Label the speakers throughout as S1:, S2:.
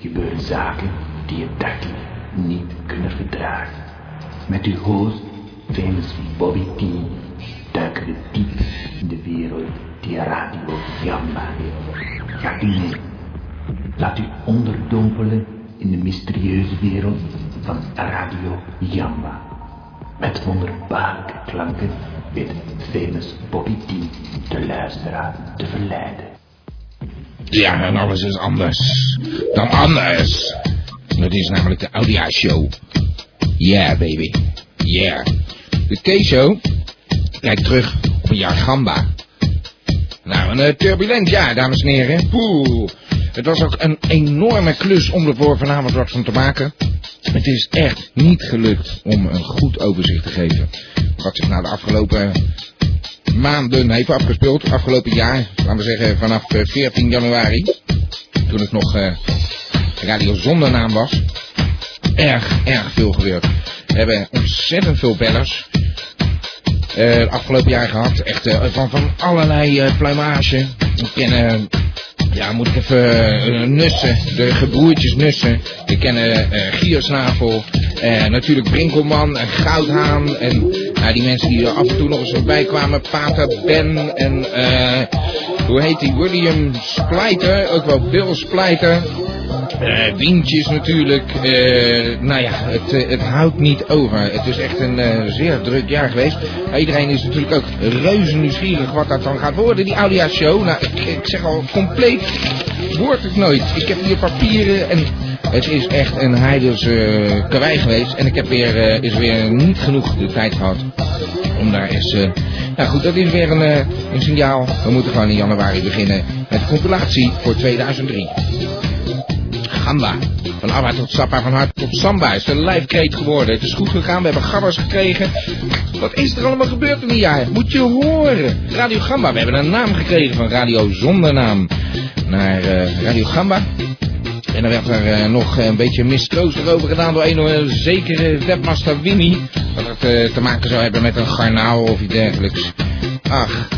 S1: gebeuren zaken die je dagelijks niet kunnen verdragen. Met uw host, famous Bobby T, duiken we diep in de wereld die Radio Jamba heeft. Gaat u mee. Laat u onderdompelen in de mysterieuze wereld van Radio Jamba. Met wonderbaarlijke klanken weet famous Bobby T de luisteraar te verleiden.
S2: Ja, en alles is anders. Dan anders. Dat is namelijk de Audia Show. Yeah, baby. Yeah. De K-show kijkt terug op een jaar gamba. Nou, een eh, turbulent jaar, dames en heren. Poeh. Het was ook een enorme klus om ervoor vanavond wat van te maken. Het is echt niet gelukt om een goed overzicht te geven. Wat zich na de afgelopen maanden heeft afgespeeld. Afgelopen jaar, laten we zeggen vanaf eh, 14 januari. Toen het nog eh, radio zonder naam was. Erg, erg veel gebeurd. We hebben ontzettend veel bellers. eh, het afgelopen jaar gehad. Echt eh, van, van allerlei eh pluimage. Ik ken, eh, ja, moet ik even eh, Nussen, de gebroertjes Nussen. We kennen eh Giersnavel, eh, natuurlijk Brinkelman en Goudhaan. En ja, die mensen die er af en toe nog eens voorbij kwamen. Pater Ben en eh, hoe heet die? William Splijter, ook wel Bill Splijter. Eh, windjes natuurlijk. eh, nou ja, het, eh, het houdt niet over. Het is echt een eh, zeer druk jaar geweest. Iedereen is natuurlijk ook reuze nieuwsgierig wat dat dan gaat worden. Die Audia Show. Nou, ik, ik zeg al, compleet wordt het nooit. Ik heb hier papieren en het is echt een heidels eh karwei geweest. En ik heb weer, eh, is weer niet genoeg de tijd gehad om daar eens... eh, nou goed, dat is weer een, eh, een signaal. We moeten gewoon in januari beginnen met de compilatie voor 2003. Gamba. Van Abba tot Sappa, van Hart tot Samba is een lijfkreet geworden. Het is goed gegaan, we hebben gabbers gekregen. Wat is er allemaal gebeurd in die jaar? Moet je horen. Radio Gamba, we hebben een naam gekregen van Radio Zonder Naam. Naar eh, Radio Gamba. En dan werd er eh, nog een beetje mistroostig over gedaan door een eh, zekere webmaster Winnie. Dat het eh, te maken zou hebben met een garnaal of iets dergelijks. Ach,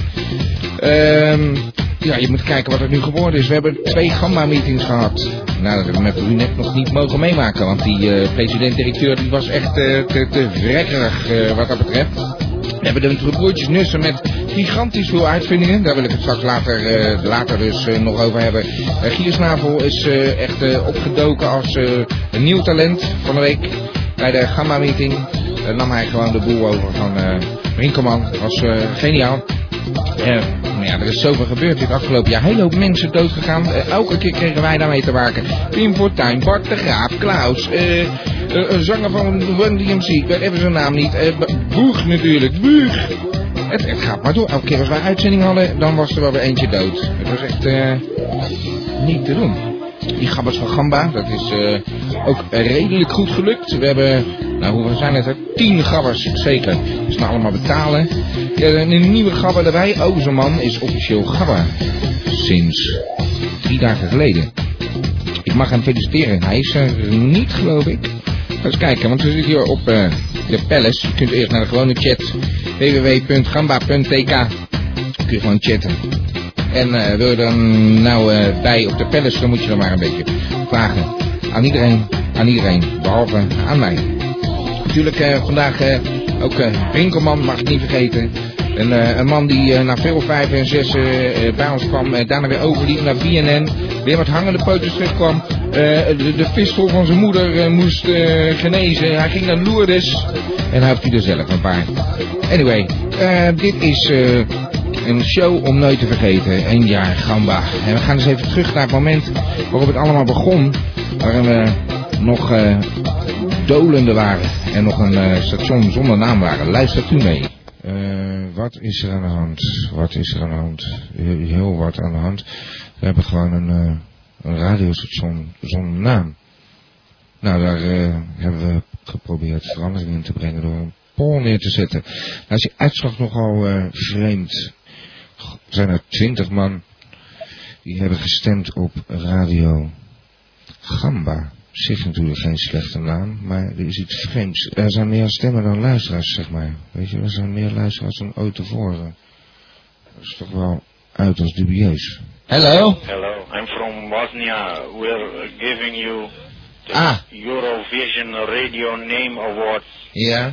S2: Ehm ja, je moet kijken wat er nu geworden is. We hebben twee Gamma-meetings gehad. Nou, dat hebben we met Brunet nog niet mogen meemaken. Want die eh, president-directeur die was echt eh, te, te vrekkerig eh, wat dat betreft. We hebben de broertjes Nussen met gigantisch veel uitvindingen. Daar wil ik het straks later, eh, later dus eh, nog over hebben. Eh, Giersnavel is eh, echt eh, opgedoken als eh, een nieuw talent van de week. Bij de Gamma-meeting eh, nam hij gewoon de boel over van eh Rinkelman. Dat was eh, geniaal. Eh, nou ja, er is zoveel gebeurd dit afgelopen jaar. Heel hoop mensen doodgegaan. Eh, elke keer kregen wij daarmee te maken. Pim Fortuyn, Bart de Graaf, Klaus, eh, eh, een zanger van Run DMC, ik weet even zijn naam niet. Eh, B- Boeg natuurlijk, Boeg. Het, het gaat maar door. Elke keer als wij uitzending hadden, dan was er wel weer eentje dood. Het was echt eh, niet te doen. Die gabbers van Gamba, dat is eh, ook redelijk goed gelukt. We hebben, nou hoeveel zijn het er? Tien gabbers, zeker. Dus nou allemaal betalen. Ja, en een nieuwe gabber erbij, Ozerman, is officieel gabber. Sinds drie dagen geleden. Ik mag hem feliciteren. Hij is er niet, geloof ik. Eens kijken, want we zitten hier op eh, de Palace. Je kunt eerst naar de gewone chat. www.gamba.tk Kun je gewoon chatten. En eh, wil je dan nou eh, bij op de palace, dan moet je dan maar een beetje vragen. Aan iedereen, aan iedereen, behalve aan mij. Natuurlijk eh, vandaag eh, ook eh Brinkelman, mag ik niet vergeten. Een, eh, een man die eh, na veel vijf en zes eh, eh, bij ons kwam, eh, daarna weer overliep naar BNN. Weer wat hangende pootjes terugkwam. Eh, de, de fistel van zijn moeder eh, moest eh, genezen. Hij ging naar Lourdes. En hij heeft hij er zelf een paar. Anyway, eh, dit is... eh, een show om nooit te vergeten. Een jaar Gamba. En we gaan eens even terug naar het moment waarop het allemaal begon. Waarin we nog eh, dolende waren. En nog een eh, station zonder naam waren. Luister toe mee. Eh, wat is er aan de hand? Wat is er aan de hand? Heel, heel wat aan de hand. We hebben gewoon een, eh, een radiostation zonder naam. Nou, daar eh, hebben we geprobeerd verandering in te brengen door een poll neer te zetten. Nou is die uitslag nogal eh, vreemd. G- zijn er twintig man die hebben gestemd op Radio Gamba. Op Zich natuurlijk geen slechte naam, maar er is iets vreemds. Er zijn meer stemmen dan luisteraars, zeg maar. Weet je, er zijn meer luisteraars dan ooit tevoren. Dat is toch wel uiterst dubieus. Hallo?
S3: Hello. I'm from Bosnia. We're giving you the
S2: Ah.
S3: Eurovision Radio Name Award.
S2: Yeah.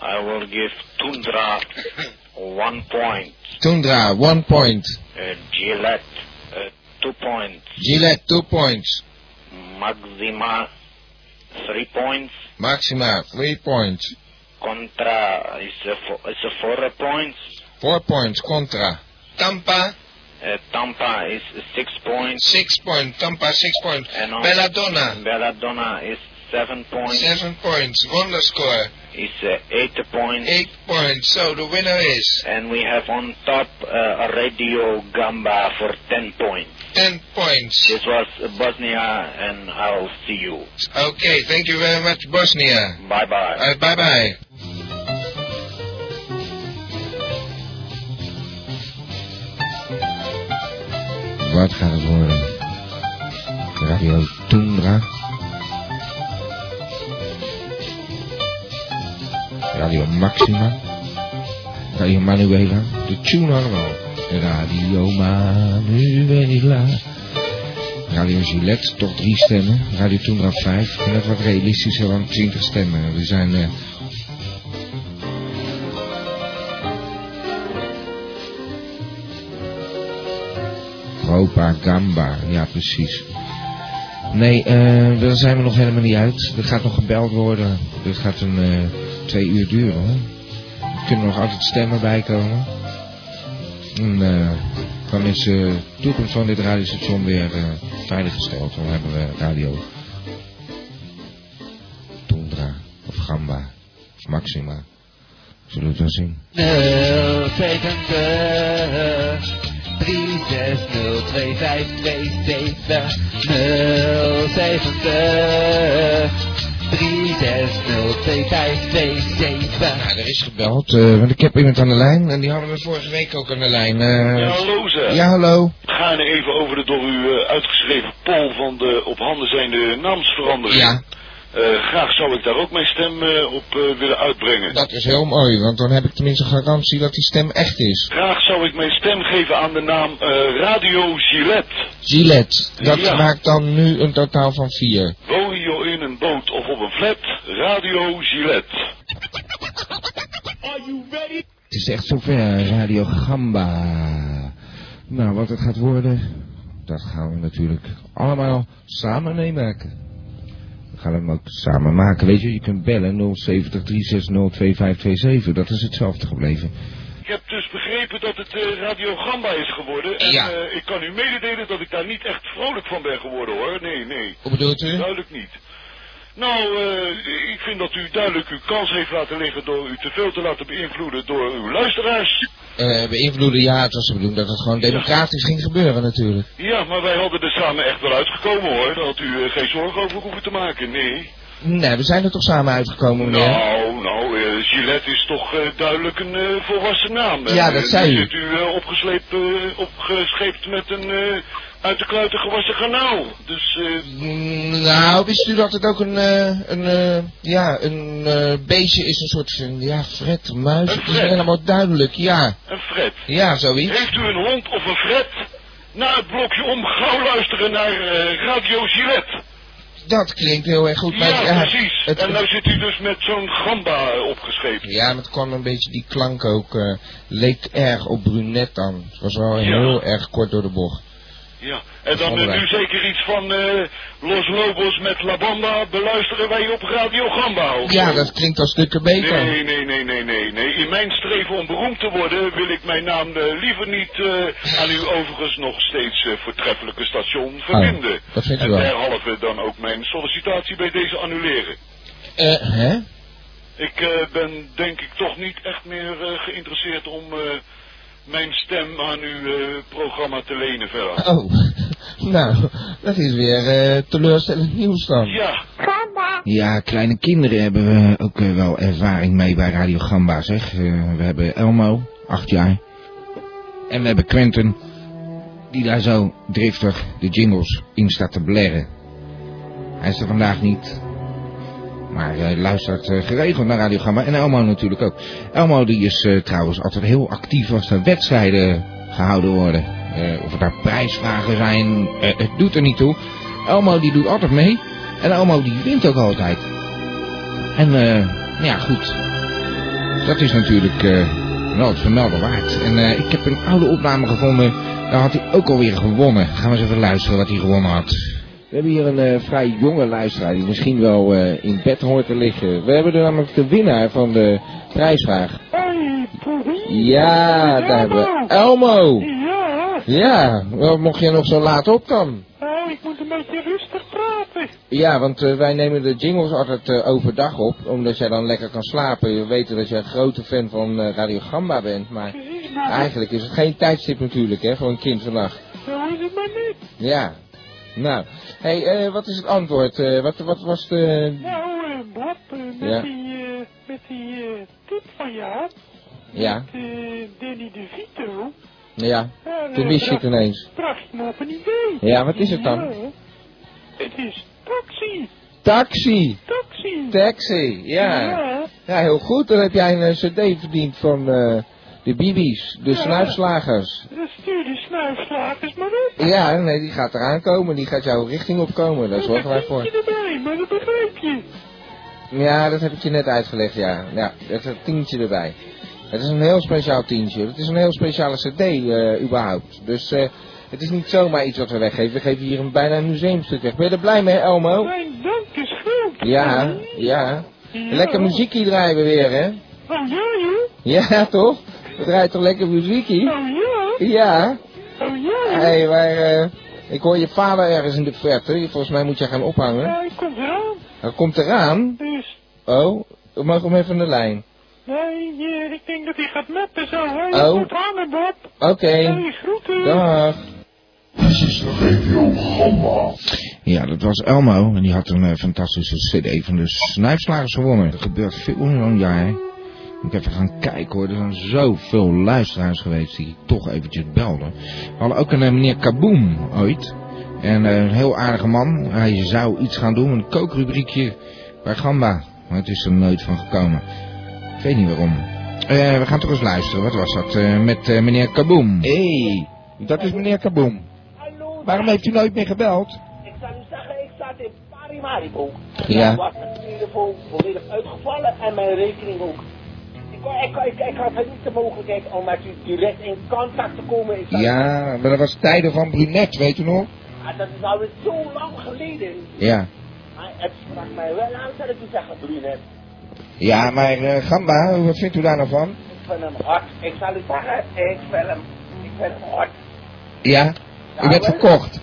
S3: I will give Tundra one point,
S2: Tundra, one point.
S3: uh, Gillette uh, two points,
S2: Gillette, two points.
S3: Maxima three points,
S2: Maxima, three points.
S3: Contra is a, fo- is a four points,
S2: Four points. Contra. Tampa,
S3: uh, Tampa is six points,
S2: six points. Tampa, six points.
S3: and on-
S2: Belladonna,
S3: Belladonna is seven points,
S2: seven points. Wonder score,
S3: is uh, eight points.
S2: eight points. So the winner is
S3: And we have on top uh, Radio Gamba for 10 points.
S2: ten points.
S3: This was Bosnia, and I'll see you.
S2: Okay, thank you very much, Bosnia.
S3: Bye bye.
S2: Uh, bye bye. Wat gaat het worden? Radio Tundra? Radio Maxima? Radio Manuela? De tune allemaal. Radio Manuela. Radio Gillette, toch drie stemmen. Radio Tundra vijf. En dat wat realistischer, want twintig stemmen. We zijn... eh, Europa, Gamba, ja precies. Nee, eh, daar zijn we nog helemaal niet uit. Er gaat nog gebeld worden. Dit gaat een eh, twee uur duren. Hoor. Er kunnen nog altijd stemmen bij komen. En eh, dan is eh, de toekomst van dit radiostation weer eh, veiliggesteld. Dan hebben we radio Tundra of Gamba of Maxima. Zullen we het wel zien?
S4: 0702527.
S2: Ja, er is gebeld, eh, want ik heb iemand aan de lijn en die hadden we vorige week ook aan de lijn. eh.
S5: Ja, hallo zeg.
S2: ja, hallo.
S5: Het gaat nu even over de door u eh, uitgeschreven poll van de op handen zijnde naamsverandering.
S2: Ja,
S5: Eh, graag zou ik daar ook mijn stem eh, op eh, willen uitbrengen.
S2: dat is heel mooi, want dan heb ik tenminste garantie dat die stem echt is.
S5: Graag zou ik mijn stem geven aan de naam eh, Radio Gillette.
S2: Gillette, dat
S5: Ja.
S2: maakt dan nu een totaal van vier.
S5: Woon je in een boot of op een flat? Radio Gillette.
S2: Het is echt zover, Radio Gamba. Nou, wat het gaat worden, dat gaan we natuurlijk allemaal samen meemaken. We gaan hem ook samen maken. Weet je, je kunt bellen 070 360 2527. Dat is hetzelfde gebleven.
S5: Ik heb dus begrepen dat het eh, Radio Gamba is geworden. En
S2: Ja.
S5: eh, ik kan u mededelen dat ik daar niet echt vrolijk van ben geworden hoor. Nee, nee.
S2: Hoe bedoelt u?
S5: Duidelijk niet. Nou, eh, ik vind dat u duidelijk uw kans heeft laten liggen door u te veel te laten beïnvloeden door uw luisteraars.
S2: eh beïnvloeden. Ja, het was de bedoeling dat het gewoon democratisch ging gebeuren natuurlijk.
S5: Ja, maar wij hadden er samen echt wel uitgekomen hoor. Daar had u eh, geen zorgen over hoeven te maken, nee.
S2: Nee, we zijn er toch samen uitgekomen, meneer?
S5: Nou, nou, eh, Gillette is toch eh, duidelijk een eh, volwassen naam. hè?
S2: Ja, dat
S5: Eh,
S2: zei
S5: nu
S2: u.
S5: zit u eh, opgesleept, eh, opgescheept met een eh, uit de kluiten gewassen kanaal. Dus, eh,
S2: Mm, Nou, wist u dat het ook een, eh een eh, ja, een eh, beestje is, een soort, eh, ja, fret, muis,
S5: Een
S2: het is
S5: fret.
S2: helemaal duidelijk, ja,
S5: een Fred.
S2: ja, zoiets.
S5: Heeft u een hond of een Fred? Na het blokje om gauw luisteren naar eh, Radio Gillette.
S2: Dat klinkt heel erg goed, maar
S5: Ja,
S2: ja,
S5: precies.
S2: het-
S5: en nou zit u dus met zo'n gamba eh, opgescheept.
S2: ja, maar het kwam een beetje, die klank ook, eh, leek erg op brunet dan. Het was wel
S5: Ja.
S2: heel erg kort door de bocht.
S5: Ja. En dan eh,
S2: Gamba.
S5: nu zeker iets van eh, Los Lobos met La Bamba beluisteren wij op Radio Gamba. of
S2: Ja,
S5: zo.
S2: dat klinkt al stukken beter.
S5: Nee, nee, nee, nee, nee, nee. In mijn streven om beroemd te worden wil ik mijn naam eh, liever niet eh, aan uw overigens nog steeds eh, voortreffelijke station verbinden.
S2: Oh, dat vindt u
S5: en
S2: wel.
S5: derhalve dan ook mijn sollicitatie bij deze annuleren.
S2: Eh, hè?
S5: Ik eh, ben denk ik toch niet echt meer eh, geïnteresseerd om eh, mijn stem aan uw eh, programma te lenen verder.
S2: Oh, nou, dat is weer eh teleurstellend nieuws dan.
S5: Ja,
S2: Ja, kleine kinderen hebben we ook eh, wel ervaring mee bij Radio Gamba, zeg. Eh, we hebben Elmo, acht jaar. En we hebben Quentin, die daar zo driftig de jingles in staat te blerren. Hij is er vandaag niet. Maar hij luistert eh, geregeld naar Radio Gamba. En Elmo natuurlijk ook. Elmo die is eh, trouwens altijd heel actief als er wedstrijden gehouden worden. eh, of het daar prijsvragen zijn, eh, het doet er niet toe. Elmo die doet altijd mee. En Elmo die wint ook altijd. En eh, ja goed, dat is natuurlijk eh, wel het vermelden waard. En eh, ik heb een oude opname gevonden, daar had hij ook alweer gewonnen. Gaan we eens even luisteren wat hij gewonnen had. We hebben hier een eh, vrij jonge luisteraar die misschien wel eh, in bed hoort te liggen. We hebben er namelijk de winnaar van de prijsvraag.
S4: Hey, Bobby.
S2: Ja, daar hebben we Elmo.
S4: Ja,
S2: Ja, wel, mocht je nog zo laat op dan.
S4: nou, ik moet een beetje rustig praten.
S2: Ja, want eh, wij nemen de jingles altijd eh, overdag op, omdat jij dan lekker kan slapen. We weten dat jij een grote fan van eh, Radio Gamba bent, maar
S4: Precies, nou,
S2: eigenlijk is het geen tijdstip natuurlijk, hè, voor een kind vannacht.
S4: zo is het maar niet.
S2: Ja. Nou, hey, eh, wat is het antwoord? Eh, wat, wat was de...
S4: Nou, eh, Bob, eh, met
S2: Ja.
S4: die, eh, met die eh, tip van jou,
S2: Ja,
S4: eh, Danny DeVito,
S2: ja.
S4: daar, eh,
S2: Toen wist je het
S4: bracht,
S2: ineens.
S4: bracht me op een idee.
S2: Ja, wat is het dan?
S4: Ja, het is taxi,
S2: Taxi!
S4: taxi.
S2: Taxi, ja. Ja, heel goed. Dan heb jij een eh, cd verdiend van eh, de bibi's, de
S4: Ja.
S2: snuifslagers.
S4: dan stuur de snuifslagers maar op.
S2: Ja, nee, die gaat eraan komen. Die gaat jouw richting opkomen. Daar zorgen wij
S4: Dan
S2: voor.
S4: je erbij, maar dat begrijp je.
S2: Ja, dat heb ik je net uitgelegd, ja. Ja, dat is een tientje erbij. Het is een heel speciaal tientje. Het is een heel speciale cd, eh, überhaupt. Dus eh, het is niet zomaar iets wat we weggeven. We geven hier een bijna een museumstuk weg. Ben je er blij mee, Elmo?
S4: Mijn dank is groot.
S2: Ja, ja. Lekker muziekie draaien we weer, hè?
S4: Oh ja, joh.
S2: Ja, toch? We draaien toch lekker muziekie?
S4: Oh ja.
S2: Ja.
S4: Oh ja.
S2: Hé, hey, maar eh, ik hoor je vader ergens in de verte. Volgens mij moet jij gaan ophangen.
S4: Hij komt eraan.
S2: Hij komt eraan.
S4: Dus,
S2: Oh, we mogen hem even aan de lijn.
S4: nee, eh, ik denk dat hij gaat meppen zo. Hij
S2: Oh.
S4: moet hangen, Bob.
S2: Oké,
S4: Hey, groeten.
S2: dag.
S6: Radio Gamma.
S2: Ja, dat was Elmo. En die had een eh, fantastische cd van de Snuifslagers gewonnen. Er gebeurt veel in zo'n jaar, hè. Moet ik even gaan kijken hoor. Er zijn zoveel luisteraars geweest die toch eventjes belden. We hadden ook een eh, meneer Kaboom ooit. En eh, een heel aardige man. Hij zou iets gaan doen, een kookrubriekje bij Gamba. Maar het is er nooit van gekomen. Ik weet niet waarom. Eh, we gaan toch eens luisteren. Wat was dat? Eh, met eh, meneer Kaboom. Hé, hey, dat is meneer Kaboom.
S7: Hallo,
S2: Waarom heeft u nooit meer gebeld?
S7: ik zou u zeggen, ik zat in Parimaribo.
S2: Ja.
S7: Ik was mijn telefoon volledig uitgevallen en mijn rekening ook. Ik, kon- ik, kon- ik, ik had niet de mogelijkheid om met u direct in contact te komen. Ik zat-
S2: Ja, maar dat was tijden van Brunet, weet u nog?
S7: Ah, dat is alweer zo lang geleden.
S2: Ja.
S7: Ah, het sprak mij wel aan, zal ik u zeggen, Brunet.
S2: Ja, maar eh, Gamba, wat vindt u daar nou van?
S7: Ik vind hem hot. Ik zal u zeggen, ik vind hem, ik vind hem hot.
S2: Ja, u
S7: Ja,
S2: bent
S7: hoor.
S2: verkocht.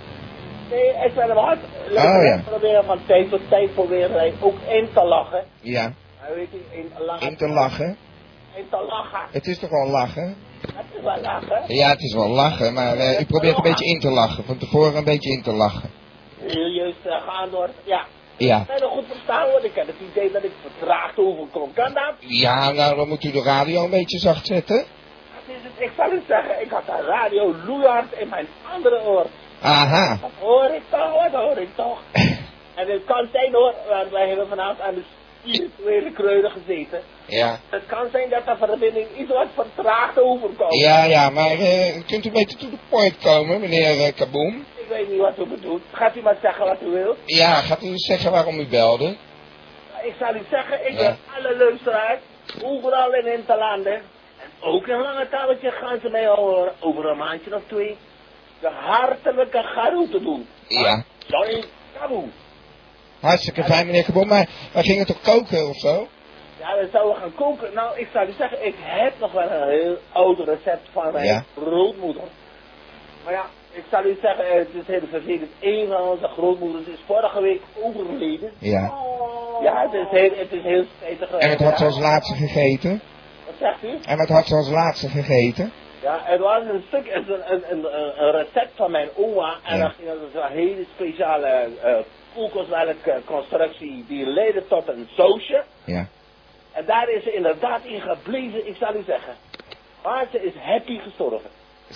S7: Nee, ik vind hem hot. Laat
S2: Oh,
S7: ik
S2: ja.
S7: het proberen, van tijd tot tijd proberen wij ook in te lachen.
S2: Ja,
S7: Ah, Weet je, in, lachen,
S2: in te lachen.
S7: In te lachen.
S2: Het is toch wel lachen?
S7: Dat is wel lachen.
S2: Ja, het is wel lachen, maar eh, u probeert een beetje in te lachen. Van tevoren een beetje in te lachen.
S7: Serieus eh, gaan door. Ja.
S2: Ja.
S7: Kan je nog goed verstaan worden? Ik heb het idee dat ik vertraagd overkom. Kan dat?
S2: Ja, nou dan moet u de radio een beetje zacht zetten.
S7: Dat is het. Ik zal u zeggen, ik had de radio loeihard in mijn andere oor.
S2: Aha.
S7: Dat hoor ik toch, dat hoor ik toch. en het kan zijn hoor, want wij hebben vanavond aan de spirituele kreunen gezeten.
S2: Ja.
S7: Het kan zijn dat de verbinding iets wat vertraagd overkomt.
S2: Ja, ja, maar eh, kunt u beter to the point komen, meneer eh, Kaboom?
S7: Ik weet niet wat u bedoelt. Gaat u maar zeggen wat u wilt.
S2: Ja, gaat u eens zeggen waarom u belde?
S7: Ik zal u zeggen, ik
S2: Ja.
S7: ben alle luisteraars, overal in Interlanden. En ook in lange tafeltje gaan ze mij horen, over een maandje of twee. De hartelijke garoe te doen.
S2: Ja.
S7: Johnny Taboe.
S2: Hartstikke fijn, meneer Kaboom, maar wij gingen toch koken of zo?
S7: Ja, dan zouden we gaan koken. Nou, ik zou u zeggen, ik heb nog wel een heel oud recept van mijn
S2: Ja.
S7: grootmoeder. Maar ja, ik zal u zeggen, eh, het is heel vervelend. Een van onze grootmoeders is vorige week overleden.
S2: Ja.
S7: Ja, het is heel, het is heel spijtig. eh,
S2: En wat had ze
S7: ja.
S2: als laatste gegeten?
S7: Wat zegt u?
S2: En wat had ze als laatste gegeten?
S7: Ja, het was een stuk, het is een, een, een, een recept van mijn oma. En
S2: Ja.
S7: dan ging dat dus een hele speciale eh koelkostwerkconstructie constructie die leidde tot een sausje.
S2: Ja.
S7: En daar is ze inderdaad in gebleven, ik zal u zeggen. Maar ze is happy gestorven.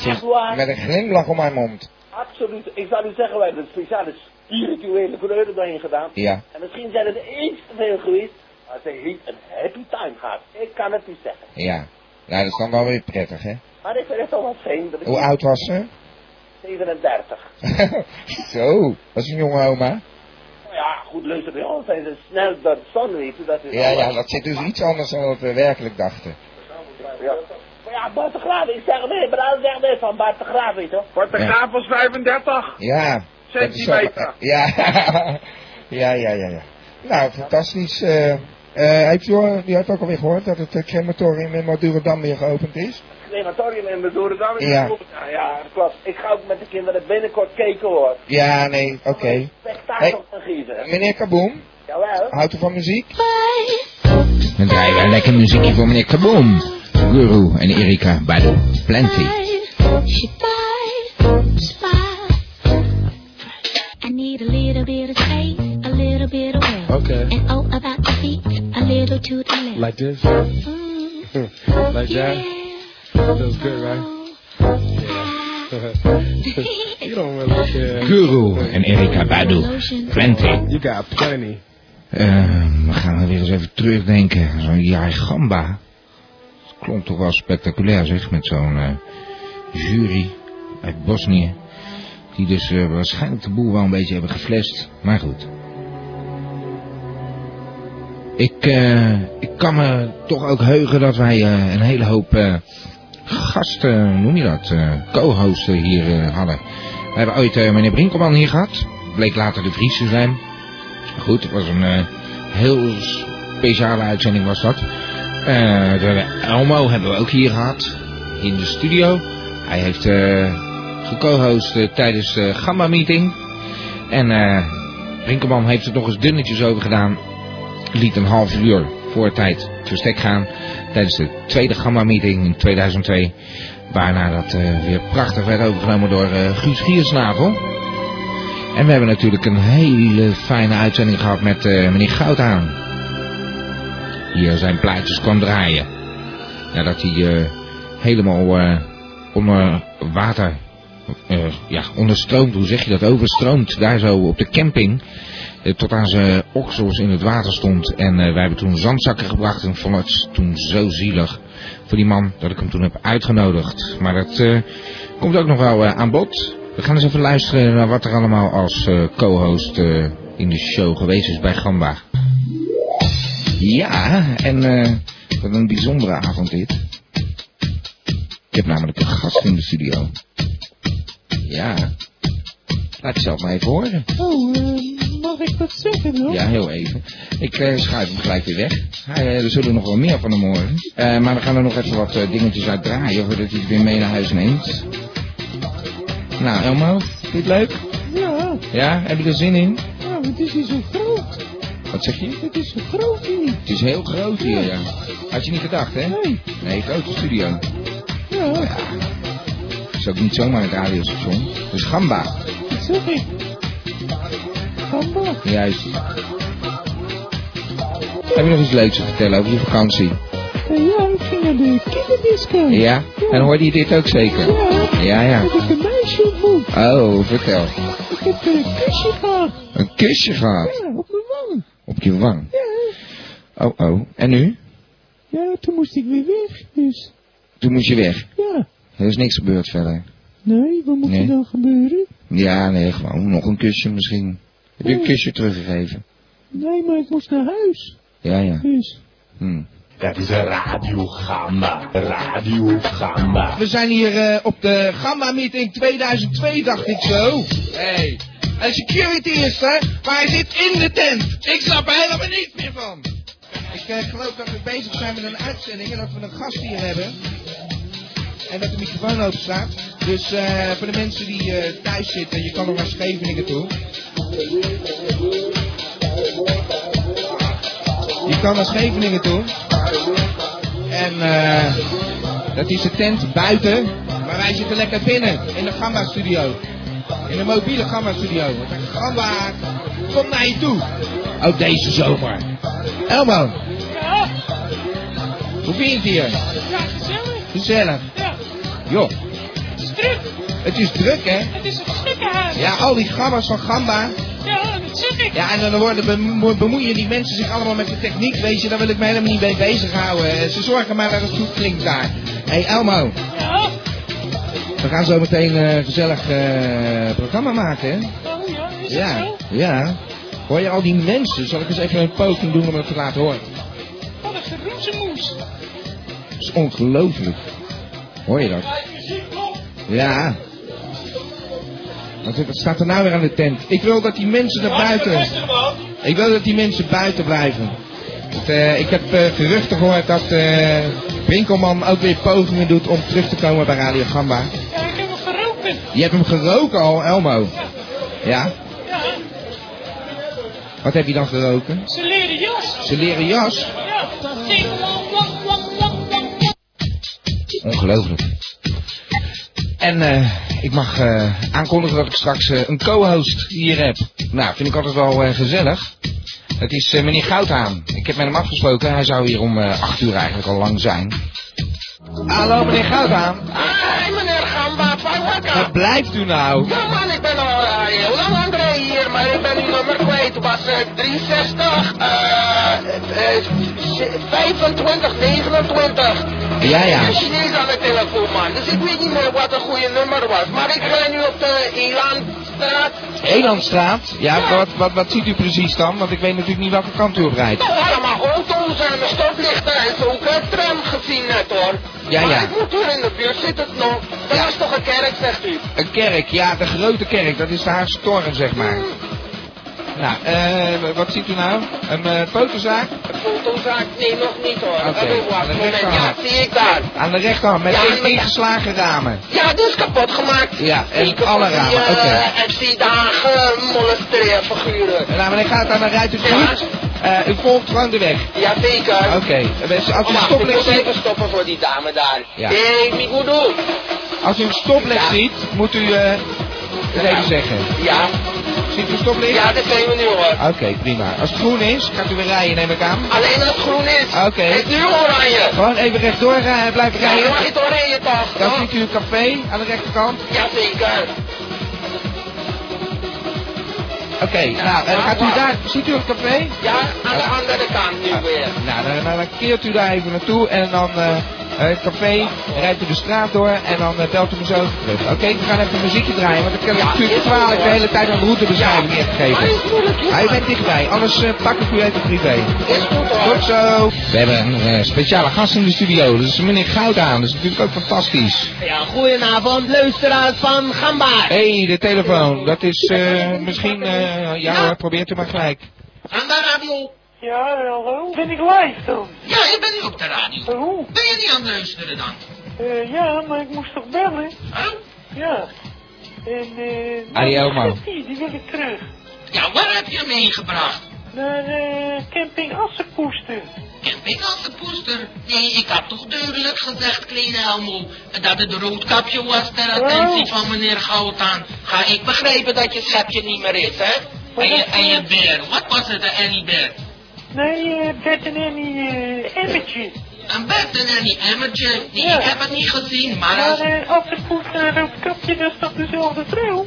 S7: Echt waar?
S2: Met een glimlach om haar mond.
S7: Absoluut. Ik zal u zeggen, wij hebben een speciale spirituele kleuren doorheen gedaan.
S2: Ja.
S7: En misschien zijn het eens te veel geweest. Maar ze heeft een happy time gehad. Ik kan het u zeggen.
S2: Ja. Nou, dat is dan wel weer prettig, hè?
S7: Maar ik vind het toch wel fijn dat ik...
S2: Hoe oud was ze?
S7: 37.
S2: Zo, dat is een jonge oma.
S7: Nou Ja, goed luister bij ons. Hij is snel door de zon, weet je. Dat is
S2: Ja, ja, dat zit dus iets anders dan wat we werkelijk dachten.
S7: Ja. Maar ja, Bart de Graaf, ik zeg nee, maar dat zegt nee van Bart de Graaf, weet je.
S8: Wat de
S2: Ja.
S8: graaf was 35
S2: Ja, dat is zo.
S8: centimeter.
S2: Ja, ja, ja, ja, ja. Nou, fantastisch. eh eh, heeft u, al- u heeft ook alweer gehoord dat het eh, crematorium in Madurodam weer geopend is?
S7: Crematorium in Madurodam.
S2: Ja.
S7: ja. Ja, dat klopt. Ik ga ook met de kinderen binnenkort kijken hoor.
S2: Ja, nee, oké.
S7: Spektakel van Giezen.
S2: Meneer Kaboom,
S7: Jawel.
S2: houdt u van muziek? Dan draaien wij lekker muziekje voor meneer Kaboom. Guru en Erika bij de Plenty.
S9: I need a little bit of space, a little bit of will.
S10: Okay.
S9: And oh, about the feet, a little to the left.
S10: Like this?
S9: Mm,
S10: like that?
S9: yeah.
S10: Feels good, right? Yeah. you don't really care.
S2: Guru en Erika Badu.
S9: Lotion.
S2: Plenty.
S10: You got plenty.
S2: Ehm, we gaan weer eens even terugdenken. Zo'n jaar gamba. Het klonk toch wel spectaculair zeg, met zo'n eh, jury uit Bosnië. Die dus eh, waarschijnlijk de boel wel een beetje hebben geflasht. Maar goed. Ik, eh, ik kan me toch ook heugen dat wij eh, een hele hoop eh, gasten, hoe noem je dat, eh, co-hosten hier eh, hadden. We hebben ooit eh, meneer Brinkelman hier gehad. Bleek later de Vries te zijn. Goed, het was een eh, heel speciale uitzending was dat. Eh, de Elmo hebben we ook hier gehad. In de studio. Hij heeft eh geco-host eh, tijdens de Gamma Meeting. En eh Rinkelman heeft het nog eens dunnetjes over gedaan. Liet een half uur voor tijd het verstek gaan. Tijdens de tweede Gamma Meeting in 2002. Waarna dat eh, weer prachtig werd overgenomen door eh, Guus Giersnavel. En we hebben natuurlijk een hele fijne uitzending gehad met eh, meneer Goudhaan. Die eh, zijn plaatjes kwam draaien. Nadat hij eh, helemaal eh, onder water, eh, ja, onderstroomd, hoe zeg je dat, overstroomd, daar zo op de camping. eh, tot aan zijn oksels in het water stond. En eh, wij hebben toen zandzakken gebracht en ik vond het toen zo zielig voor die man dat ik hem toen heb uitgenodigd. Maar dat eh, komt ook nog wel eh, aan bod. We gaan eens even luisteren naar wat er allemaal als eh, co-host eh, in de show geweest is bij Gamba. Ja, en eh, wat een bijzondere avond dit. Ik heb namelijk een gast in de studio. Ja. Laat het zelf maar even horen.
S4: Oh, eh, mag ik dat zeggen hoor?
S2: Ja, heel even. Ik eh, schuif hem gelijk weer weg. Hij, eh, er zullen nog wel meer van hem horen. Eh, maar we gaan er nog even wat eh, dingetjes uit draaien voordat hij het weer mee naar huis neemt. Nou, Elmo, vind je het leuk?
S4: Ja.
S2: Ja, heb je er zin in?
S4: Nou, het is hier zo groot.
S2: Wat zeg je?
S4: Het is zo groot hier.
S2: Het is heel groot hier, ja. Had je niet gedacht, hè?
S4: Nee.
S2: Nee, grote studio.
S4: Ja,
S2: Dat is ook niet zomaar het radiostation. Dat is Gamba.
S4: dat zeg ik. Gamba.
S2: Juist. Heb je nog iets leuks te vertellen over je vakantie?
S4: Eh, Ja, ik ging naar de kinderdisco.
S2: Ja? En hoorde je dit ook zeker?
S4: Ja.
S2: Ja, ja.
S4: Heb ik een meisje ontmoet.
S2: Oh, vertel.
S4: Ik heb eh, een kusje gehad.
S2: Een kusje gehad.
S4: Ja, op mijn wang.
S2: Op je wang.
S4: Ja.
S2: Oh, oh. En nu?
S4: Ja, toen moest ik weer weg. Dus
S2: Toen moest je weg.
S4: ja.
S2: Er is niks gebeurd verder.
S4: Nee, wat moet
S2: Nee.
S4: er dan gebeuren?
S2: Ja, nee, gewoon nog een kusje misschien. Heb je een kusje teruggegeven?
S4: Nee, maar ik moest naar huis.
S2: Ja, ja.
S4: Dus.
S2: Hm.
S11: Dat is Radio Gamba. Radio Gamba.
S2: We zijn hier eh, op de Gamma Meeting 2002, dacht ik zo. Hey. En security is er, maar hij zit in de tent. Ik snap er helemaal niets meer van. Ik eh, geloof dat we bezig zijn met een uitzending en dat we een gast hier hebben. En dat de microfoon open staat. Dus eh, voor de mensen die eh, thuis zitten, je kan nog naar Scheveningen toe. Je kan naar Scheveningen toe. En eh. Dat is de tent buiten, maar wij zitten lekker binnen in de Gamma Studio. In de mobiele Gamma Studio. Want de Gamma komt naar je toe. Ook deze zomer. Elmo,
S4: Ja,
S2: hoe vind je het hier?
S4: ja, gezellig.
S2: Gezellig.
S4: Ja,
S2: Joh,
S4: strip.
S2: het is druk hè?
S4: Het is een strippenhuis.
S2: Ja, al die gamma's van Gamba.
S4: Ja, dat zeg ik.
S2: Ja, en dan worden bemo- bemoeien die mensen zich allemaal met de techniek, weet je. Daar wil ik me helemaal niet mee bezighouden. Eh, Ze zorgen maar dat het goed klinkt daar. Hé hey, Elmo,
S4: Ja,
S2: we we gaan zo meteen eh, gezellig eh, programma maken, hè?
S4: Oh ja, is het
S2: Ja,
S4: zo?
S2: ja. Hoor je al die mensen? Zal ik eens even een poging doen om het te laten horen?
S4: Wat een geroezemoes.
S2: Het is ongelooflijk. Hoor je dat? Ja. Wat, wat staat er nou weer aan de tent? Ik wil dat die mensen naar buiten... Ik wil dat die mensen buiten blijven. Want, eh, ik heb eh, geruchten gehoord dat eh Winkelman ook weer pogingen doet om terug te komen bij Radio Gamba.
S4: Ja, ik heb hem geroken.
S2: Je hebt hem geroken al, Elmo. Ja?
S4: Ja,
S2: Wat heb je dan geroken?
S4: zijn leren jas.
S2: Zijn leren jas?
S4: Ja, tegen lang, lang, lang, lang, lang.
S2: Ongelooflijk. En eh, ik mag eh, aankondigen dat ik straks eh, een co-host hier heb. Nou, vind ik altijd wel eh, gezellig. Het is eh, meneer Goudhaan. Ik heb met hem afgesproken. Hij zou hier om eh 8 uur eigenlijk al lang zijn. Hallo meneer Goudhaan.
S12: Hoi meneer Gamba, van
S2: Wat
S12: wakker.
S2: blijft u nou?
S12: Ja man, ik ben al eh, heel lang André hier, maar ik ben uw nummer kwijt. Het was eh, 63, eh, eh, z- 25, 29.
S2: Ja, ja.
S12: Ik ben Chinees aan de telefoon man, dus ik weet niet meer wat een goede nummer was. Maar ik ga nu op de Elandstraat.
S2: Elandstraat. Ja, wat, wat, wat ziet u precies dan? Want ik weet natuurlijk niet welke kant u op rijdt.
S12: Nou, allemaal auto's en de stoplichten en zo. Ik heb tram gezien net hoor.
S2: Ja,
S12: maar
S2: ja.
S12: ik moet hier in de buurt zitten nog. Dat
S2: Ja.
S12: is toch een kerk, zegt u?
S2: Een kerk, ja, de grote kerk. Dat is de Haagse Toren, zeg maar. Nou, eh, wat ziet u nou? Een eh fotozaak?
S12: Een fotozaak? Nee, nog niet hoor.
S2: Oké,
S12: Een
S2: aan de
S12: moment. Ja,
S2: rechterhand.
S12: zie ik daar.
S2: Aan de rechterhand, met
S12: Ja,
S2: één
S12: inderdaad.
S2: ingeslagen ramen.
S12: Ja, die is kapot gemaakt.
S2: Ja, en
S12: Zeker
S2: alle
S12: van die,
S2: ramen,
S12: eh,
S2: oké.
S12: En die dagen molestreerfiguren.
S2: Nou, meneer gaat aan de rijdt u goed. Eh, u volgt gewoon de weg.
S12: Jazeker.
S2: Oké, eh, als u een
S12: Wacht, ik
S2: stoplicht
S12: moet even
S2: ziet,
S12: stoppen voor die dame daar.
S2: Ja.
S12: hey, Migudo.
S2: als u een stoplicht
S12: Ja.
S2: ziet, moet u eh het even zeggen.
S12: Ja,
S2: Ziet u een stoplicht?
S12: ja, dat zijn we nu hoor.
S2: Oké, prima. Als het groen is, gaat u weer rijden, neem ik aan.
S12: Alleen als het groen is.
S2: Oké.
S12: Het is nu oranje.
S2: Gewoon even rechtdoor rijden, blijven
S12: Ja, je mag
S2: rijden.
S12: het oranje toch?
S2: Dan
S12: hoor.
S2: ziet u een café aan de rechterkant.
S12: Jazeker.
S2: Oké, nou, en gaat u daar, ziet u een café?
S12: Ja, aan de andere kant nu weer.
S2: Nou, dan, dan- dan keert u daar even naartoe en dan eh eh, het café, rijdt u de straat door en dan eh, belt u me zo even terug. Oké, we gaan even muziekje draaien, want ik heb
S12: Ja,
S2: natuurlijk
S12: is goed,
S2: kwalijk de
S12: hoor.
S2: hele tijd aan de routebeschrijving
S12: Ja.
S2: ingegeven.
S12: Maar is moeilijk, joh.
S2: Hij bent dichtbij, anders eh, pak ik u even privé.
S12: Is goed hoor.
S2: Tot zo! We hebben een eh, speciale gast in de studio, dat is meneer Goudaan, dat is natuurlijk ook fantastisch.
S12: Ja, goedenavond, luisteraars van Gamba.
S2: Hé, de telefoon, dat is eh, misschien, eh, ja hoor, probeert u maar gelijk.
S12: Aan de radio.
S4: Ja, hallo. Ben ik live dan?
S12: Ja, ik ben nu op de radio.
S4: Oh,
S12: Ben je niet aan het luisteren dan? Oh.
S4: eh, ja, maar ik moest toch bellen?
S12: Huh?
S4: Ja. En eh... nou,
S2: Adieu, man.
S4: die Getty, Die wil ik terug.
S12: Ja, waar heb je hem heen gebracht?
S4: Naar eh, camping Assenpoester.
S12: Camping als de poester. Nee, ik had toch duidelijk gezegd, kleine Elmo, dat het roodkapje was
S4: Oh.
S12: ter attentie van meneer Goudaan. Ga ik begrijpen dat je schepje niet meer is, hè? En je, en je beer, wat was het, een Annie beer?
S4: Nee, eh, Bert en Annie eh Emmetje.
S12: Een bed en Annie emmertje. Nee,
S4: Ja.
S12: ik heb het niet gezien, maar
S4: Maar
S12: als...
S4: eh, Assenpoester en Roodkapje, dat is toch dezelfde trouw?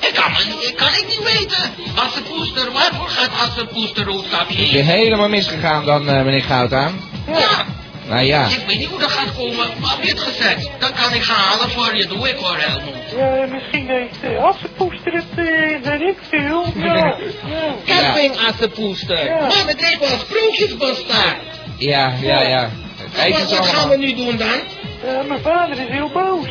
S12: Ik kan, me niet- ik kan het niet weten. Was de poester, waarvoor gaat als de poester roodkapje
S2: Is je
S12: heen?
S2: helemaal misgegaan dan, eh, meneer Goudaan?
S12: Ja,
S2: Nou ja.
S12: ik weet niet hoe dat gaat komen, maar heb je het gezegd? Dan kan ik gaan halen voor je, doe ik hoor, Elmo.
S4: Ja, misschien heeft uh, Assenpoester het, eh, weet ik veel. Ja, ja.
S12: Camping als de poester.
S4: Ja.
S12: Maar het lijkt wel een sprookjesbostar.
S2: Ja, ja, ja. Eet
S12: Wat,
S2: het
S12: wat gaan we
S2: allemaal.
S12: nu doen dan?
S4: Eh, mijn vader is heel boos.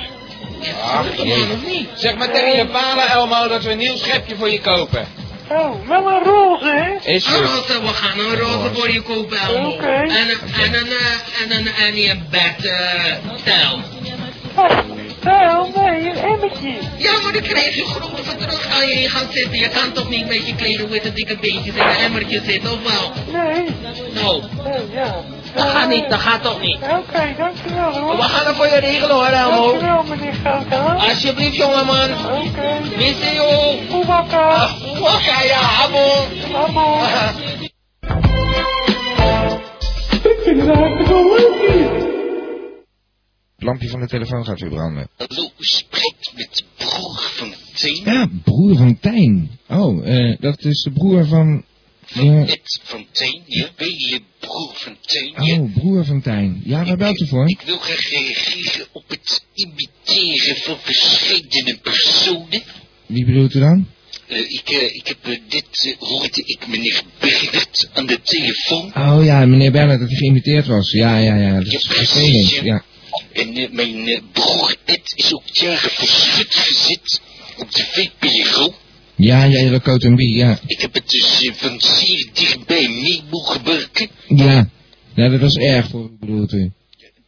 S2: Ach,
S12: Doet hem
S2: jee.
S12: aan of niet?
S2: Zeg maar tegen je vader, Elmo, dat we een nieuw schepje voor je kopen.
S4: Oh, wel een roze, hè?
S2: Is
S12: Ah,
S2: goed.
S12: Roze, we gaan een roze voor je kopen, Elmo.
S4: Oké.
S12: En, een- en een, eh, en een, en een bed, eh, tel.
S4: Oh, nou, nee, een emmetje.
S12: Ja, maar dan krijg je groente voor terug. Kan je in gaan zitten? Je kan toch niet met je kleren witte dikke beentjes in een emmertje zitten, of wel?
S4: Nee,
S12: Nou,
S4: nee, ja.
S12: dat gaat niet, dat gaat toch niet.
S4: Oké, dankjewel hoor.
S12: We gaan het voor je regelen hoor, Elmo.
S4: Dankjewel meneer Goudhaan.
S12: Alsjeblieft, jongeman.
S4: Oké.
S12: We zien jou.
S4: Poebakka.
S12: Oké, Ah, ja, abo.
S4: Hallo. Ik vind het eigenlijk wel leuk hier.
S2: Het lampje van de telefoon gaat weer branden.
S12: Hallo, u spreekt met broer van Teen.
S2: Ja, broer van Tijn. Oh, eh, dat is de broer van Ja.
S4: Net Fontaine, je hele broer Fontaine.
S2: Oh, broer Fontijn. Ja, waar belt u voor?
S4: Ik wil graag reageren op het imiteren van verschillende personen.
S2: Wie bedoelt u dan?
S4: Eh, ik, eh, ik heb eh, dit, eh, hoorde ik meneer Bernard aan de telefoon.
S2: Oh ja, meneer Bernhard, dat hij geïmiteerd was. Ja, ja, ja. Dat is vervelend. Ja.
S4: En eh, mijn eh, broer Ed is ook jaren verschut gezet op de VPRO.
S2: Ja, ja, ja, dat en wie, ja.
S4: Ik heb het dus eh, van zeer dichtbij mee mogen werken.
S2: Ja. Ja, dat was erg voor u, bedoelt u.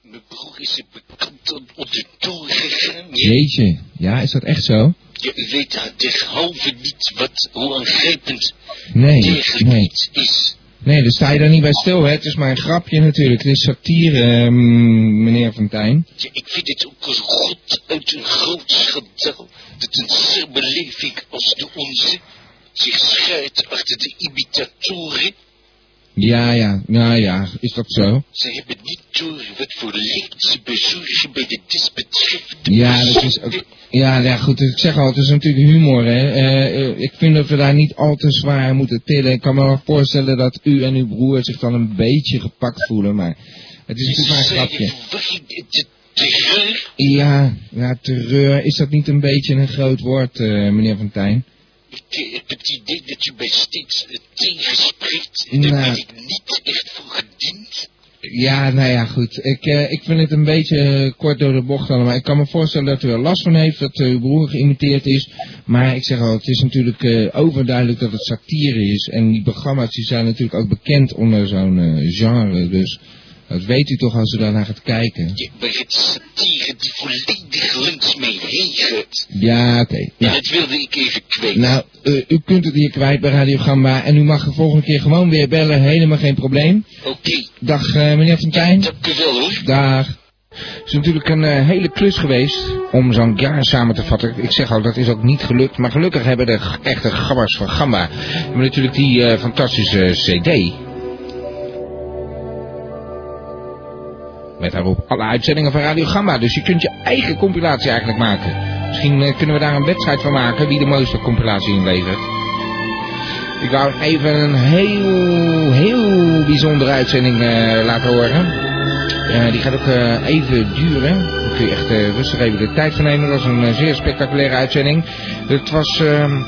S4: Mijn broer is een bekant op- op de toren gegaan. Ja,
S2: Jeetje. Ja, is dat echt zo?
S4: Je weet haar derhalve niet wat, hoe aangrijpend
S2: Nee,
S4: degelijk
S2: nee.
S4: iets is.
S2: Nee, dan sta je daar niet bij stil, hè. Het is maar een grapje natuurlijk. Het is satire, ehm, meneer Fontijn.
S4: Ja, ik vind het ook als god uit een groot schandaal dat een samenleving als de onze zich schuilt achter de imitatoren.
S2: Ja, ja. Nou ja, is dat zo?
S4: Ze hebben niet door wat voor leed ze bezorgen bij de desbetreffende
S2: Ja, dat is ook... Ja, ja, goed, ik zeg al, het is natuurlijk humor, hè. Eh, eh, ik vind dat we daar niet al te zwaar moeten tillen. Ik kan me wel voorstellen dat u en uw broer zich dan een beetje gepakt voelen, maar... Het is natuurlijk maar een grapje.
S4: de terreur.
S2: Ja, ja, terreur. Is dat niet een beetje een groot woord, eh, meneer Fontijn?
S4: Ik eh, heb het idee dat u mij steeds eh, tegenspreekt. en Daar
S2: Nou.
S4: ben ik niet echt voor gediend.
S2: Ja, nou ja, goed. Ik, eh, ik vind het een beetje eh, kort door de bocht allemaal. Ik kan me voorstellen dat u er last van heeft, dat eh, uw broer geïmiteerd is. Maar ik zeg al, het is natuurlijk eh, overduidelijk dat het satire is. En die programma's die zijn natuurlijk ook bekend onder zo'n eh, genre. Dus dat weet u toch als u daarnaar gaat kijken.
S4: Je bent het satire die volledig langs mij heen gaat.
S2: Ja, oké.
S4: En
S2: Nou,
S4: dat wilde ik even kwijt.
S2: nou eh, u kunt het hier kwijt bij Radio Gamba. En u mag de volgende keer gewoon weer bellen. Helemaal geen probleem.
S4: Oké,
S2: Dag eh, meneer Fontijn.
S4: dank u wel hoor.
S2: Dag. Het is natuurlijk een eh, hele klus geweest om zo'n jaar samen te vatten. Ik zeg al, dat is ook niet gelukt. Maar gelukkig hebben de g- echte gabbers van Gamba hebben natuurlijk die eh, fantastische cd. Met daarop alle uitzendingen van Radio Gamba. Dus je kunt je eigen compilatie eigenlijk maken. Misschien eh, kunnen we daar een wedstrijd van maken wie de mooiste compilatie inlevert. Ik wou even een heel, heel bijzondere uitzending eh, laten horen. Eh, die gaat ook eh, even duren. Daar kun je echt eh, rustig even de tijd voor nemen. Dat was een eh, zeer spectaculaire uitzending. Het was ehm,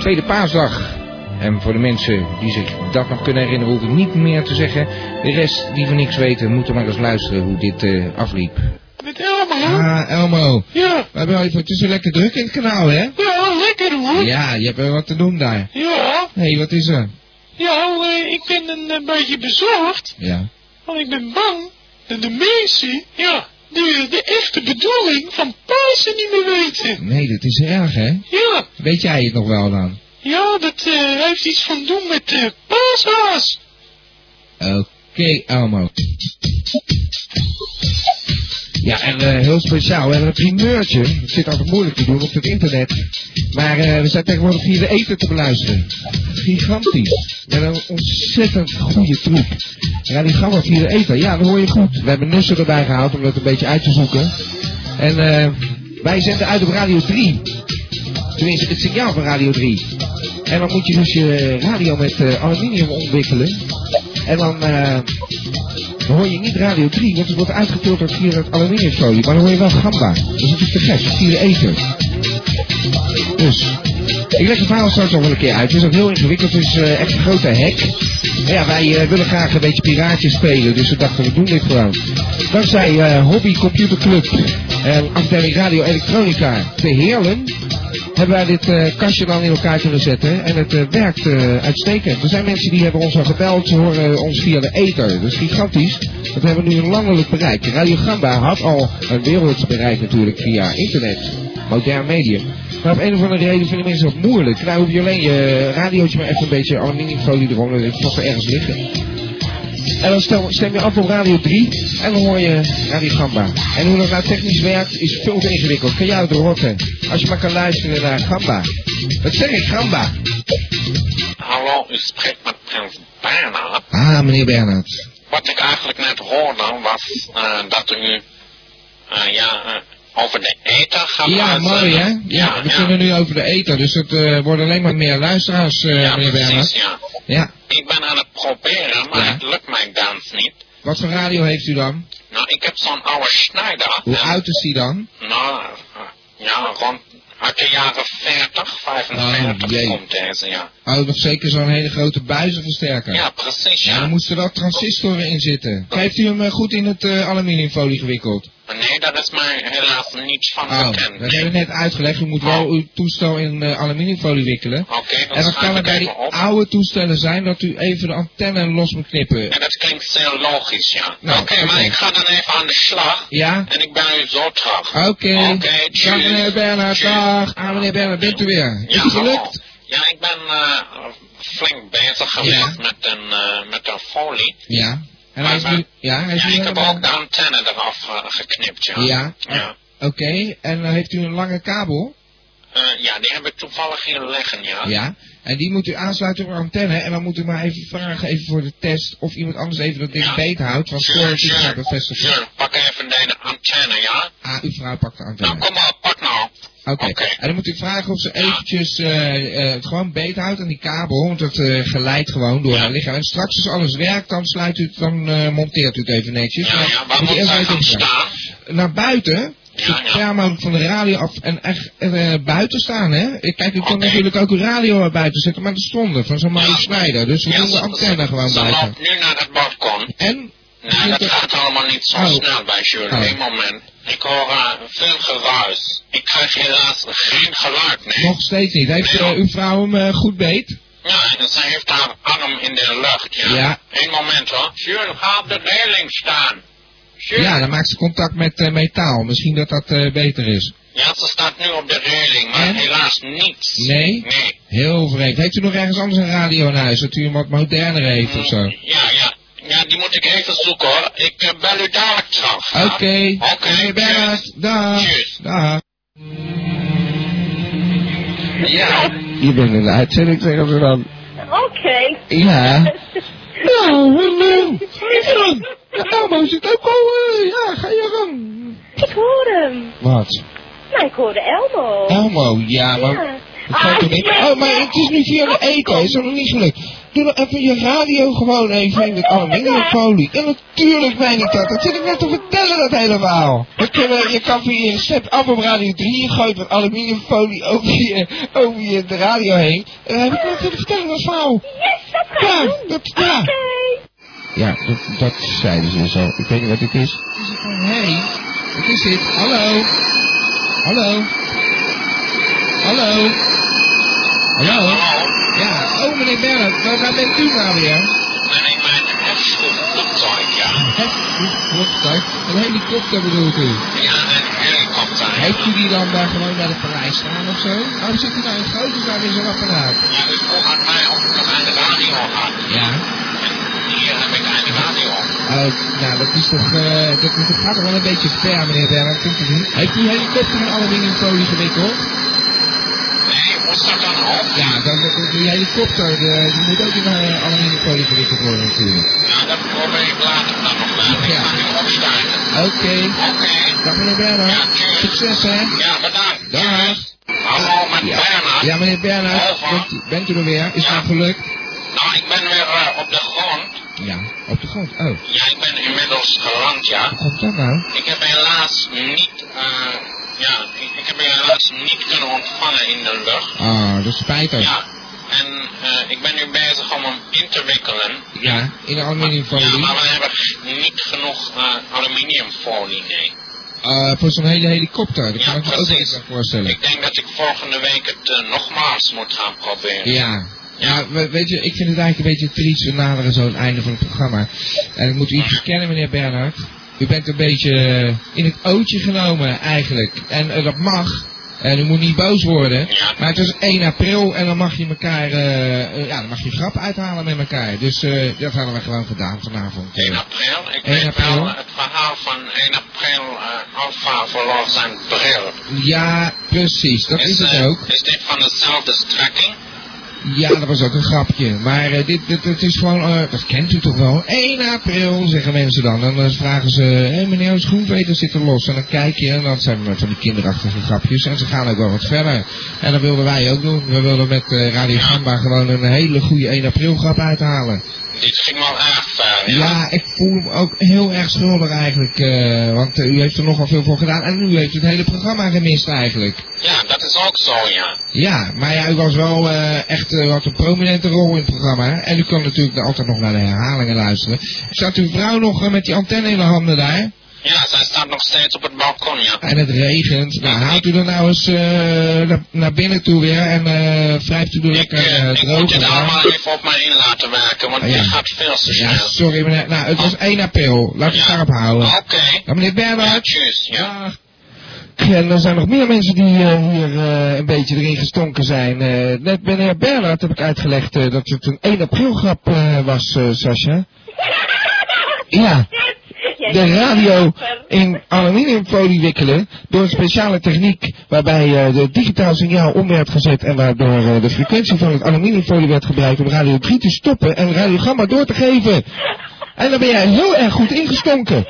S2: tweede paasdag. En voor de mensen die zich dat nog kunnen herinneren, hoef ik niet meer te zeggen. De rest die van niks weten, moeten maar eens luisteren hoe dit eh, afliep.
S13: Met allemaal.
S2: Ah, Elmo.
S13: Ja,
S2: We hebben even, het is lekker druk in het kanaal, hè?
S13: ja, lekker hoor.
S2: Ja, je hebt wel wat te doen daar.
S13: Ja,
S2: Hé, hey, wat is er?
S13: ja, eh, ik ben een eh, beetje bezorgd,
S2: Ja.
S13: want ik ben bang dat de mensen, ja, de, de echte bedoeling van Pasen niet meer weten.
S2: Nee, dat is erg, hè?
S13: Ja,
S2: Weet jij het nog wel dan?
S13: ja, dat eh, heeft iets van doen met eh paashaas.
S2: Oké, Elmo. Ja, en eh, heel speciaal. We hebben een primeurtje. Het zit altijd moeilijk te doen op het internet. Maar eh, we zijn tegenwoordig via de eten te beluisteren. Gigantisch. We hebben een ontzettend goede troep. Ja, die gaan we via de eten. Ja, dat hoor je goed. We hebben Nussen erbij gehaald om dat een beetje uit te zoeken. En eh, wij zenden uit op Radio 3. Tenminste, het signaal van Radio 3. En dan moet je dus je radio met eh, aluminium omwikkelen. En dan... eh, dan hoor je niet Radio 3, want het wordt uitgefilterd via het aluminiumfolie. Maar dan hoor je wel gamba. Dat is natuurlijk te gek, via de ether. Dus, ik leg het verhaal straks nog wel een keer uit. Het is ook heel ingewikkeld, het is eh, echt een grote hek. Maar ja, wij eh, willen graag een beetje piraatje spelen, dus we dachten we doen dit gewoon. Dankzij eh, Hobby Computer Club en afdeling Radio Elektronica te Heerlen hebben wij dit eh, kastje dan in elkaar kunnen zetten. En het eh, werkt eh, uitstekend. Er zijn mensen die hebben ons al gebeld, ze horen ons via de ether. Dat is gigantisch. Dat hebben we nu een landelijk bereik. Radio Gamba had al een werelds bereik natuurlijk via internet. Modern medium. Maar op een of andere reden vinden mensen dat moeilijk. Nou hoef je alleen je radiootje maar even een beetje aluminiumfolie eronder. Dat toch wel ergens liggen. En dan stel, stem je af op Radio 3 en dan hoor je Radio Gamba. En hoe dat nou technisch werkt is veel te ingewikkeld. Kan jij het rotten? Als je maar kan luisteren naar Gamba. Dat zeg ik, Gamba.
S3: Hallo, u spreekt met Prins Bernhard.
S2: Ah, meneer Bernhard.
S3: Wat ik eigenlijk net hoorde was eh, dat u eh, ja, eh,
S9: Over de ether gaan
S2: Ja,
S9: praten.
S2: mooi hè? Ja, we kunnen nu over de eten, dus het eh, worden alleen maar meer luisteraars, eh,
S9: ja,
S2: meneer
S9: precies,
S2: Werner.
S9: ja.
S2: Ja.
S9: Ik ben aan het proberen, maar het lukt mij dans niet.
S2: Wat voor radio heeft u dan?
S9: Nou, ik heb zo'n oude Schneider.
S2: Hoe oud is die dan?
S9: Nou, ja, rond uit de jaren 40, 45
S2: Oh, jee.
S9: komt deze, ja.
S2: Oh, nog zeker zo'n hele grote buizenversterker.
S9: Ja, precies,
S2: Ja,
S9: ja.
S2: dan moesten er wel transistoren in zitten. Heeft u hem eh, goed in het eh, aluminiumfolie gewikkeld?
S9: Nee, daar is mij helaas niets van
S2: Oh,
S9: bekend.
S2: dat hebben we net uitgelegd. U moet wel uw toestel in eh, aluminiumfolie wikkelen.
S9: Oh. Oké, dan
S2: En dan kan
S9: schrijf
S2: het
S9: ik
S2: bij die
S9: even op.
S2: oude toestellen zijn dat u even de antenne los moet knippen.
S9: En dat klinkt zeer logisch, ja.
S2: Nou,
S9: Oké, maar
S2: oké.
S9: ik ga dan even aan de slag.
S2: Ja?
S9: En ik ben u zo terug.
S2: Oké.
S9: Oké, tjus.
S2: dag meneer Bernhard,
S9: Tjus.
S2: dag. Ah, meneer Bernhard, bent u weer? Is het
S9: hallo.
S2: gelukt?
S9: Ja, ik ben eh, flink bezig geweest
S2: Ja.
S9: met, een, eh, met een folie.
S2: Ja. En hij is nu... Ja, hij is
S9: Ja,
S2: nu
S9: ik heb
S2: helemaal...
S9: ook de antenne eraf eh, geknipt, ja.
S2: Ja.
S9: Ja.
S2: Oké, en eh, heeft u een lange kabel?
S9: Eh, ja, die heb ik toevallig hier liggen, ja.
S2: Ja. En die moet u aansluiten op een antenne. En dan moet u maar even vragen, even voor de test, of iemand anders even dat ding
S9: Ja.
S2: beet houdt. Want
S9: Sure,
S2: voor het
S9: sure.
S2: gaat bevestigen.
S9: Hier, pak even deze antenne, ja.
S2: Ah, uw vrouw pakt de antenne.
S9: Nou, kom op, pak nou.
S2: Oké,
S9: Oké.
S2: en dan moet u vragen of ze eventjes eh, eh, het gewoon beet houdt aan die kabel, want dat eh, geleidt gewoon door
S9: Ja.
S2: haar lichaam. En straks als alles werkt, dan sluit u het, dan eh, monteert u het even netjes.
S9: Ja,
S2: Maar
S9: ja, waar
S2: moet u
S9: moet
S2: eerst
S9: wij
S2: even
S9: gaan
S2: opstaan.
S9: staan?
S2: Naar buiten, zo
S9: Ja, ja.
S2: ver mogelijk van de radio af en echt eh, buiten staan, hè. Kijk, u kan
S9: Oké.
S2: natuurlijk ook uw radio naar buiten zetten, maar dat stonden van zo'n Marie
S9: Ja.
S2: Snijder, dus we
S9: Ja,
S2: doen de
S9: ze-
S2: antenne gewoon
S9: Ze
S2: buiten.
S9: loopt nu naar het balkon.
S2: En?
S9: Nee, dat
S2: Vindt u-
S9: gaat allemaal niet zo
S2: Oh.
S9: snel bij Jules.
S2: Oh.
S9: Eén moment. Ik hoor eh, veel geruis. Ik krijg helaas geen geluid, nee.
S2: Nog steeds niet. Heeft eh, uw vrouw hem eh, goed beet?
S9: Ja, en zij heeft haar arm in de lucht, ja.
S2: Ja.
S9: Eén moment hoor. Jules, ga op de reling staan. Jules.
S2: Ja, dan maakt ze contact met eh, metaal. Misschien dat dat eh, beter is.
S9: Ja, ze staat nu op de reling, maar
S2: En?
S9: helaas niets.
S2: Nee?
S9: Nee.
S2: Heel vreemd. Heeft u nog ergens anders een radio in huis? Dat u hem wat moderner heeft of zo? Oké.
S9: Ja, ja. Ja, die moet ik even zoeken hoor. Ik eh, bel u dadelijk terug. ja? Oké.
S2: Meneer Bernhard, dag.
S9: Tjus.
S2: Dag.
S9: Ja.
S2: Je bent in de uitzending tegen ze dan.
S12: Oké.
S2: Ja. Nou, wat leuk. Is er dan? De Elmo zit ook al. eh, ja, ga je gang.
S12: Ik hoor hem.
S2: Wat?
S12: Nou, ik hoorde Elmo.
S2: Elmo, ja, maar.
S12: Ja.
S2: Dat kan
S12: Ah,
S2: toch niet?
S12: ja.
S2: Oh, maar het is nu via de eten, is dat nog niet gelukt? Doe dan even je radio gewoon even
S12: Oh,
S2: in het aluminiumfolie. En natuurlijk meen ik dat, dat zit ik net te vertellen dat helemaal. We kunnen, eh, je kan via je recept af op radio 3, je gooit wat aluminiumfolie over je, over je de radio heen. En dan heb ik net te vertellen als vrouw.
S12: Yes, dat ga
S2: Ja,
S12: ik doen.
S2: dat, ja.
S12: Oké.
S2: Ja, dat, dat zeiden ze zo. Ik weet niet wat dit is. Hé, hey, wat is dit? Hallo? Hallo? Hallo? Hallo? Ja, oh meneer Bernhard, waar, waar bent u nou weer?
S9: En ik ben een heftig vliegtuig, ja.
S2: Hè? Helikopter? Een helikopter bedoelt u?
S9: Ja, een helikopter.
S2: Heeft u die dan daar gewoon bij de Parijs staan of zo? Waarom zit u nou in het grote daar in zo'n apparaat?
S9: Ja, u vroeg aan mij of ik nog aan de radio had.
S2: Ja.
S9: En hier heb ik aan de radio.
S2: Oh, nou dat is toch, eh, dat, dat gaat toch wel een beetje ver meneer Bernhard, kunt u niet? Heeft u een helikopter in aluminiumfolie gewikkeld?
S9: Nee, moest dat dan ook?
S2: Ja, dan de, die helikopter, de, die moet ook in uh, aluminiumfolie gewikkeld worden natuurlijk.
S9: Nou, dat probeer ik later dan nog wel. Ik
S2: Ja.
S9: ga nu opstaan.
S2: Oké,
S9: Oké.
S2: dag meneer
S9: Ja,
S2: Bernhard.
S9: tjus.
S2: Succes hè.
S9: Ja, bedankt.
S2: Dag.
S9: Hallo, met Bernhard.
S2: Ja meneer Bernhard,
S9: Dag.
S2: bent, u- bent u er weer? Is het
S9: Ja.
S2: nou gelukt?
S9: Nou, ik ben weer eh, op de grond.
S2: Ja, op de grond. Oh,
S9: Ja, ik ben inmiddels geland, ja.
S2: hoe komt dat nou?
S9: Ik heb helaas niet, eh, ja, ik, ik heb helaas niet kunnen ontvangen in de lucht.
S2: Ah, dat spijt ons.
S9: Ja, en eh, ik ben nu bezig om hem in te wikkelen. Eh,
S2: Ja, in de
S9: Ja,
S2: aluminiumfolie.
S9: maar we hebben g- niet genoeg eh, aluminiumfolie, nee.
S2: Eh, voor zo'n hele helikopter, dat
S9: Ja,
S2: kan ik me ook
S9: precies.
S2: niet meer voorstellen.
S9: Ik denk dat ik volgende week het eh, nogmaals moet gaan proberen.
S2: Ja. Ja, we- weet je, ik vind het eigenlijk een beetje triest. We naderen zo het einde van het programma. En ik moet u iets verkennen, meneer Bernhard. U bent een beetje eh, in het ootje genomen, eigenlijk. En eh, dat mag. En u moet niet boos worden.
S9: Ja.
S2: Maar het is 1 april en dan mag je elkaar, eh, eh, ja, dan mag je grap uithalen met elkaar. Dus eh, dat hadden we gewoon gedaan vanavond.
S9: 1 april, ik
S2: 1
S9: weet
S2: april.
S9: wel eh. het verhaal van 1 april, eh Alfa verloor zijn bril.
S2: Ja, precies. Dat is het
S9: eh,
S2: ook.
S9: Is dit van dezelfde strekking?
S2: Ja, dat was ook een grapje. Maar eh, dit, dit, dit is gewoon, eh, dat kent u toch wel? 1 april, zeggen mensen dan. En dan vragen ze, hé meneer Schoenveter zit er los. En dan kijk je, en dat zijn van die kinderachtige grapjes. En ze gaan ook wel wat verder. En dat wilden wij ook doen. We wilden met eh, Radio Gamba gewoon een hele goede 1 april grap uithalen.
S9: Dit ging wel erg ver, ja.
S2: Ja, ik voel me ook heel erg schuldig eigenlijk. eh, want eh, u heeft er nogal veel voor gedaan. En u heeft het hele programma gemist eigenlijk.
S9: Ja, dat is ook zo, ja.
S2: Ja, maar ja, u was wel eh, echt eh, wat een prominente rol in het programma. hè? En u kan natuurlijk altijd nog naar de herhalingen luisteren. Staat uw vrouw nog eh, met die antenne in de handen daar?
S9: Ja, zij staat nog steeds op het balkon, ja.
S2: En het regent. Nou, haalt u er nou eens eh, naar, naar binnen toe weer en eh wrijft u er lekker eh, droog
S9: Moet je
S2: aan.
S9: het allemaal even op mij in laten werken, want
S2: Ah, ja.
S9: dit gaat veel te
S2: Ja,
S9: snel.
S2: sorry meneer. Nou, het was 1 april. Laat het scherp houden.
S9: Ah, Oké.
S2: Nou, meneer
S9: Ja,
S2: Bernhard.
S9: tjus, ja.
S2: En er zijn nog meer mensen die eh, hier eh, een beetje erin gestonken zijn. Eh, net meneer Bernhard heb ik uitgelegd eh, dat het een 1 april grap eh, was, eh, Sascha. Ja. De radio in aluminiumfolie wikkelen door een speciale techniek waarbij eh, het digitaal signaal om werd gezet en waardoor eh, de frequentie van het aluminiumfolie werd gebruikt om radio 3 te stoppen en radio gamma door te geven. En daar ben jij heel erg goed ingestonken.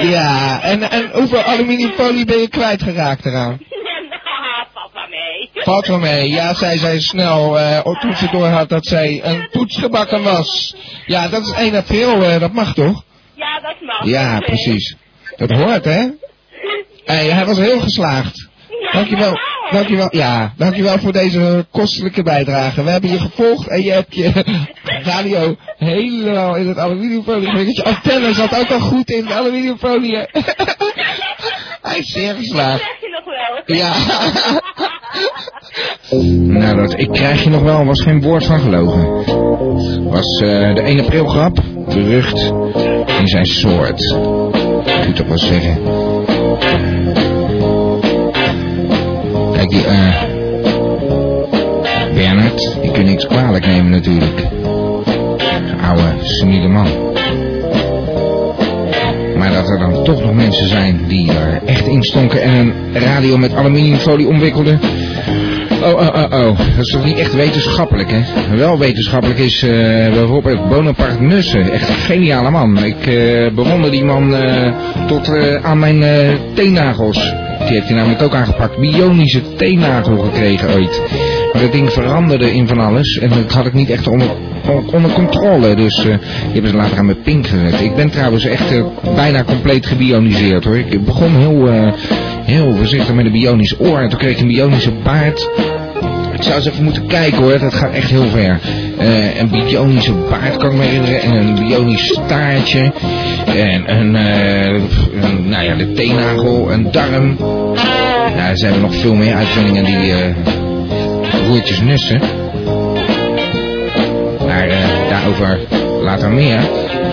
S2: Ja, en, en hoeveel aluminiumfolie ben je kwijtgeraakt eraan? Valt wel nou, mee. Ja, zij zei snel eh, toen ze door had dat zij een poetsgebakken was. Ja, dat is 1 april, eh, dat mag toch?
S4: Ja, dat mag.
S2: Ja,
S4: Oké.
S2: precies. Dat hoort, hè? Hey, hij was heel geslaagd. Dankjewel. Dankjewel, ja, dankjewel voor deze kostelijke bijdrage. We hebben je gevolgd en je hebt je radio helemaal in het aluminiumfolie gewikkeld. Je antenne zat ook al goed in de aluminiumfolie. hè? Hij is zeer geslaagd.
S4: Zeg je nog wel.
S2: Ja. Nou, dat ik krijg je nog wel was geen woord van gelogen. Was eh, de 1 april grap berucht in zijn soort. Ik moet toch wel zeggen. Kijk, die eh Bernard, die kun je niks kwalijk nemen natuurlijk. Zo'n Oude, seniele man. Maar dat er dan toch nog mensen zijn die er echt in stonken en een radio met aluminiumfolie omwikkelden. Oh, oh, oh, oh. Dat is toch niet echt wetenschappelijk, hè? Wel wetenschappelijk is eh, bijvoorbeeld Bonaparte Nussen. Echt een geniale man. Ik eh, bewonder die man eh, tot eh, aan mijn eh, teennagels. Die heeft hij namelijk ook aangepakt. Bionische teennagel gekregen ooit. Maar dat ding veranderde in van alles. En dat had ik niet echt onder, on- onder controle. Dus eh die hebben ze later aan mijn pink gezet. Ik ben trouwens echt eh, bijna compleet gebioniseerd hoor. Ik begon heel, eh, heel voorzichtig met een bionisch oor. En toen kreeg ik een bionische baard. Ik zou eens even moeten kijken hoor, dat gaat echt heel ver. Eh, een bionische baard kan ik me herinneren en een bionisch staartje. En een, eh, een, nou ja, de teennagel, een darm. Nou, er zijn er nog veel meer uitvindingen die eh roertjes nussen. Maar eh, daarover later meer.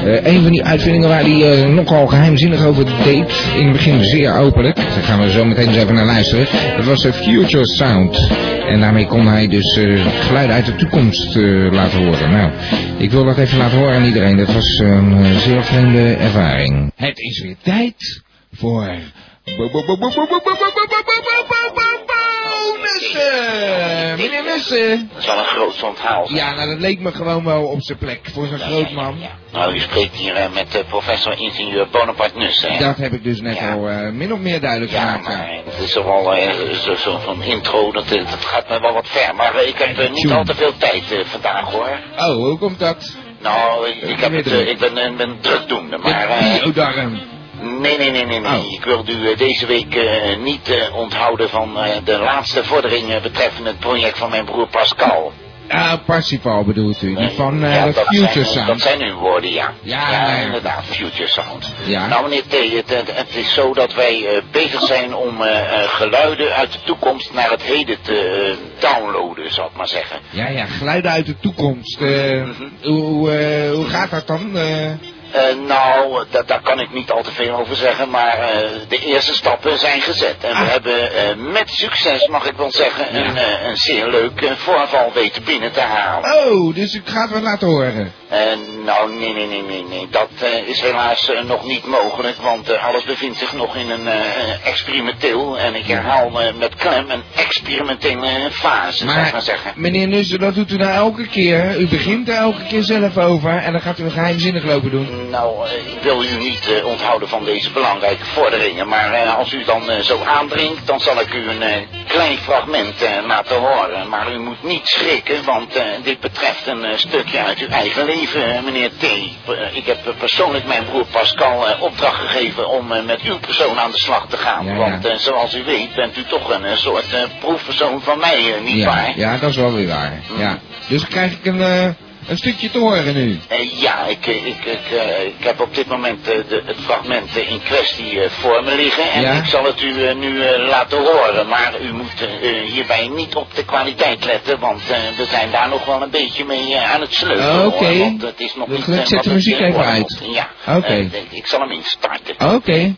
S2: Eh, een van die uitvindingen waar hij eh, nogal geheimzinnig over deed, in het begin zeer openlijk, daar gaan we zo meteen eens even naar luisteren, dat was de Future Sound. En daarmee kon hij dus eh, geluiden uit de toekomst eh, laten horen. Nou, ik wil dat even laten horen aan iedereen, dat was een eh, zeer vreemde ervaring. Het is weer tijd voor... Bonussen! Meneer Nussen!
S14: Dat is wel een groot onthaal. zijn.
S2: Ja, nou dat leek me gewoon wel op zijn plek voor zo'n groot man.
S14: Nou, u spreekt hier eh, met eh, professor ingenieur Bonaparte Nussen. hè?
S2: Dat heb ik dus net
S14: Ja.
S2: al eh, min of meer duidelijk
S14: Ja,
S2: gemaakt.
S14: maar het is toch wel eh, zo- zo'n zo'n intro, dat, eh, dat gaat me wel wat ver. Maar eh, ik heb eh, niet
S2: Tjoe.
S14: al te veel tijd eh, vandaag hoor.
S2: Oh, hoe komt dat?
S14: Nou, ik, ik, heb het, eh, ik ben, eh, ben drukdoende, maar... eh,
S2: Biodarm.
S14: Nee, nee, nee, nee, nee. Ik wil u eh, deze week eh, niet eh, onthouden van eh, de laatste vordering eh, betreffende het project van mijn broer Pascal.
S2: Ah, Parsifal bedoelt u, die van eh
S14: Ja,
S2: de
S14: dat
S2: Future
S14: zijn, Dat
S2: Sound.
S14: zijn uw woorden, ja.
S2: Ja, ja.
S14: inderdaad, Future Sound.
S2: Ja.
S14: Nou meneer T, het, het, het is zo dat wij eh, bezig zijn om eh, eh, geluiden uit de toekomst naar het heden te eh, downloaden, zou ik maar zeggen.
S2: Ja, ja, geluiden uit de toekomst. eh,
S14: Mhm.
S2: hoe, hoe, eh, hoe gaat dat dan? Eh,
S14: Eh, nou, dat, daar kan ik niet al te veel over zeggen, maar eh, de eerste stappen zijn gezet.
S2: Ah.
S14: En we hebben eh, met succes, mag ik wel zeggen, een, eh, een zeer leuk eh, voorval weten binnen te halen.
S2: oh, dus ik ga het wel laten horen.
S14: Eh, nou, nee, nee, nee, nee, nee. Dat eh, is helaas eh, nog niet mogelijk, want eh, alles bevindt zich nog in een eh, experimenteel, en ik herhaal eh, met klem, een experimentele fase, zou ik maar zeggen.
S2: Meneer Nussen, dat doet u nou elke keer. hè? U begint er elke keer zelf over en dan gaat u geheimzinnig lopen doen.
S14: Nou, eh, ik wil u niet eh, onthouden van deze belangrijke vorderingen, maar eh, als u dan eh, zo aandringt, dan zal ik u een eh, klein fragment eh, laten horen. Maar u moet niet schrikken, want eh, dit betreft een eh, stukje uit uw eigen leven, eh, meneer T. Eh, ik heb eh, persoonlijk mijn broer Pascal eh, opdracht gegeven om eh, met uw persoon aan de slag te gaan.
S2: Ja, ja.
S14: Want eh, zoals u weet bent u toch een eh, soort eh, proefpersoon van mij, eh, niet
S2: ja,
S14: waar? Mhm.
S2: ja, dat is wel weer waar. Ja. Dus krijg ik een, eh, een stukje te horen nu.
S14: Eh, ja, ik, eh, ik, ik, eh, ik heb op dit moment eh, de, het fragment eh, in kwestie eh, voor me liggen. En
S2: Ja?
S14: ik zal het u eh, nu eh, laten horen. Maar u moet eh, eh, hierbij niet op de kwaliteit letten. Want eh, we zijn daar nog wel een beetje mee eh, aan het sleutelen. hoor,
S2: Oké.
S14: Want het is nog
S2: Dus
S14: niet...
S2: ik
S14: eh,
S2: zet
S14: wat
S2: de
S14: het,
S2: muziek
S14: eh,
S2: even
S14: worden
S2: uit.
S14: moet. Ja.
S2: Oké.
S14: Eh, ik zal hem instarten.
S2: Oké.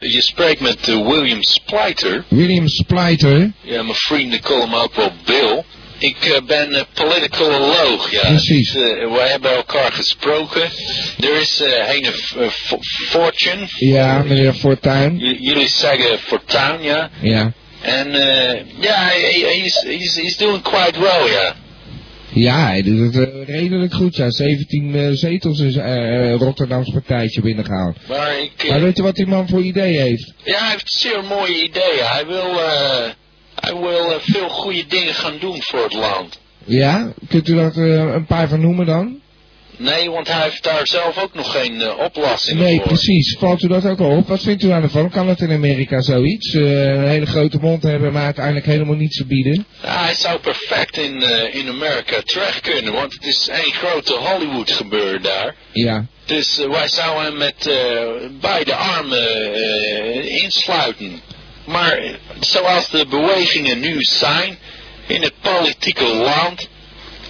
S9: Je spreekt met eh, William Spleiter.
S2: William
S14: Eh.
S2: Spleiter.
S9: Ja, mijn vrienden callen me ook wel Bill. Ik eh, ben eh, politicoloog, ja.
S2: Precies.
S9: Dus, eh, wij hebben elkaar gesproken. Er is eh een eh, F- fortune.
S2: Ja, meneer Fortuin.
S9: J- jullie zeggen fortuin, ja.
S2: Ja.
S9: En eh, ja, hij hij is he's, he's doing quite well, ja.
S2: Ja, hij doet het eh, redelijk goed. Ja, 17 eh, zetels is eh eh, Rotterdams partijtje binnengehaald.
S9: Maar ik... eh,
S2: Maar weet je wat die man voor idee heeft?
S9: Ja, hij heeft zeer mooie ideeën. Hij wil, eh, hij wil eh, veel goede dingen gaan doen voor het land.
S2: Ja? Kunt u dat eh, een paar van noemen dan?
S9: Nee, want hij heeft daar zelf ook nog geen eh, oplossing
S2: Nee,
S9: voor.
S2: precies. Valt u dat ook al op? Wat vindt u daar ervan? Kan dat in Amerika zoiets? Eh, een hele grote mond hebben, maar uiteindelijk helemaal niets te bieden?
S9: Ja, hij zou perfect in, eh, in Amerika terecht kunnen, want het is één grote Hollywood gebeuren daar.
S2: Ja.
S9: Dus eh, wij zouden hem met eh, beide armen eh, insluiten. Maar eh, zoals de bewegingen nu zijn in het politieke land,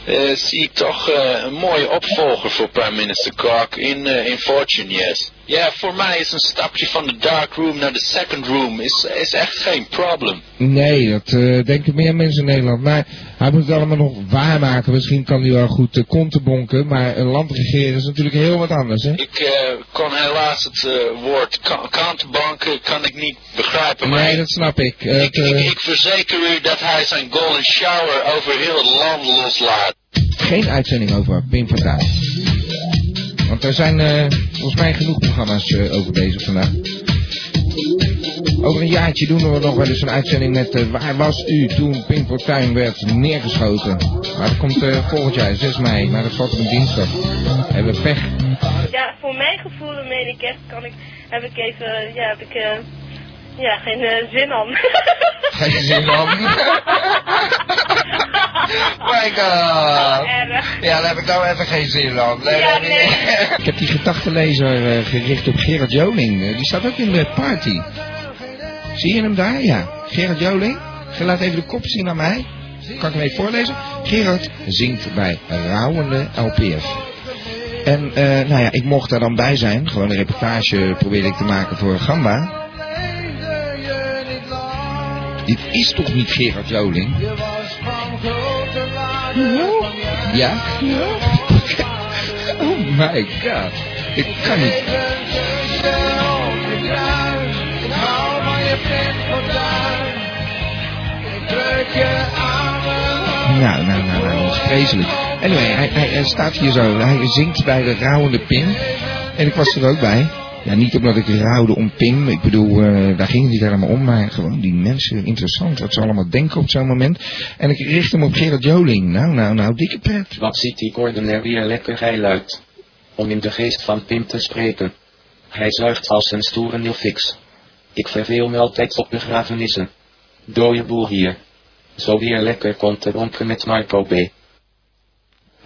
S9: eh, zie ik toch eh, een mooie opvolger voor Prime Minister Clark in, eh, in Fortune, yes. Ja, voor mij is een stapje van de dark room naar de second room is, is echt geen probleem.
S2: Nee, dat eh, denken meer mensen in Nederland. Maar hij moet het allemaal nog waarmaken. Misschien kan hij wel goed eh, konten bonken, maar een land regeren is natuurlijk heel wat anders, hè?
S9: Ik eh, kon helaas het eh, woord ka- kantbanken kan ik niet begrijpen. Maar
S2: Nee, dat snap ik. Het,
S9: ik, ik,
S2: eh,
S9: ik verzeker u dat hij zijn golden shower over heel het land loslaat.
S2: geen uitzending over Pim Fortuyn. Want er zijn eh, volgens mij genoeg programma's eh, over bezig vandaag. Over een jaartje doen we nog wel eens een uitzending met eh, Waar was u toen Pim Fortuyn werd neergeschoten? Maar dat komt eh, volgend jaar, 6 mei, maar dat valt op een dinsdag. Hebben we pech.
S12: Ja, voor mijn gevoel, meen ik echt, kan ik, heb ik even, ja, heb ik, eh, ja, geen eh, zin aan.
S2: Oh Geen zin om. My god.
S12: Oh,
S2: Ja, daar heb ik nou even geen zin om.
S12: Ja, nee.
S2: Ik heb die gedachtenlezer eh, gericht op Gerard Joling. Eh, die staat ook in de party. Zie je hem daar? Ja. Gerard Joling. Ge- Laat even de kop zien aan mij. Kan ik hem even voorlezen? Gerard zingt bij rouwende LPF. En eh, nou ja, ik mocht daar dan bij zijn. Gewoon een reportage probeerde ik te maken voor Gamba. Dit is toch niet Gerard Joling? Ja? oh my god. Ik kan niet. Nou, nou, nou, nou, dat is vreselijk. Anyway, hij, hij, eh, staat hier zo. Hij zingt bij de rouwende Pim. En ik was er ook bij. Ja, niet omdat ik rouwde om Pim. Ik bedoel, eh, daar ging het niet helemaal om. Maar gewoon die mensen, interessant wat ze allemaal denken op zo'n moment. En ik richt hem op Gerard Joling. Nou, nou, nou, dikke pret.
S15: Wat ziet die Gordon er weer lekker geil uit. Om in de geest van Pim te spreken. Hij zuigt als een stoere nilfix. Ik verveel me altijd op begrafenissen. Dooie boel hier. Zo weer lekker komt te bonken met Marco B.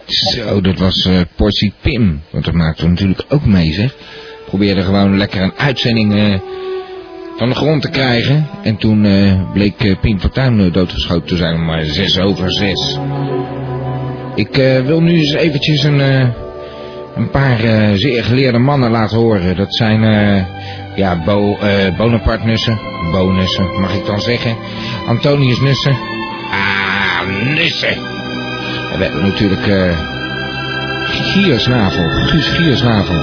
S2: Zo, dat was eh, Portie Pim. Want dat maakte we natuurlijk ook mee, zeg. Probeerde gewoon lekker een uitzending eh, van de grond te krijgen. En toen eh, bleek eh, Pim Fortuyn eh, doodgeschoten te zijn om maar zes over zes. Ik eh, wil nu eens eventjes een, eh, een paar eh, zeer geleerde mannen laten horen. Dat zijn eh ja, Bo, eh, Bonaparte Nussen. Bo Nussen, mag ik dan zeggen. Antonius Nussen. Ah, Nussen. We hebben natuurlijk eh Giersnavel, Guus Giersnavel.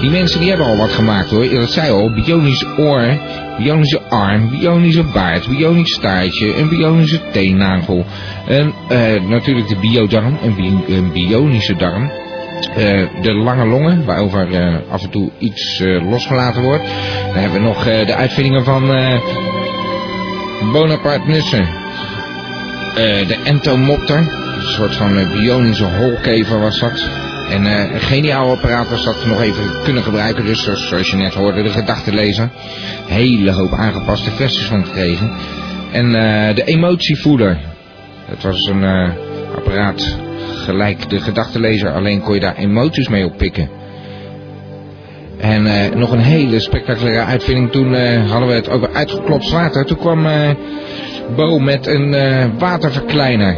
S2: Die mensen die hebben al wat gemaakt hoor. Dat zei al, bionisch oor, bionische arm, bionische baard, bionisch staartje, een bionische teennagel. En eh, natuurlijk de biodarm, een, bi- een bionische darm. Eh, de lange longen, waarover eh, af en toe iets eh, losgelaten wordt. Dan hebben we nog eh, de uitvindingen van eh, Bonaparte Nussen. Eh, de entomopter. Een soort van eh, bionische holkever was dat. En eh, een geniaal apparaat was dat we nog even kunnen gebruiken. Dus zoals, zoals je net hoorde, de gedachtenlezer. Hele hoop aangepaste versies van gekregen. En eh, de emotievoeder. Dat was een eh, apparaat gelijk de gedachtenlezer. Alleen kon je daar emoties mee oppikken. En eh, nog een hele spectaculaire uitvinding. Toen eh, hadden we het over uitgeklopt water. Toen kwam eh, Bo met een eh, waterverkleiner.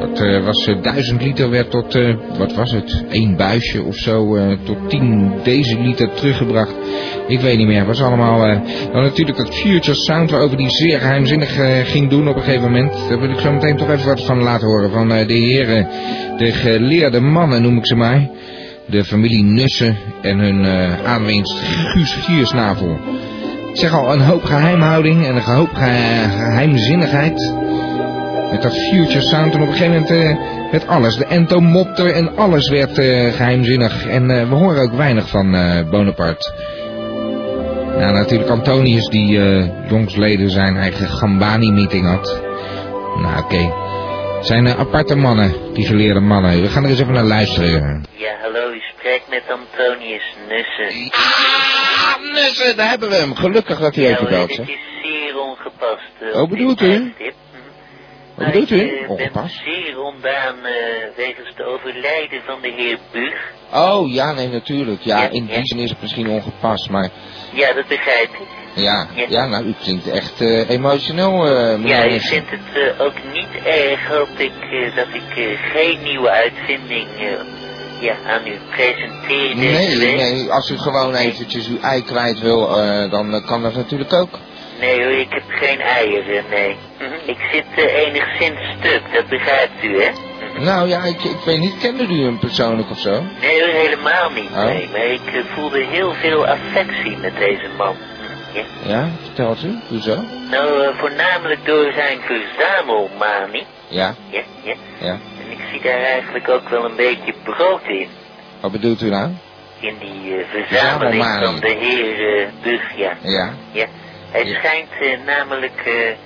S2: Dat eh, was eh, 1000 liter werd tot, eh, wat was het, één buisje of zo, eh, tot 10 deciliter teruggebracht. Ik weet niet meer, het was allemaal... eh, dan natuurlijk dat Future Sound waarover die zeer geheimzinnig eh, ging doen op een gegeven moment. Daar wil ik zo meteen toch even wat van laten horen. Van eh, de heren, de geleerde mannen noem ik ze maar. De familie Nussen en hun eh aanwinst Guus Giersnavel. Ik zeg al, een hoop geheimhouding en een hoop ge- geheimzinnigheid. Met dat future sound en op een gegeven moment eh, werd alles. De entomopter en alles werd eh, geheimzinnig. En eh, we horen ook weinig van eh, Bonaparte. Nou, natuurlijk Antonius die eh jongsleden zijn eigen Gambani-meeting had. Nou, oké. Het zijn eh, aparte mannen, die geleerde mannen. We gaan er eens even naar luisteren.
S16: Ja, hallo, u spreekt met Antonius Nussen.
S2: Ah, Nussen, daar hebben we hem. Gelukkig dat hij
S16: Ja,
S2: even
S16: hoor,
S2: belt,
S16: dit
S2: zeg.
S16: is zeer ongepast. eh,
S2: Wat
S16: op dit
S2: bedoelt u?
S16: tijdstip.
S2: Wat
S16: Maar
S2: bedoelt
S16: ik,
S2: u?
S16: eh, ben
S2: Ongepast?
S16: zeer ontdaan eh, wegens het overlijden van de heer Bug.
S2: Oh, ja, nee, natuurlijk. Ja, in die zin is het misschien ongepast, maar...
S16: Ja, dat begrijp ik.
S2: Ja, ja nou, u klinkt echt eh, emotioneel, eh
S16: Ja,
S2: meneer
S16: ik
S2: Nissen.
S16: vind het eh, ook niet erg, hoop ik, eh, dat ik eh, geen nieuwe uitvinding eh, ja, aan u presenteer
S2: Nee,
S16: deze week.
S2: nee, als u gewoon eventjes uw ei kwijt wil, eh, dan eh, kan dat natuurlijk ook.
S16: Nee hoor, ik heb geen eieren, nee. Mhm, Ik zit eh, enigszins stuk, dat begrijpt u, hè?
S2: Nou ja, ik, ik weet niet, kende u hem persoonlijk of zo?
S16: Nee hoor, helemaal niet,
S2: Oh.
S16: nee. Maar ik eh, voelde heel veel affectie met deze man. Ja.
S2: Ja, vertelt u? Hoezo?
S16: Nou, eh, voornamelijk door zijn verzamelmanie.
S2: Ja,
S16: Ja, ja.
S2: ja.
S16: En ik zie daar eigenlijk ook wel een beetje brood in.
S2: Wat bedoelt u nou?
S16: In die eh, verzameling
S2: Verzamelmanie.
S16: van de heer eh Bug, ja.
S2: Ja.
S16: Ja, hij schijnt eh, namelijk eh,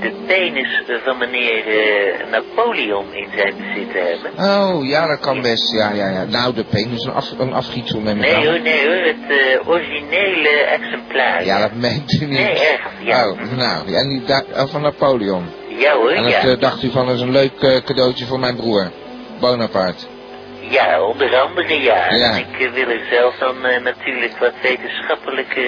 S16: de penis eh, van meneer eh, Napoleon in zijn bezit te hebben.
S2: Oh, ja, dat kan best. Ja, ja, ja. Nou, de penis is een, af, een afgietsel, neem ik aan.
S16: Nee hoor, nee hoor, het eh, originele exemplaar.
S2: Ja, dat meent u niet.
S16: Nee, echt, ja.
S2: Oh, nou, ja, die da- eh, van Napoleon.
S16: Ja hoor,
S2: En dat
S16: ja.
S2: eh, dacht u van, dat is een leuk eh, cadeautje voor mijn broer. Bonaparte.
S16: Ja, onder andere ja.
S2: Ja.
S16: En ik eh, wil er zelf dan eh, natuurlijk wat wetenschappelijke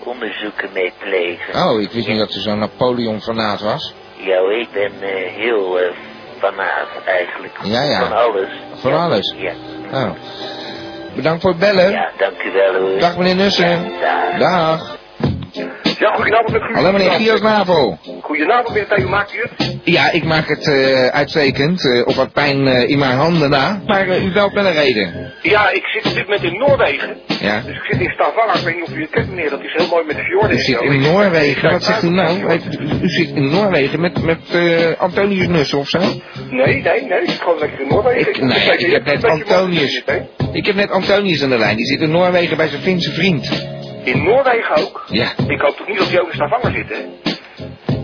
S16: eh, onderzoeken mee plegen.
S2: Oh, ik wist niet dat u zo'n Napoleon-fanaat was.
S16: Ja hoor, ik ben eh, heel eh fanaat eigenlijk.
S2: Ja, ja.
S16: Van alles.
S2: Van
S16: Ja,
S2: alles?
S16: Ja.
S2: Oh. Bedankt voor het bellen.
S16: Ja, dank u wel hoor.
S2: Dag meneer Nussen. Dag.
S12: Ja, goedenavond met Guus.
S2: Hallo meneer Giersnavel.
S12: Goedenavond meneer Tijmen, maakt u het?
S2: Ja, ik maak het eh, uitstekend. eh, op wat pijn eh, in mijn handen na. Maar eh, u belt met een reden.
S12: Ja, ik zit op dit moment in Noorwegen.
S2: Ja.
S12: Dus ik zit in Stavanger, ik weet niet of u het kent meneer, dat is heel mooi met de fjorden.
S2: U
S12: en
S2: zit
S12: zo.
S2: in
S12: Ik-
S2: Noorwegen.
S12: ik-
S2: Wat zegt u nou? Heeft- U, u zit in Noorwegen met, met eh, Antonius Nussen of zo?
S12: Nee, nee, nee, ik zit gewoon lekker in Noorwegen.
S2: Ik, nee,
S12: Kijk,
S2: ik
S12: je
S2: heb
S12: hebt
S2: net
S12: een beetje
S2: Antonius. Ik heb net Antonius aan de lijn. Die zit in Noorwegen bij zijn Finse vriend.
S12: moeite. In Noorwegen ook?
S2: Ja.
S12: Ik hoop toch niet dat u ook in Stavanger zit, hè?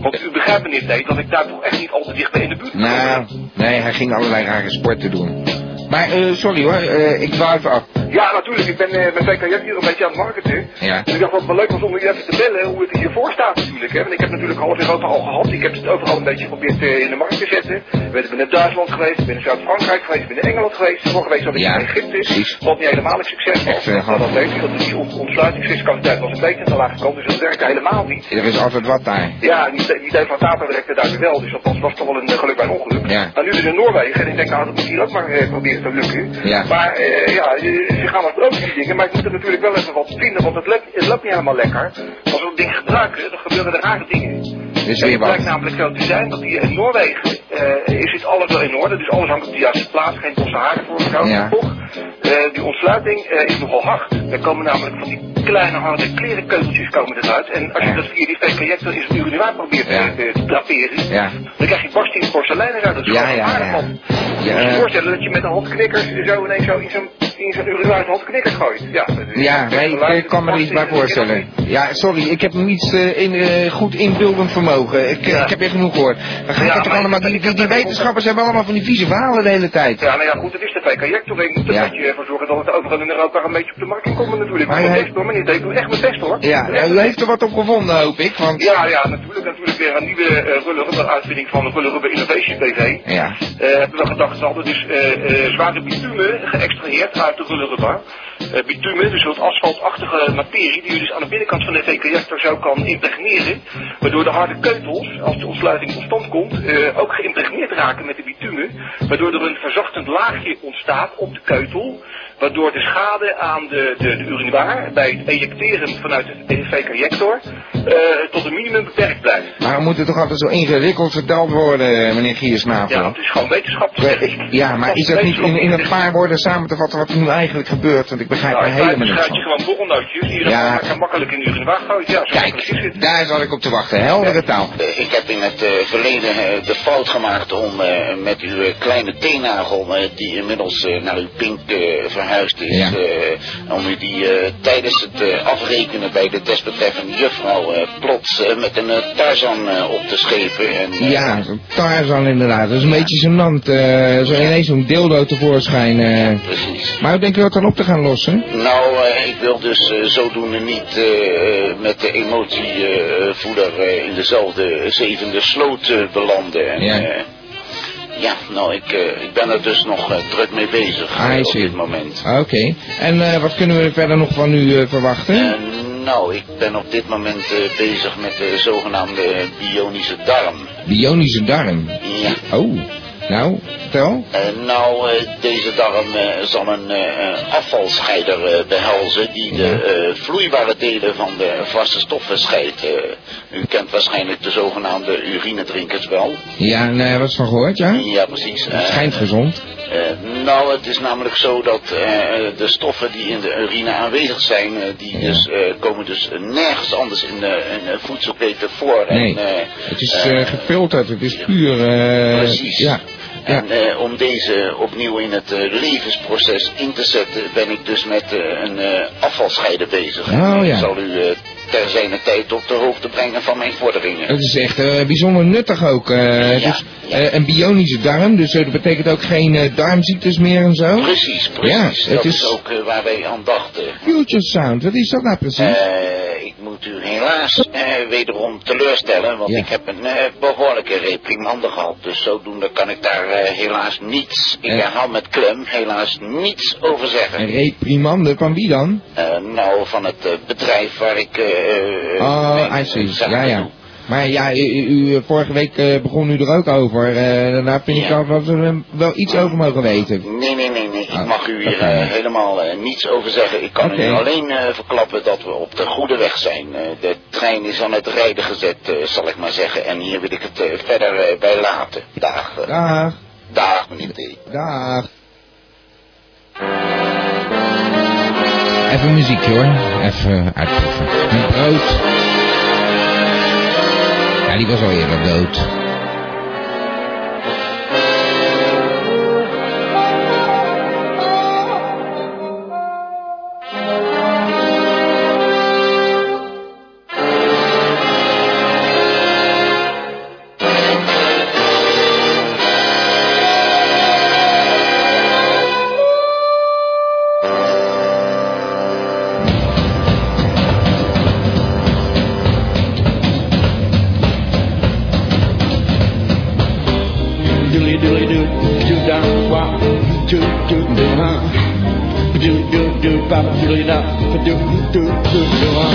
S12: Want u begrijpt meneer Tijmen dat ik daar toch echt niet al te dichtbij in de buurt
S2: Nou, nee, hij ging allerlei rare sporten doen. Maar eh, sorry hoor, eh, ik dwaal even af.
S12: Ja, natuurlijk. Ik ben eh, met VKJ hier een beetje aan het marketen.
S2: Ja.
S12: Dus ik dacht dat het wel leuk was om u even te bellen hoe het hiervoor staat natuurlijk. Hè? Want ik heb natuurlijk alles in Europa al gehad. Ik heb het overal een beetje geprobeerd eh, in de markt te zetten. Ik ben- ik ben in Duitsland geweest, ik ben in Zuid-Frankrijk geweest, ik ben in Engeland geweest. Vorige week zat ik in Egypte. Wat niet helemaal een succes was. Maar dat weet ik, dat die ont- ontsluitingsfiscaliteit was een beetje te laag gekomen. Dus dat werkte helemaal niet.
S2: Er is altijd wat daar.
S12: Ja, die, die deed van Tata werkte daar wel. Dus dat was, was toch wel een eh, geluk bij een ongeluk.
S2: Ja.
S12: Maar nu is het in Noorwegen en ik denk, nou, dat moet hier ook maar eh, proberen te lukken.
S2: Ja.
S12: Maar eh, ja, eh, ze gaan wat ook die dingen, maar ik moet er natuurlijk wel even wat vinden, want het loopt, het loopt niet helemaal lekker. Als we dat ding gebruiken, dan gebeuren er rare dingen.
S2: Dus
S12: En het
S2: weer wat.
S12: blijkt namelijk zo te zijn dat hier in Noorwegen eh, is het alles wel in orde, dus alles hangt op de juiste plaats, geen losse haren voor elkaar.
S2: Ja.
S12: Toch, eh, die ontsluiting eh, is nogal hard. Er komen namelijk van die kleine harde klerenkeuteltjes komen eruit. En als je dat via die V-projector in zijn urinoir probeert
S2: Ja.
S12: eh, te draperen,
S2: Ja.
S12: dan krijg je barstjes porselein eruit. Dat is
S2: Ja,
S12: gewoon
S2: ja,
S12: gevaarlijk,
S2: ja.
S12: man.
S2: Ja,
S12: Moet je je
S2: eh.
S12: voorstellen dat je met een handknikker zo ineens zo in zo'n in zo'n urinoir een handknikker gooit. Ja, dat is-
S2: Ja, nee, ik eh, kan me er iets bij voorstellen. Ja, sorry, ik heb niets eh, in, eh, goed inbeeldend vermogen. Ik, eh, ik heb weer genoeg gehoord. Dan ga ik het toch allemaal, die, die, die wetenschappers hebben allemaal van die vieze verhalen de hele tijd.
S12: Ja, nou ja, goed, het is de VK-jectoring. Je moet er een beetje ervoor zorgen dat het overal in Europa een beetje op de markt kan komen natuurlijk.
S2: Maar
S12: Maar ik doe
S2: hij-
S12: mijn best hoor, meneer Deek, ik doe echt mijn best hoor.
S2: Ja, eh, u heeft er wat op gevonden, hoop ik. Want...
S12: Ja, ja, natuurlijk, natuurlijk weer een nieuwe eh Rulle Rubber uitvinding van de Rulle Rubber Innovation BV.
S2: Ja.
S12: Eh, hebben we gedacht, we hadden dus eh, eh, zware bitumen geëxtraheerd uit de Rulle Rubber. Eh, bitumen, dus wat asfaltachtige materie die je dus aan de binnenkant van de VK-jector zo kan impregneren. Waardoor de harde keutels, als de ontsluiting tot stand komt, eh, ook geïmpregneerd raken met de bitumen. Waardoor er een verzachtend laagje ontstaat op de keutel. Waardoor de schade aan de, de, de urinoir bij het ejecteren vanuit de VK-jector eh, tot een minimum beperkt blijft.
S2: Waarom moet het toch altijd zo ingewikkeld verteld worden, eh, meneer Giersnavel?
S12: Ja, het is gewoon wetenschap.
S2: Ja, maar is dat niet in, in een paar woorden samen te vatten wat er nu eigenlijk gebeurt? Want ik begrijp
S12: Nou,
S2: er
S12: in feite
S2: helemaal niks
S12: schuit je
S2: van.
S12: gewoon borrelnootjes. Hier
S2: Ja.
S12: ja. makkelijk in de urinoir gooien. Ja, zo makkelijk is het.
S2: Daar zat ik op te wachten, heldere taal.
S14: Eh, Ik heb in het eh, verleden eh, de fout gemaakt om eh, met uw eh, kleine teennagel, eh, die inmiddels eh, naar uw pink eh, verhuisd is,
S2: Ja.
S14: eh, om u die eh, tijdens het eh, afrekenen bij de desbetreffende juffrouw eh, plots eh, met een eh, Tarzan eh, op te schepen. En, eh,
S2: Ja, Tarzan inderdaad. Dat is een beetje gênant. eh zo ineens zo'n dildo tevoorschijn. eh.
S14: Precies.
S2: Maar hoe denk je dat dan op te gaan lossen?
S14: Nou, eh, ik wil dus eh, zodoende niet eh, eh, met de emotievoeder eh, in dezelfde zevende sloot eh, belanden. En,
S2: Ja.
S14: eh, ja, nou, ik, eh, ik ben er dus nog eh, druk mee bezig eh,
S2: I
S14: op
S2: see.
S14: dit moment.
S2: Ah, Oké. En eh, wat kunnen we verder nog van u eh, verwachten?
S14: Nou, ik ben op dit moment eh, bezig met de zogenaamde bionische darm.
S2: Bionische darm.
S14: Ja.
S2: Oh, nou, vertel.
S14: Eh, nou, eh, deze darm eh, zal een eh, eh, afvalscheider eh, behelzen die de eh, vloeibare delen van de vaste stoffen scheidt. Eh, u kent waarschijnlijk de zogenaamde urinedrinkers wel.
S2: Ja, en eh, wat is van gehoord, ja?
S14: Ja, precies.
S2: Het schijnt gezond.
S14: Eh, nou, het is namelijk zo dat eh, de stoffen die in de urine aanwezig zijn, eh, die dus, eh, komen dus nergens anders in de, in de voedselketen voor.
S2: Nee,
S14: En, eh,
S2: het is eh, gefilterd, het is puur. eh,
S14: Precies.
S2: Ja.
S14: En eh, om deze opnieuw in het eh, levensproces in te zetten, ben ik dus met eh, een eh, afvalscheider bezig.
S2: Oh, ja.
S14: Ik zal u eh, ter zijner tijd op de hoogte brengen van mijn vorderingen.
S2: Het is echt eh, bijzonder nuttig ook. eh,
S14: Ja,
S2: dus, eh, een bionische darm, dus eh, dat betekent ook geen eh, darmziektes meer en zo.
S14: Precies, precies.
S2: Ja, het
S14: dat is,
S2: is
S14: ook eh, waar wij aan dachten.
S2: future sound. Wat is dat nou precies?
S14: Eh, ik moet u helaas eh, wederom teleurstellen, want ik heb een eh, behoorlijke reprimande gehad. Dus zodoende kan ik daar eh, helaas niets, ik herhaal met klem, helaas niets over zeggen.
S2: Een reprimande van wie dan?
S14: Eh, nou, van het eh, bedrijf waar ik... eh, eh,
S2: Oh,
S14: mijn-
S2: I see. Ja, ja. Maar ja, u, u- u, eh, vorige week eh, begon u er ook over. eh daar vind ik
S14: Ja.
S2: al dat we er wel iets over mogen weten.
S14: Nee, nee, nee, nee. Ik
S2: Oh,
S14: mag u hier
S2: oké.
S14: eh, helemaal eh, niets over zeggen. Ik kan u
S2: Oké.
S14: alleen eh, verklappen dat we op de goede weg zijn. Eh, de trein is aan het rijden gezet, eh, zal ik maar zeggen. En hier wil ik het eh, verder eh, bij laten. Dag. eh.
S2: Dag.
S14: Dag, meneer D.
S2: Dag. Even muziek hoor. Even uitproeven. Met brood. Ja, die was al eerder dood.
S17: Thank
S18: do do do ha. Do do do ba ba do da. Do do do do ha.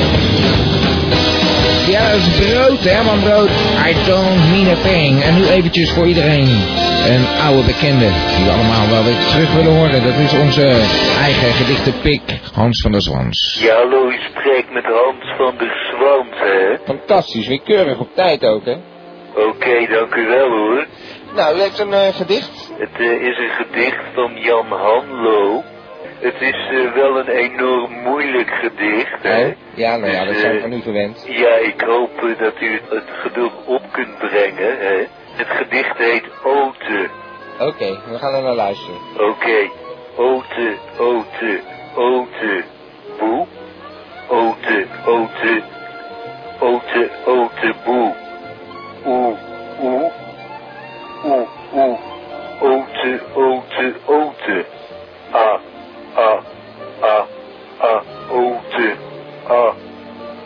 S2: Ja, dat is brood, Herman Brood. I don't mean a thing. En nu eventjes voor iedereen een oude bekende die we allemaal wel weer terug willen horen. Dat is onze eigen gedichte pik, Hans van der Zwans.
S19: Ja, hallo, u spreekt met Hans van der Zwans, hè?
S2: Fantastisch, weer keurig op tijd ook, hè?
S19: Oké, dank u wel, hoor.
S2: Nou, u heeft een gedicht.
S19: Het eh, is een gedicht van Jan Hanlo. Het is eh, wel een enorm moeilijk gedicht, hè?
S2: Ja, nou ja, dat zijn we
S19: eh,
S2: van u gewend.
S19: Ja, ik hoop eh, dat u het- het geduld op kunt brengen, hè? Het gedicht heet Ote.
S2: Oké, we gaan er naar luisteren.
S19: Oké, ote, ote, ote, boe. Ote, ote, ote, ote, boe. Oe, oe, oe, oe. Ote, ote, ote. A, a, a, a, ote. A,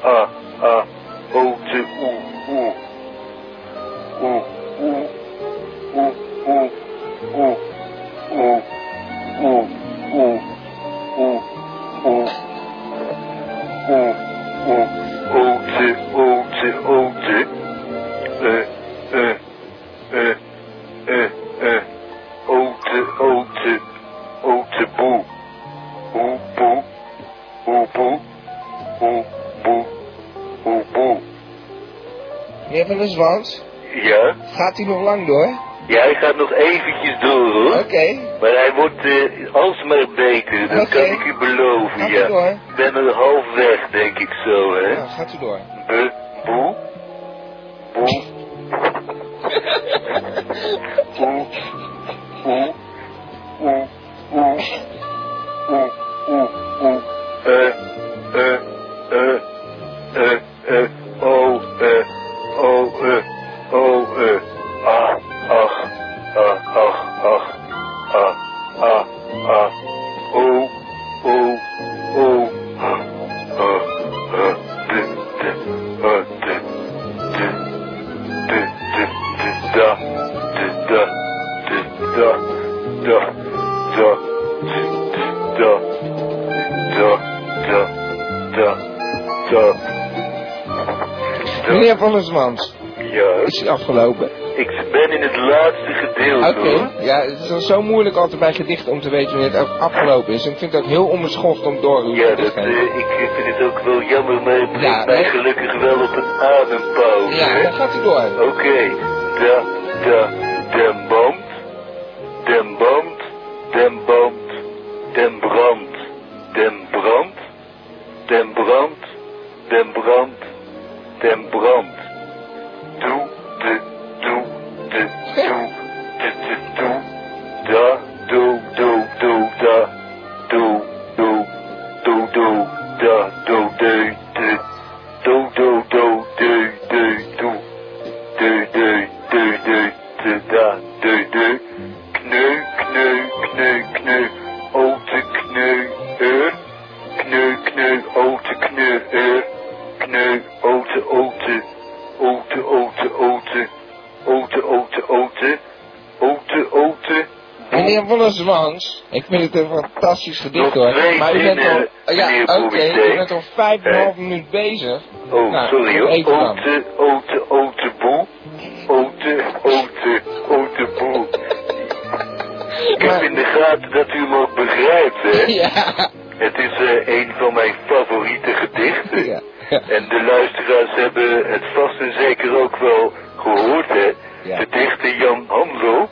S19: a, a, ote, oe, oe. Oe, oe, oe, oe, oe. Oeh, oeh, oeh, oeh, oeh. Oeh, oeh. Ote, ote, ote. Eh, eh, eh, eh, eh. Ote, ote, ote, boe. Oeh, boe. Oeh, boe. Oeh, boe. Oeh, boe.
S2: Meneer van der Zwans,
S19: Ja?
S2: gaat u nog lang door?
S19: Ja, hij gaat nog eventjes door hoor.
S2: Oké.
S19: Maar hij wordt eh, alsmaar beter, dat kan ik u beloven,
S2: Gaat u
S19: ja.
S2: door.
S19: Ik ben er halfweg, denk ik zo, hè.
S2: Nou, gaat u door.
S19: Be, boe, boe. Oeh, oeh, oeh, oeh, oeh, oeh, oeh. Eh, eh, eh, eh, eh, oh, eh, oh, eh, oh, eh. Ah, ach, ah, ach, ach, ah, ah, ah. Oh, oh, oh. Ah, ah, ah, de, de, ah, de, de, de, de, de, da, de, da, de, da, da, da, de, de, da, da, da, da, da.
S2: Meneer van der Zwans,
S19: Ja,
S2: is u afgelopen?
S19: ik ben in het laatste gedeelte.
S2: Oké,
S19: hoor.
S2: ja, het is al zo moeilijk altijd bij gedichten om te weten wanneer het af- afgelopen is. En ik vind het ook heel onbeschoft om door uw
S19: Ja,
S2: gedicht
S19: dat,
S2: te
S19: eh,
S2: gaan.
S19: ik ik vind het ook wel jammer, maar het brengt
S2: Ja,
S19: mij
S2: hè?
S19: gelukkig wel op een adempauze.
S2: Ja,
S19: hè.
S2: dan gaat u door.
S19: Oké, da, da, den band, den band, den band, den brand, den brand, den brand, den brand, den brand. Doe, de, doe, de, doe, de, de, doe, da, doe, doe, doe, da, doe, doe, doe, doe, da, doe, de, de, doe, doe, doe, de, de, doe. Du, du, du, du, du, da, du, du. Knu, knu, knu, knu. Ote knu, ur. Knu, knu, ote knu, ur. Knu, ote, ote. Ote, ote, ote. Ote, ote, ote. Ote, ote.
S2: Meneer van der Zwans, ik vind het een fantastisch gedicht
S19: Nog
S2: hoor.
S19: twee
S2: Maar u bent
S19: zinnen,
S2: al, ja,
S19: meneer Eh,
S2: oké,
S19: Boemeteen.
S2: u bent al vijf en een half minuut bezig.
S19: Oh,
S2: Nou,
S19: sorry
S2: nog
S19: hoor.
S2: even dan.
S19: Ote, ote, ote, boe. Ote, ote, ote, boe. Ik heb in de gaten dat u hem ook begrijpt, hè?
S2: Ja.
S19: Het is eh, een van mijn favoriete gedichten.
S2: Ja.
S19: En de luisteraars hebben het vast en zeker ook wel gehoord, hè? De dichter Jan Hanlo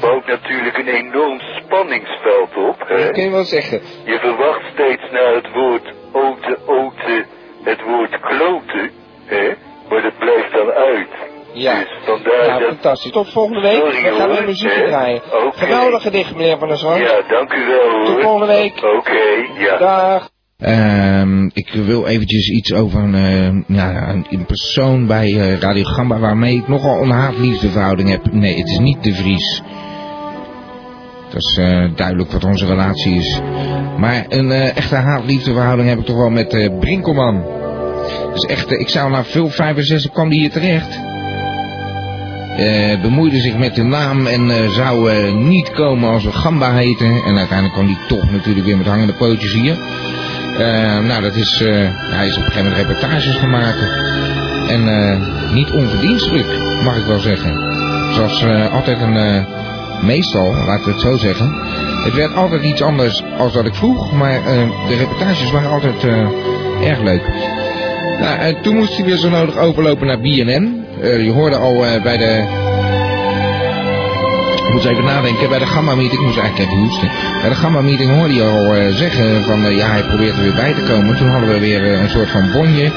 S19: bouwt natuurlijk een enorm spanningsveld op, hè?
S2: Dat kun je wel zeggen.
S19: Je verwacht steeds naar het woord ote, ote, het woord kloten, hè? Maar dat blijft dan uit.
S2: Ja.
S19: Dus vandaar
S2: Ja,
S19: dat...
S2: Nou, fantastisch. Tot volgende week.
S19: Sorry,
S2: we gaan
S19: hoor,
S2: weer muziek
S19: hè?
S2: draaien.
S19: Oké.
S2: Geweldig gedicht, meneer van der Zwans.
S19: Ja, dank u wel hoor.
S2: Tot volgende week.
S19: Oké, ja.
S2: Dag. Ehm, ik wil eventjes iets over een, eh, ja, een, een persoon bij eh, Radio Gamba waarmee ik nogal een haat-liefdeverhouding heb. Nee, het is niet de Vries. Dat is eh, duidelijk wat onze relatie is. Maar een eh, echte haat-liefdeverhouding heb ik toch wel met eh, Brinkelman. Dus echt, eh, ik zou naar veel 65 kwam die hier terecht. eh, bemoeide zich met de naam en eh, zou eh, niet komen als we Gamba heten. En uiteindelijk kwam die toch natuurlijk weer met hangende pootjes hier. Eh, nou, dat is, eh, hij is op een gegeven moment reportages gaan maken. En eh, niet onverdienstelijk, mag ik wel zeggen. Zoals eh, altijd een, eh, meestal, laten we het zo zeggen. Het werd altijd iets anders als dat ik vroeg, maar eh, de reportages waren altijd eh, erg leuk. Nou, en toen moest hij weer zo nodig overlopen naar BNN. Eh, je hoorde al eh, bij de. Ik moet eens even nadenken. Bij de Gamma Meeting. Ik moest eigenlijk even hoesten. Bij de Gamma Meeting hoorde je al eh, zeggen van. eh, ja, hij probeert er weer bij te komen. Toen hadden we weer eh, een soort van bonje.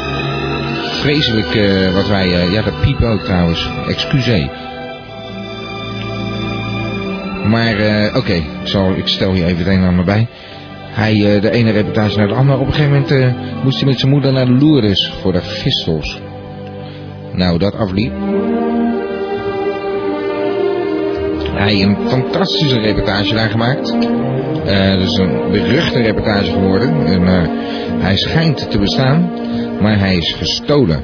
S2: Vreselijk eh, wat wij. eh, ja, dat piepen ook trouwens. Excuseer. Maar eh, oké, ik zal- ik stel hier even het een en ander bij. Hij, eh, de ene reportage naar de andere. Op een gegeven moment eh, moest hij met zijn moeder naar de Lourdes voor de gistels. Nou, dat afliep. Hij heeft een fantastische reportage daar gemaakt. Eh, dat is een beruchte reportage geworden. En, eh, hij schijnt te bestaan, maar hij is gestolen.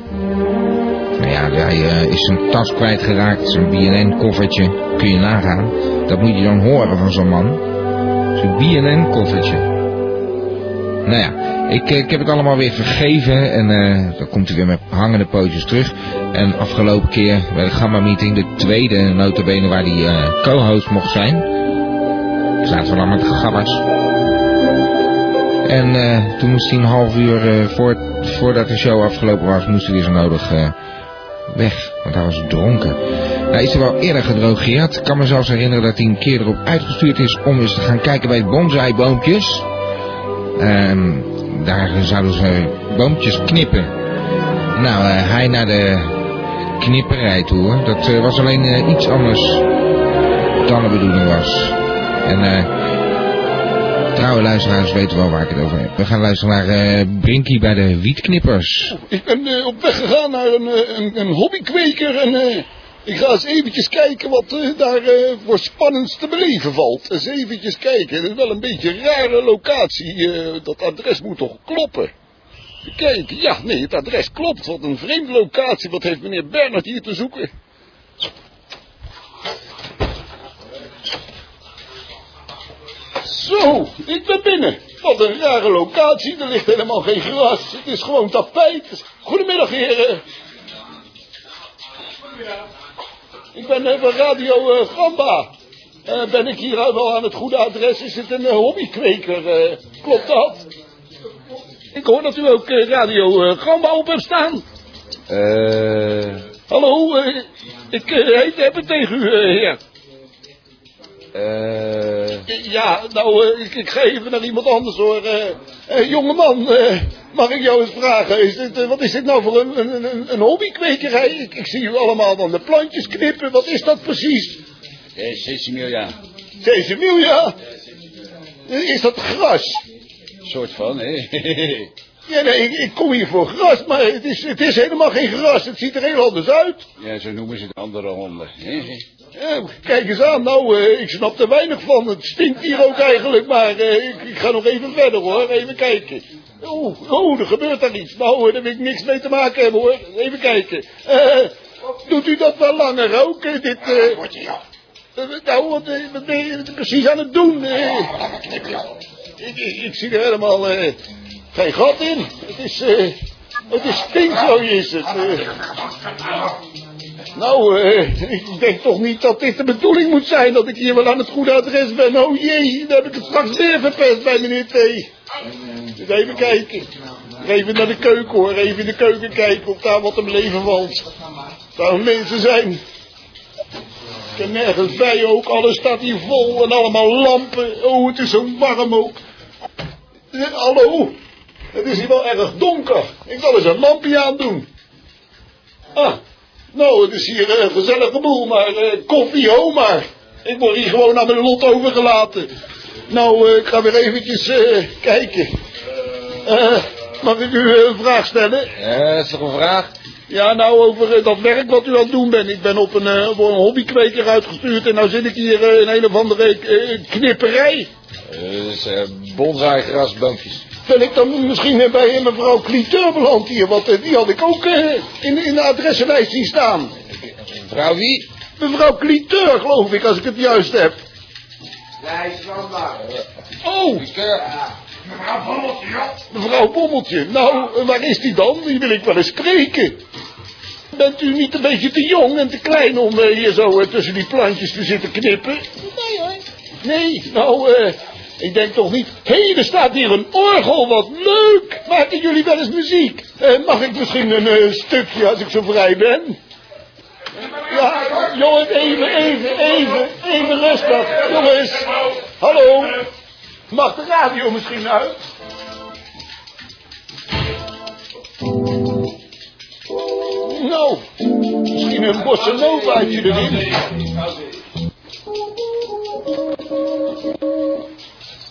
S2: Nou ja, hij eh, is zijn tas kwijtgeraakt, zijn BNN-koffertje. Kun je nagaan. Dat moet je dan horen van zo'n man. Zo'n BNN-koffertje. Nou ja, ik, eh, ik heb het allemaal weer vergeven. En eh, dan komt hij weer met hangende pootjes terug. En afgelopen keer bij de Gamma-meeting, de tweede notabene waar hij eh, co-host mocht zijn. Zaten we dan met de gabbers. En eh, toen moest hij een half uur eh, voor, voordat de show afgelopen was, moest hij weer zo nodig eh, weg. Want hij was dronken. Hij is er wel eerder gedrogeerd. Ik kan me zelfs herinneren dat hij een keer erop uitgestuurd is om eens te gaan kijken bij bonsaiboompjes. Ehm, daar zouden ze boompjes knippen. Nou, eh, hij naar de knipperij toe hoor. Dat eh, was alleen eh, iets anders dan de bedoeling was. En eh, trouwe luisteraars weten wel waar ik het over heb. We gaan luisteren naar eh, Brinkie bij de wietknippers.
S13: Ik ben eh, op weg gegaan naar een, eh, een, een hobbykweker en eh, ik ga eens eventjes kijken wat eh, daar eh, voor spannends te beleven valt. Eens eventjes kijken. Het is wel een beetje een rare locatie. eh, dat adres moet toch kloppen? Even Kijken, ja, nee, het adres klopt. Wat een vreemde locatie. Wat heeft meneer Bernard hier te zoeken? Zo, ik ben binnen. Wat een rare locatie. Er ligt helemaal geen gras. Het is gewoon tapijt. Goedemiddag, heren. Ik ben eh, van Radio eh, Gamba. Eh, ben ik hier wel aan het goede adres? Is het een eh, hobbykweker? eh? klopt dat? Ik hoor dat u ook eh, Radio eh, Gamba op hebt staan.
S20: Eh,
S13: Hallo, eh, ik eh, heet- heb het tegen u, eh, heer.
S20: eh,
S13: Ja, nou, eh, ik, ik ga even naar iemand anders hoor. Eh, eh, jongeman, eh, mag ik jou eens vragen? Is dit, eh, wat is dit nou voor een, een, een, een hobbykwekerij? Ik, ik zie u allemaal dan de plantjes knippen. Wat is dat precies?
S20: eh, sesameel, ja.
S13: Sesamiel, ja? Is dat gras?
S20: Soort van, hè?
S13: Ja, nee, ik, ik kom hier voor gras, maar het is, het is helemaal geen gras. Het ziet er heel anders uit.
S20: ja, zo noemen ze de andere honden. hè?
S13: Eh, kijk eens aan, nou, eh, ik snap er weinig van. Het stinkt hier ook eigenlijk, maar eh, ik, ik ga nog even verder hoor, even kijken. Oeh, oh, er gebeurt daar iets. Nou, eh, daar wil ik niks mee te maken hebben hoor. Even kijken. Eh, doet u dat wel langer ook? eh, dit, eh eh, nou, wat, eh, wat ben je precies aan het doen? eh? ik, ik, ik zie er helemaal eh, geen gat in. Het is, eh, het is stinkzooi is het. eh. Nou, eh, ik denk toch niet dat dit de bedoeling moet zijn dat ik hier wel aan het goede adres ben. Oh jee, daar heb ik het straks weer verpest bij meneer T. Dus even kijken. Even naar de keuken hoor, even in de keuken kijken of daar wat hem leven valt. Daar mensen zijn. Ik kan nergens bij ook, alles staat hier vol en allemaal lampen. Oh, het is zo warm ook. Eh, hallo, het is hier wel erg donker. Ik zal eens een lampje aandoen. Ah, nou, het is hier eh, een gezellige boel, maar eh, koffie ho maar. Ik word hier gewoon aan mijn lot overgelaten. Nou, eh, ik ga weer eventjes eh, kijken. Eh, mag ik u eh, een vraag stellen?
S20: Ja, dat Eh, is toch een vraag?
S13: Ja, nou, over eh, dat werk wat u aan het doen bent. Ik ben op een, eh, voor een hobbykweker uitgestuurd en nou zit ik hier eh, in een of andere eh, knipperij.
S20: Eh, Dat is eh bonsai grasboompjes.
S13: Ben ik dan misschien weer bij eh, mevrouw Cliteur beland hier? Want eh, die had ik ook eh, in, in de adressenlijst zien staan.
S20: Vrouw wie?
S13: Mevrouw Cliteur, geloof ik, als ik het juist heb.
S1: Wij standaard.
S13: Oh!
S1: eh, Mevrouw Bommeltje, joh.
S13: Mevrouw Bommeltje, nou, eh, waar is die dan? Die wil ik wel eens spreken. Bent u niet een beetje te jong en te klein om eh, hier zo eh, tussen die plantjes te zitten knippen?
S1: Nee hoor.
S13: Nee, nou, eh, ik denk toch niet. Hé, er staat hier een orgel, wat leuk! Maken jullie wel eens muziek? Eh, mag ik misschien een eh, stukje als ik zo vrij ben? Ja, jongen, even, even, even, even rustig. Jongens, hallo. Eh, Mag de radio misschien uit? Nou, misschien een bossa novaatje erin.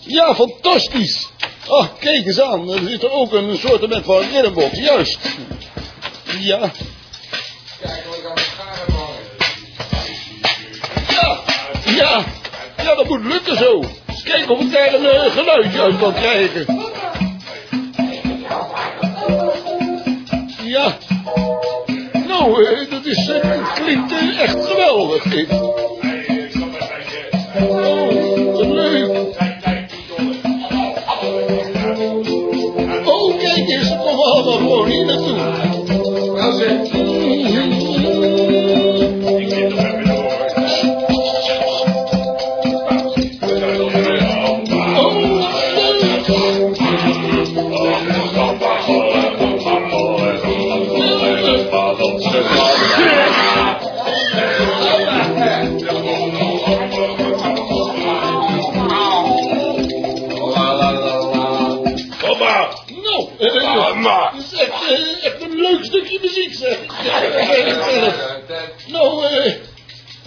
S13: Ja, fantastisch. Ah, kijk eens aan. Er zit er ook een soort van ridderbok. Juist. Ja. Ja, ja. Ja, dat moet lukken zo. Eens kijken of ik daar een eh, geluidje uit kan krijgen. Ja. Nou, eh, dat is, eh, dat klinkt eh, echt geweldig. dit. Oh, wat leuk. Oh, kijk eens, kom allemaal gewoon hier naartoe.
S1: Kom maar.
S13: Nou, eh,
S1: Mama.
S13: dat is echt, eh, echt een leuk stukje muziek, zeg. Nou, eh,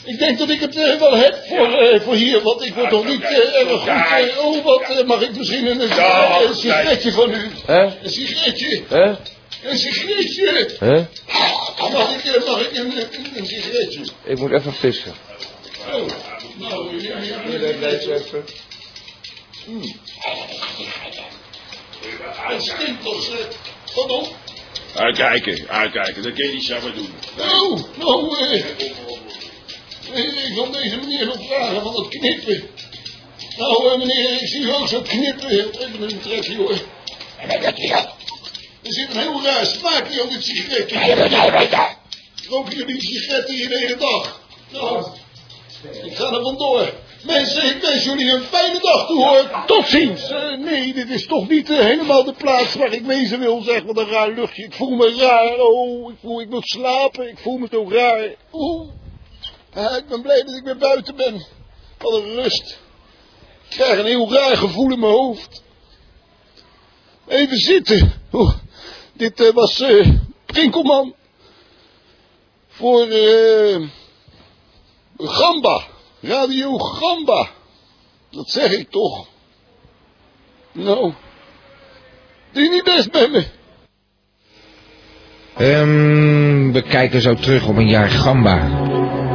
S13: ik denk dat ik het eh, wel heb voor, eh, voor hier, want ik word nog niet eh, erg goed. eh, oh, wat eh, mag ik misschien een, een,
S1: Ja,
S13: een sigaretje van u?
S1: Hè?
S13: Een sigaretje?
S1: Hè?
S13: Een sigaretje?
S1: Hè?
S13: Mag ik, eh, mag ik een, een, een sigaretje?
S1: Ik moet even vissen.
S13: Oh, nou, ja, ja. Hmm. Het stinkt toch, zeg. Wat op?
S21: Uitkijken, uitkijken. Dat kun je niet zomaar doen.
S13: Nou, nou, eh, eh, ik wil deze meneer nog vragen van dat knippen. Nou, eh, meneer, ik zie u ook zo knippen. Even een trekje, hoor. Er zit een heel raar smaakje aan dit sigaretje. Roken jullie sigaretten hier de hele dag? Nou, ik ga er vandoor. Mensen, ik wens jullie een fijne dag toe, hoor. Tot ziens. Eh, nee, dit is toch niet eh, helemaal de plaats waar ik wezen wil, zeg. Wat een raar luchtje. Ik voel me raar. Oh, ik voel, ik moet slapen. Ik voel me zo raar. Oeh. Ah, ik ben blij dat ik weer buiten ben. Wat een rust. Ik krijg een heel raar gevoel in mijn hoofd. Even zitten. Oeh, dit eh, was eh Prinkelman. Voor eh, Gamba. Radio Gamba. Dat zeg ik toch. Nou. Doe je niet best met me.
S2: Ehm, we kijken zo terug op een jaar Gamba.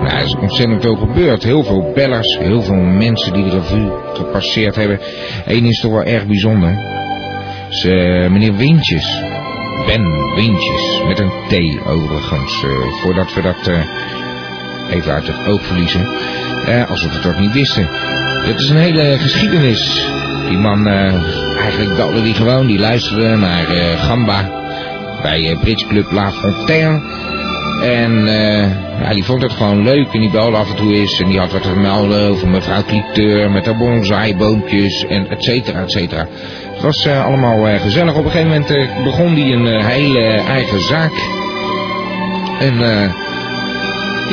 S2: Nou, er is ontzettend veel gebeurd. Heel veel bellers, heel veel mensen die de revue gepasseerd hebben. Eén is toch wel erg bijzonder. Is, eh, meneer Wintjes. Ben Wintjes. Met een T overigens. eh, voordat we dat eh, even uit het oog verliezen. Eh, alsof we het ook niet wisten. Het is een hele geschiedenis. Die man, eh, eigenlijk belde die gewoon. Die luisterde naar eh, Gamba bij eh Brits Club La Fontaine. En eh, ja, die vond het gewoon leuk en die belde af en toe eens. En die had wat te melden over mevrouw Cliteur met haar bonsaiboompjes en et cetera, et cetera. Het was eh, allemaal eh, gezellig. Op een gegeven moment eh, begon hij een eh, hele eigen zaak. En eh,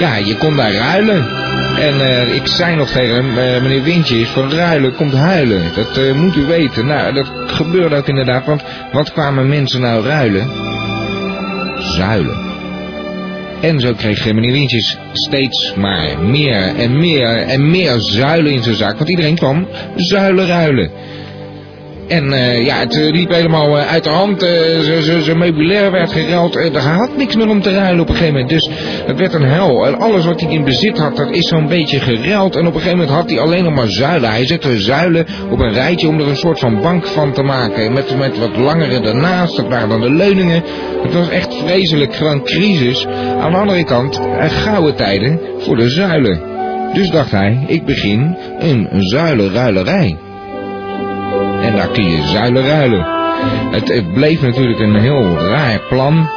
S2: ja, je kon daar ruilen. En eh, ik zei nog tegen hem, eh, meneer Wintje is van ruilen komt huilen. Dat eh, moet u weten. Nou, dat gebeurde ook inderdaad. Want wat kwamen mensen nou ruilen? Zuilen. En zo kreeg eh, meneer Wintjes steeds maar meer en meer en meer zuilen in zijn zak. Want iedereen kwam zuilen ruilen. En eh, ja, het eh, liep helemaal eh, uit de hand. eh, Zijn zijn- zijn meubilair werd geruild. Eh, Er had niks meer om te ruilen op een gegeven moment. Dus het werd een hel. En alles wat hij in bezit had, dat is zo'n beetje geruild. En op een gegeven moment had hij alleen nog maar zuilen. Hij zette zuilen op een rijtje om er een soort van bank van te maken. Met, met wat langere daarnaast. Dat waren dan de leuningen. Het was echt vreselijk. Gewoon crisis. Aan de andere kant, eh, gouden tijden voor de zuilen. Dus dacht hij, ik begin een zuilenruilerij. En daar kun je zuilen ruilen. Het, het bleef natuurlijk een heel raar plan.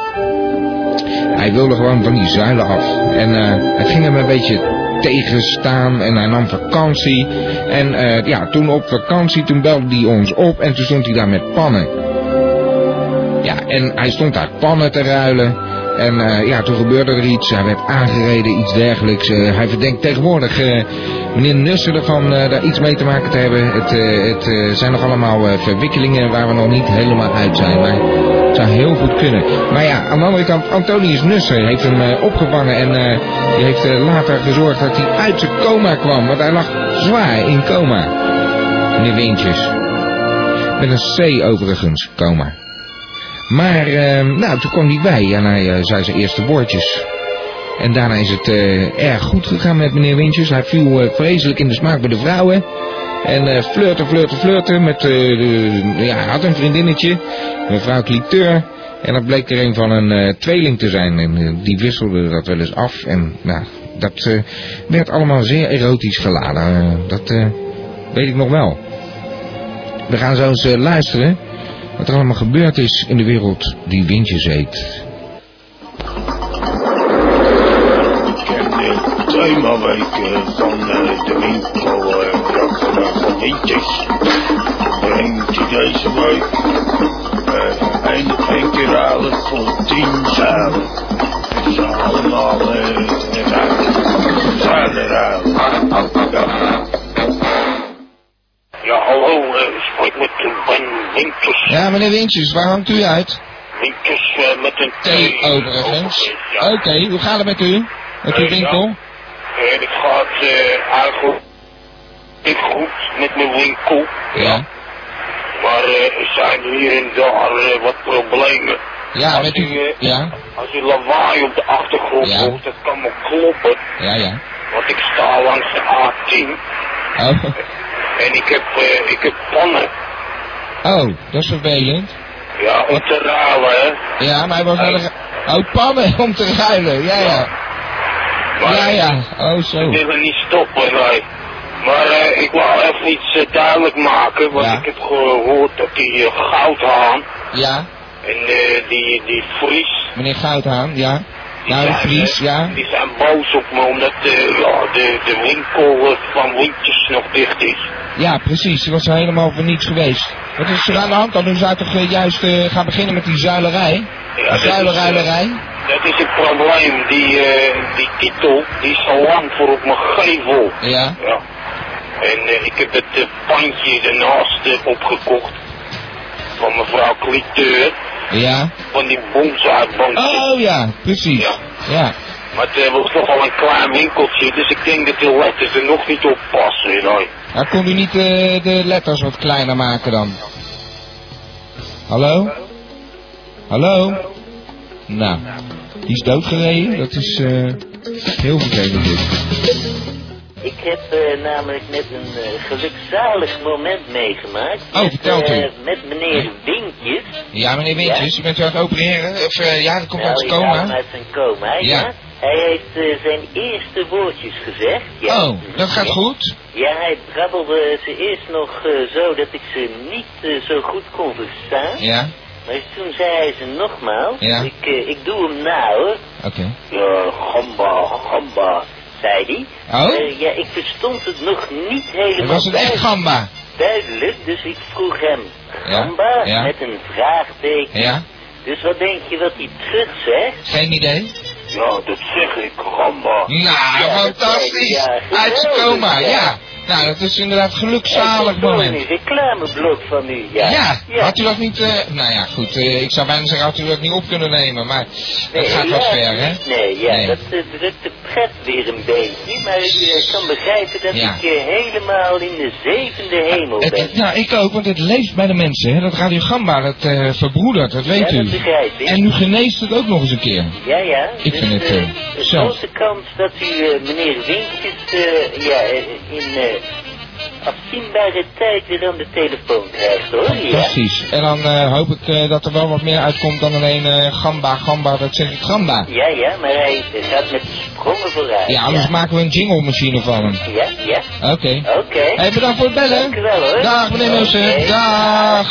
S2: Hij wilde gewoon van die zuilen af. En eh, het ging hem een beetje tegenstaan en hij nam vakantie. En eh, ja, toen op vakantie, toen belde hij ons op en toen stond hij daar met pannen. Ja, en hij stond daar pannen te ruilen. En eh, ja, toen gebeurde er iets. Hij werd aangereden, iets dergelijks. Eh, hij verdenkt tegenwoordig eh, meneer Nussen ervan eh, daar iets mee te maken te hebben. Het, eh, het eh, zijn nog allemaal eh, verwikkelingen waar we nog niet helemaal uit zijn. Maar het zou heel goed kunnen. Maar ja, aan de andere kant, Antonius Nussen heeft hem eh, opgevangen. En eh, die heeft eh, later gezorgd dat hij uit zijn coma kwam. Want hij lag zwaar in coma. Meneer Wintjes. Met een C overigens, coma. Maar eh, nou, toen kwam hij bij en hij eh, zei zijn eerste woordjes. En daarna is het eh, erg goed gegaan met meneer Wintjes. Hij viel eh, vreselijk in de smaak bij de vrouwen. En eh flirten, flirten, flirten. Met, eh, de- ja, hij had een vriendinnetje, mevrouw Cliteur. En dat bleek er een van een eh, tweeling te zijn. En eh, die wisselde dat wel eens af. En nou, dat eh, werd allemaal zeer erotisch geladen. Eh, dat eh, weet ik nog wel. We gaan zo eens eh, luisteren wat er allemaal gebeurd is in de wereld die Windjes heet.
S22: Ik heb de themaweken van eh, de winkel eh, Jacob van Wintjes. Eentje deze week. eh, en één keer halen voor tien zalen. Het zijn allemaal eh, zalen. Zalen halen. Ja. Ja, hallo, eh, ik spreek met eh, Ben Wintjes.
S2: Ja, meneer Windjes, waar hangt u uit?
S22: Wintjes eh, met een T.
S2: oh, Overigens. Oké, hoe gaat het met u? Met uw
S22: Eh,
S2: winkel?
S22: En het gaat eh, eigenlijk niet goed met mijn winkel.
S2: Ja.
S22: Maar eh, er zijn hier en daar eh, wat problemen.
S2: Ja,
S22: als,
S2: met
S22: u,
S2: u.
S22: eh,
S2: Ja,
S22: als u lawaai op de achtergrond
S2: Ja.
S22: hoort, dat kan me kloppen.
S2: ja, ja.
S22: Want ik sta langs de A10
S2: Oh,
S22: en ik heb, eh, ik heb pannen.
S2: oh dat is vervelend.
S22: Ja, om te ruilen, hè. Eh,
S2: Ja, maar hij was wel een... Oh, pannen om te ruilen. Ja, ja. Ja, ja. Oh,
S22: Ik
S2: zo.
S22: wil er niet stoppen, nee. Maar eh, ik wou even iets eh, duidelijk maken, want ik heb gehoord dat die eh, goudhaan
S2: Ja,
S22: en eh, die, die Fries,
S2: meneer Goudhaan, ja. Nou, de Vries, ja.
S22: die zijn boos op me omdat eh, ja, de, de winkel eh, van Windjes nog dicht is.
S2: Ja, precies. Ze was helemaal voor niets geweest. Wat is er aan de hand dan? U zou toch eh, juist eh, gaan beginnen met die zuilerij?
S22: Ja, dat is, eh,
S2: zuilenruilerij?
S22: Dat is het probleem, die, eh, die titel, die is al lang voor op mijn gevel.
S2: Ja.
S22: Ja. En eh, ik heb het eh, pandje ernaast eh, opgekocht van mevrouw Cliteur.
S2: Ja.
S22: van die bonsaibankje.
S2: Oh ja, precies. Ja. Ja.
S22: Maar het eh, was nogal een klein winkeltje, dus ik denk dat die letters er nog niet op passen. You know.
S2: Maar kon u niet eh, de letters wat kleiner maken dan? Hallo? Hallo? Nou, die is doodgereden. Dat is eh, heel vervelend. dit.
S16: Ik heb eh, namelijk net een eh, gelukzalig moment meegemaakt.
S2: Oh, vertelt u.
S16: eh, met meneer Winkjes.
S2: Ja, meneer Wintjes, u bent u aan het opereren? Of eh, ja, dat komt uit
S16: nou,
S2: het
S16: ik haal hem
S2: coma.
S16: uit zijn coma, ja.
S2: Ja.
S16: Hij heeft eh, zijn eerste woordjes gezegd. Ja.
S2: Oh, dat gaat goed.
S16: Ja, hij brabbelde ze eerst nog eh, zo dat ik ze niet eh, zo goed kon verstaan.
S2: Ja,
S16: Maar toen zei hij ze nogmaals.
S2: Ja.
S16: Ik, eh, ik doe hem na hoor.
S2: oké.
S16: Ja, gamba, gamba, zei hij.
S2: Oh?
S16: Eh, ja, ik verstond het nog niet
S2: En
S16: helemaal
S2: was het echt
S16: duidelijk-
S2: gamba?
S16: duidelijk. Dus ik vroeg hem,
S2: Ja,
S16: gamba,
S2: ja.
S16: met een vraagteken.
S2: Ja,
S16: Dus wat denk je wat hij terug zegt?
S2: geen idee.
S22: Ja, dat zeg ik, gamba.
S2: Nou, fantastisch.
S16: Ja,
S2: Uit zijn coma,
S16: geweldig,
S2: ja. Nou, dat is inderdaad een gelukzalig moment.
S16: Een reclameblok van u, ja.
S2: Ja, had u dat niet, eh, nou ja, goed, eh, ik zou bijna zeggen, had u dat niet op kunnen nemen, maar het gaat wat
S16: ja,
S2: ver, hè?
S16: Nee, ja,
S2: Nee.
S16: dat eh, drukt de pret weer een beetje. Maar je kan begrijpen dat
S2: Ja.
S16: ik eh, helemaal in de zevende hemel
S2: Het-
S16: ben.
S2: het- nou, ik ook, want het leeft bij de mensen, hè? Dat radiogamba, dat eh, verbroedert, dat weet
S16: Ja,
S2: u.
S16: dat begrijp ik.
S2: En nu geneest het ook nog eens een keer.
S16: Ja, ja.
S2: Ik
S16: dus,
S2: vind het,
S16: eh,
S2: eh,
S16: een
S2: zo.
S16: grote kans dat u eh, meneer Winkjes eh, ja, eh, in eh, afzienbare tijd weer aan de telefoon krijgt, hoor. Ja.
S2: Precies. En dan eh, hoop ik eh, dat er wel wat meer uitkomt dan alleen eh, gamba, gamba, dat zeg ik gamba.
S16: Ja, ja, maar hij eh, gaat met sprongen vooruit.
S2: Ah. Ja, anders maken we een jingle machine van hem.
S16: Ja, ja.
S2: Oké.
S16: Oké.
S2: Hey, bedankt voor het bellen.
S16: Dank u wel,
S23: eh?
S16: hoor.
S2: Dag meneer Mussen.
S16: Oké.
S2: Dag.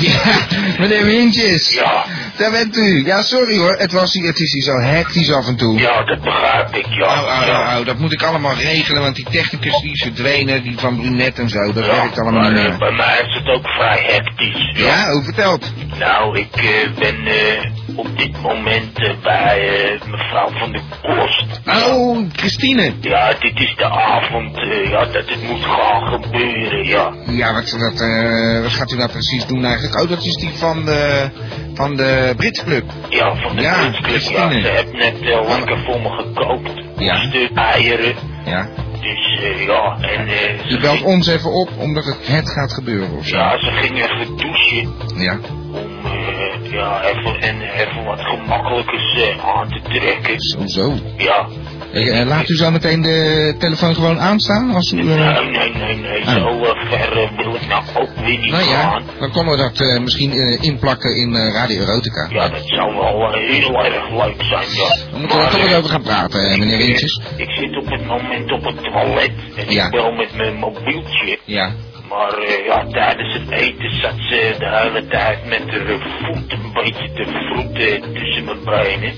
S2: Ja, meneer Wintjes. Ja. Daar bent u. Ja, sorry hoor. Het, was, hier- het is hier zo hectisch af en toe.
S22: Ja, dat begrijp ik, ja.
S2: Au, au, au, au, dat moet ik allemaal regelen, want die technicus die is verdwenen, die van Brunet en zo, dat werkt allemaal niet
S22: maar, eh,
S2: meer.
S22: bij mij is het ook vrij hectisch.
S2: Ja, hoe vertelt?
S22: Nou, ik eh, ben eh, op dit moment eh, bij eh, mevrouw van de Kost.
S2: Oh, Christine.
S22: Ja, dit is de avond eh, ja, dat het moet gaan gebeuren, ja.
S2: Ja, wat, wat, eh, wat gaat u nou precies doen eigenlijk? Oh, dat is die van de, van de Brits Club.
S22: Ja, van de
S2: Ja,
S22: ja, ja.
S2: Christine.
S22: Ze heeft net wel lekker voor me gekookt.
S2: Ja.
S22: Een stuk eieren.
S2: Ja.
S22: Dus eh, ja, en eh,
S2: U belt ons even op, omdat het, het gaat gebeuren of zo.
S22: ja, ze ging even douchen.
S2: Ja.
S22: Om eh, ja, even, en even wat gemakkelijkers eh, aan te trekken.
S2: Zo, zo.
S22: Ja.
S2: Ik, eh, laat u zo meteen de telefoon gewoon aanstaan? Als u, eh,
S22: Nee, nee, nee, nee.
S2: Ah.
S22: Zo eh, ver eh, wil ik nou ook weer niet
S2: nou ja,
S22: gaan.
S2: dan kunnen we dat eh, misschien eh, inplakken in eh, Radio Erotica.
S22: Ja, dat zou wel eh, heel erg leuk zijn, ja.
S2: Dan moeten we er toch eens over gaan praten, eh, meneer Wintjes.
S22: Ik zit op het moment op het toilet en
S2: Ja.
S22: ik bel met mijn mobieltje.
S2: Ja.
S22: Maar eh, ja, tijdens het eten zat ze de hele tijd met haar eh, voet een beetje te vroeten tussen mijn benen.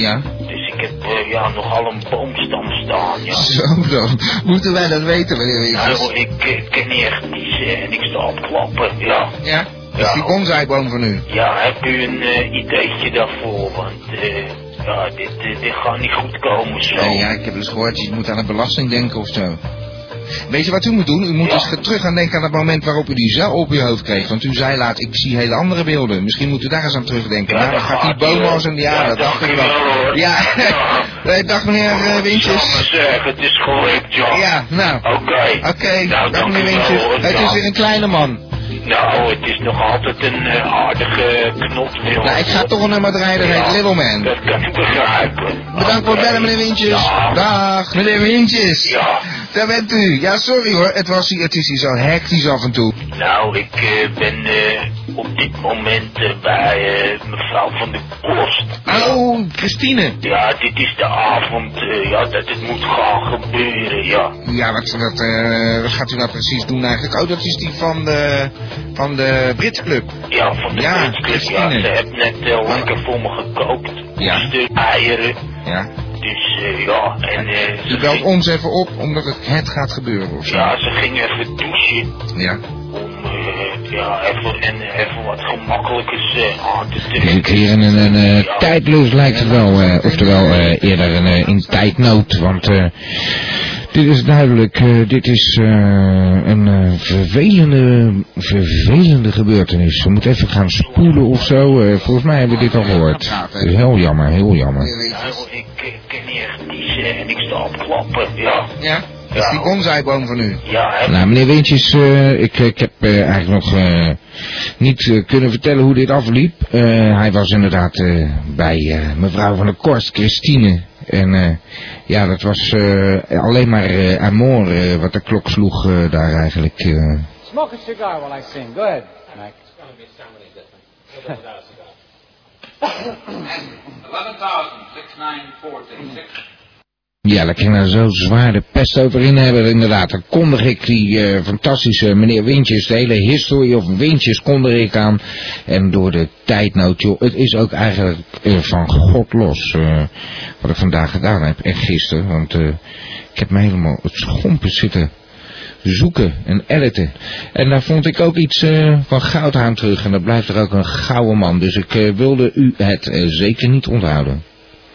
S2: Ja.
S22: Dus ik heb eh, ja, nogal een boomstam staan, ja.
S2: Zo dan. Moeten wij dat weten, meneer Wintjes?
S22: Nou, ik eh, kan niet echt kiezen en ik sta op klappen, ja.
S2: Ja? Dat is die bonsaiboom van u.
S22: Ja, heb u een eh, ideetje daarvoor? Want eh, ja, dit, eh, dit gaat niet goed komen zo.
S2: Nee, ja, ik heb dus gehoord, je moet aan de belasting denken of zo. Weet je wat u moet doen? U moet eens terug gaan denken aan het moment waarop u die zaal op uw hoofd kreeg. Want u zei laat, ik zie hele andere beelden. Misschien moet u daar eens aan terugdenken.
S22: Ja,
S2: nou, dan
S22: dat
S2: gaat die
S22: gaat u
S2: boom
S22: wel.
S2: als een... Ja,
S22: Ja,
S2: dat dacht
S22: dank
S2: ik
S22: u
S2: wel.
S22: wel, hoor.
S2: Ja,
S22: Ja.
S2: Eh, dag meneer eh, Wintjes.
S22: maar zeggen, het is gelukt, ja.
S2: Ja, nou.
S22: Oké.
S2: Oké,
S22: Nou,
S2: dag
S22: dank
S2: meneer
S22: u wel,
S2: Wintjes.
S22: hoor.
S2: Het
S22: Ja.
S2: is weer een kleine man.
S22: Nou, het is nog altijd een eh, aardige knopsneel.
S2: Nou, ik ga toch een nummer draaien, dat heet Little Man.
S22: Dat kan ik begrijpen.
S2: Bedankt voor het bellen, meneer Wintjes. Dag, meneer Wintjes.
S22: Ja.
S2: Daar bent u. Ja, sorry hoor, het, was hier, het is hier zo hectisch af en toe.
S22: Nou, ik eh, ben eh, op dit moment eh, bij eh, mevrouw van de Kost.
S2: Oh, Christine.
S22: Ja, dit is de avond eh, ja, dat het moet gaan gebeuren, ja.
S2: Ja, wat, wat, eh, wat gaat u nou precies doen eigenlijk? Oh, dat is die van de, van de Brits Club.
S22: Ja, van de
S2: Ja,
S22: Brits Club, ja.
S2: Christine.
S22: Ze heeft net eh, lekker voor me gekookt.
S2: Ja.
S22: Een stuk eieren.
S2: Ja.
S22: Dus eh, ja, en eh,
S2: U belt ons even op, omdat het, het gaat gebeuren of zo.
S22: ja, ze ging even douchen.
S2: Ja.
S22: Om eh, ja, even, en even wat gemakkelijkers eh, aan te
S2: We
S22: trekken.
S2: zitten hier in een, een eh, tijdloos lijkt het wel, eh, oftewel eh, eerder een, eh, in tijdnood, want eh, dit is duidelijk, eh, dit is eh, een eh, vervelende, vervelende gebeurtenis. We moeten even gaan spoelen of zo, eh, volgens mij hebben we dit al gehoord. Dat is heel jammer, heel jammer.
S22: Nou, ik eh, kan niet echt kiezen en ik sta op klappen, ja.
S2: Ja? Dat is die bonsaiboom van u.
S22: Ja, hè.
S2: Nou, meneer Wintjes, eh, ik, ik heb eh, eigenlijk nog eh, niet eh, kunnen vertellen hoe dit afliep. Eh, hij was inderdaad eh, bij eh, mevrouw van der Korst, Christine. En eh, ja, dat was eh, alleen maar eh amor eh, wat de klok sloeg eh, daar eigenlijk. eh.
S23: Smoke a cigar while I sing. Go ahead, Mike.
S2: Ja, daar kan je nou zo zwaar de pest over in hebben. Inderdaad, dan kondig ik die eh, fantastische meneer Wintjes, de hele historie of Wintjes kondig ik aan. En door de tijdnood, joh, het is ook eigenlijk eh, van god los eh, wat ik vandaag gedaan heb en gisteren. Want eh, ik heb me helemaal het schompen zitten zoeken en editen. En daar vond ik ook iets eh, van Goudhaan terug. En dat blijft er ook een gouden man. Dus ik eh, wilde u het eh, zeker niet onthouden.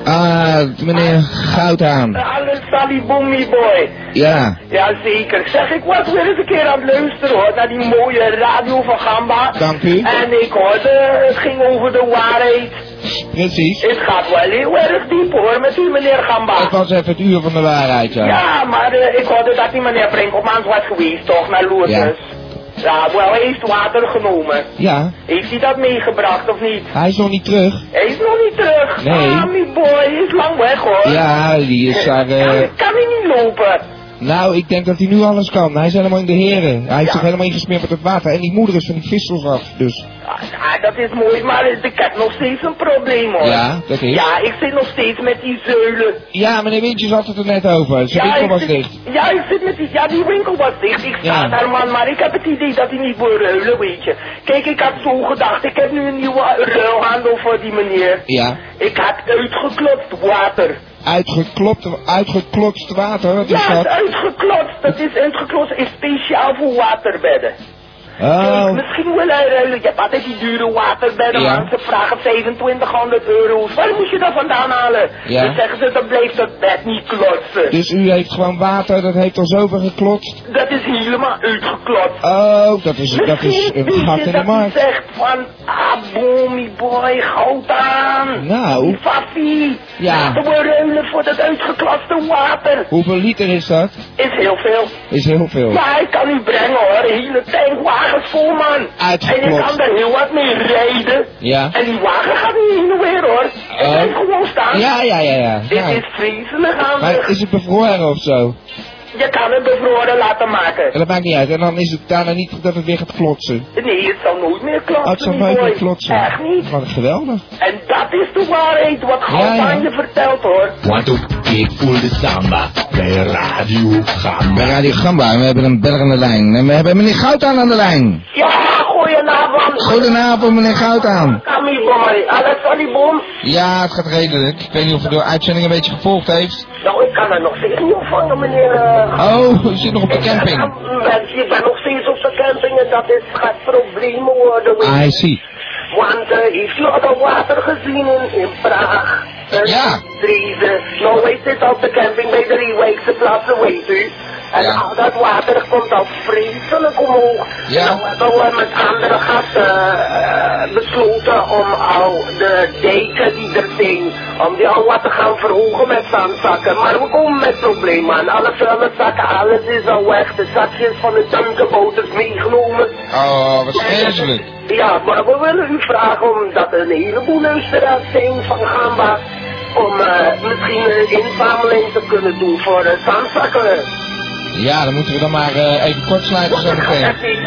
S2: Ah, meneer Goudhaan.
S12: Alle salibommi boy.
S2: Ja.
S12: Jazeker. Zeg, ik was weer eens een keer aan het luisteren hoor, naar die mooie radio van Gamba.
S2: Dank u.
S12: En ik hoorde, het ging over de waarheid.
S2: Precies.
S12: Het gaat wel heel erg diep hoor, met u meneer Gamba.
S2: Het was even het uur van de waarheid, ja.
S12: Ja, maar eh, ik hoorde dat die meneer Brinkopmans was geweest, toch, naar Lourdes. Ja. wel, hij heeft water genomen.
S2: Ja,
S12: Heeft hij dat meegebracht of niet?
S2: hij is nog niet terug.
S12: Hij is nog niet terug.
S2: Nee.
S12: Ah, mijn boy, hij is lang weg hoor.
S2: Ja, die is daar... eh,
S12: Kan hij niet lopen?
S2: Nou, ik denk dat hij nu alles kan. Hij is helemaal in de heren. Hij heeft zich helemaal ingesmeerd met het water. En die moeder is van die vissels af, dus...
S12: Ah, dat is mooi, maar ik heb nog steeds een probleem hoor.
S2: Ja, dat is.
S12: Ja, ik zit nog steeds met die zeulen.
S2: Ja, meneer Wintjes had het er net over. Dus Ze winkel was
S12: ik zit,
S2: dicht.
S12: ja, ik zit met die, ja, die winkel was dicht. Ik sta
S2: Ja.
S12: daar, man, maar ik heb het idee dat hij niet wil ruilen, weet je. Kijk, ik had zo gedacht, ik heb nu een nieuwe ruilhandel voor die meneer.
S2: Ja.
S12: Ik had uitgeklopt water.
S2: Uitgeklopt, uitgeklotst water, wat is
S12: Ja, het
S2: dat?
S12: uitgeklopt. Dat is uitgeklopt is speciaal voor waterbedden.
S2: Oh,
S12: Misschien wil hij ruilen. Je hebt altijd die dure waterbedden,
S2: Ja.
S12: man. Ze vragen 2500 euro. Waar moet je dat vandaan halen?
S2: Ja.
S12: Dan zeggen ze, dan blijft dat bed niet klotsen.
S2: dus u heeft gewoon water, dat heeft al zoveel geklotst.
S12: Dat is helemaal uitgeklopt.
S2: Oh, dat is, dat is
S12: Misschien
S2: een
S12: weet
S2: gat
S12: je
S2: in de
S12: dat
S2: markt.
S12: hij zegt van, ah, boomie boy, goud aan.
S2: Nou.
S12: Faffie.
S2: Ja.
S12: Laten we ruilen voor dat uitgeklaste water.
S2: Hoeveel liter is dat?
S12: Is heel veel.
S2: Is heel veel.
S12: Maar hij kan u brengen hoor, hele tankwagens vol man.
S2: Uitgeklopt.
S12: En ik kan er heel wat mee rijden.
S2: Ja.
S12: En die wagen gaat niet heen en weer hoor. Hij
S2: Oh.
S12: blijft gewoon staan.
S2: Ja, ja, ja, ja.
S12: Dit
S2: Nou.
S12: is vreselijk aan
S2: Maar is het bevroren of zo?
S12: Je kan het bevroren laten maken.
S2: Ja, dat maakt niet uit. En dan is het daarna niet dat het weer gaat klotsen.
S12: Nee, het zal nooit meer
S2: Oh,
S12: klotsen,
S2: het zal
S12: die
S2: nooit
S12: boy.
S2: meer klotsen.
S12: Echt niet.
S2: Wat geweldig.
S12: En dat is de waarheid wat God
S1: Ja, ja.
S12: aan je vertelt hoor.
S1: Quanto ik voel de samba bij Radio Gamba.
S2: Bij Radio Gamba, we hebben een beller aan de lijn. En we hebben meneer Goudaan aan de lijn.
S12: Ja, goedenavond.
S2: Goedenavond, meneer Goudaan.
S12: Kami boy, alles van die boom.
S2: Ja, het gaat redelijk. Ik weet niet of u de uitzending een beetje gevolgd heeft.
S12: Nou, ik kan er nog steeds niet opvangen, meneer. eh.
S2: Oh, u zit nog op de camping.
S12: Mensen, je bent nog steeds op de camping en dat is, gaat probleem worden. weet je.
S2: Ah, I see.
S12: Want eh, heeft u al dat water gezien in, in Praag? Eh, Drieze. Nou, wij zitten op de camping bij de Riewijkse plaatsen, weet u. En al dat water komt al vreselijk omhoog.
S2: Ja.
S12: Nou hebben we met andere gasten eh, besloten om al de dijken die er zijn, om die al wat te gaan verhogen met zandzakken. Maar we komen met problemen aan. Alle vuilniszakken, alles is al weg. De zakjes van de tankenboters meegenomen.
S2: Oh, wat vreselijk.
S12: Ja, maar we willen u vragen omdat er een heleboel luisteraars zijn van Gamba. Om eh, misschien een inzameling te kunnen doen voor de zandzakken.
S2: Ja, dan moeten we dan maar eh, even kort sluiten zo meteen.
S12: Echt niet-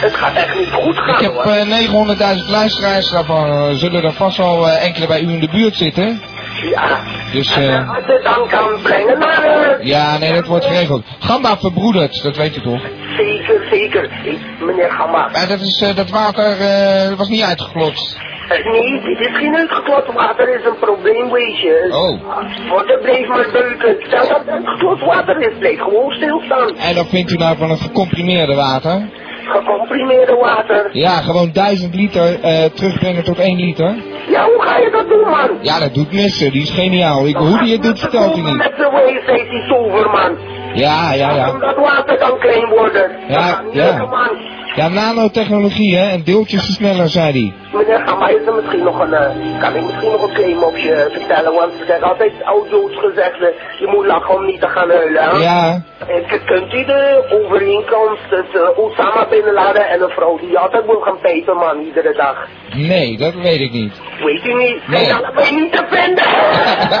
S12: Het gaat echt niet goed gaan
S2: Ik heb
S12: hoor.
S2: eh, 900.000 luisteraars, daarvan eh, zullen er vast al eh, enkele bij u in de buurt zitten.
S12: Ja.
S2: Dus
S12: En,
S2: eh,
S12: eh, als je dan kan brengen naar... eh,
S2: ja, nee, dat wordt geregeld. Gamba verbroedert, dat weet u toch?
S12: Zeker, zeker. Hey, meneer Gamba.
S2: Maar dat, is, eh, dat water eh, was niet uitgeklopt.
S12: Eh, Nee, dit is geen uitgeklopt water, is een probleem, weet je.
S2: Oh.
S12: Wordt het bleef maar beuken. Stel dat het uitgeklopt water is, bleef gewoon stilstaan.
S2: En dat vindt u nou van het gecomprimeerde water?
S12: Gecomprimeerde water.
S2: Ja, gewoon 1000 liter eh, terugbrengen tot 1 liter.
S12: Ja, hoe ga je dat doen, man?
S2: Ja, dat doet Missen, die is geniaal. Ik, hoe die het doet, vertelt u niet.
S12: Met de wees die sober, man.
S2: Ja, ja, ja.
S12: Omdat water kan klein worden.
S2: Ja,
S12: Lekker,
S2: ja.
S12: man.
S2: Ja, nanotechnologie, hè, en deeltjes sneller, zei hij.
S12: Meneer Gamma, is er misschien nog een, eh, kan ik misschien nog een claim op je eh, vertellen? Want ze zeggen altijd oudjoods gezegd, eh, je moet lachen om niet te gaan huilen. hè?
S2: Ja.
S12: En k- kunt u de overeenkomst tussen Osama Bin Laden en een vrouw die altijd wil gaan pijpen, man, iedere dag?
S2: Nee, dat weet ik niet.
S12: Weet u niet?
S2: Nee.
S12: Zijn allebei niet te vinden!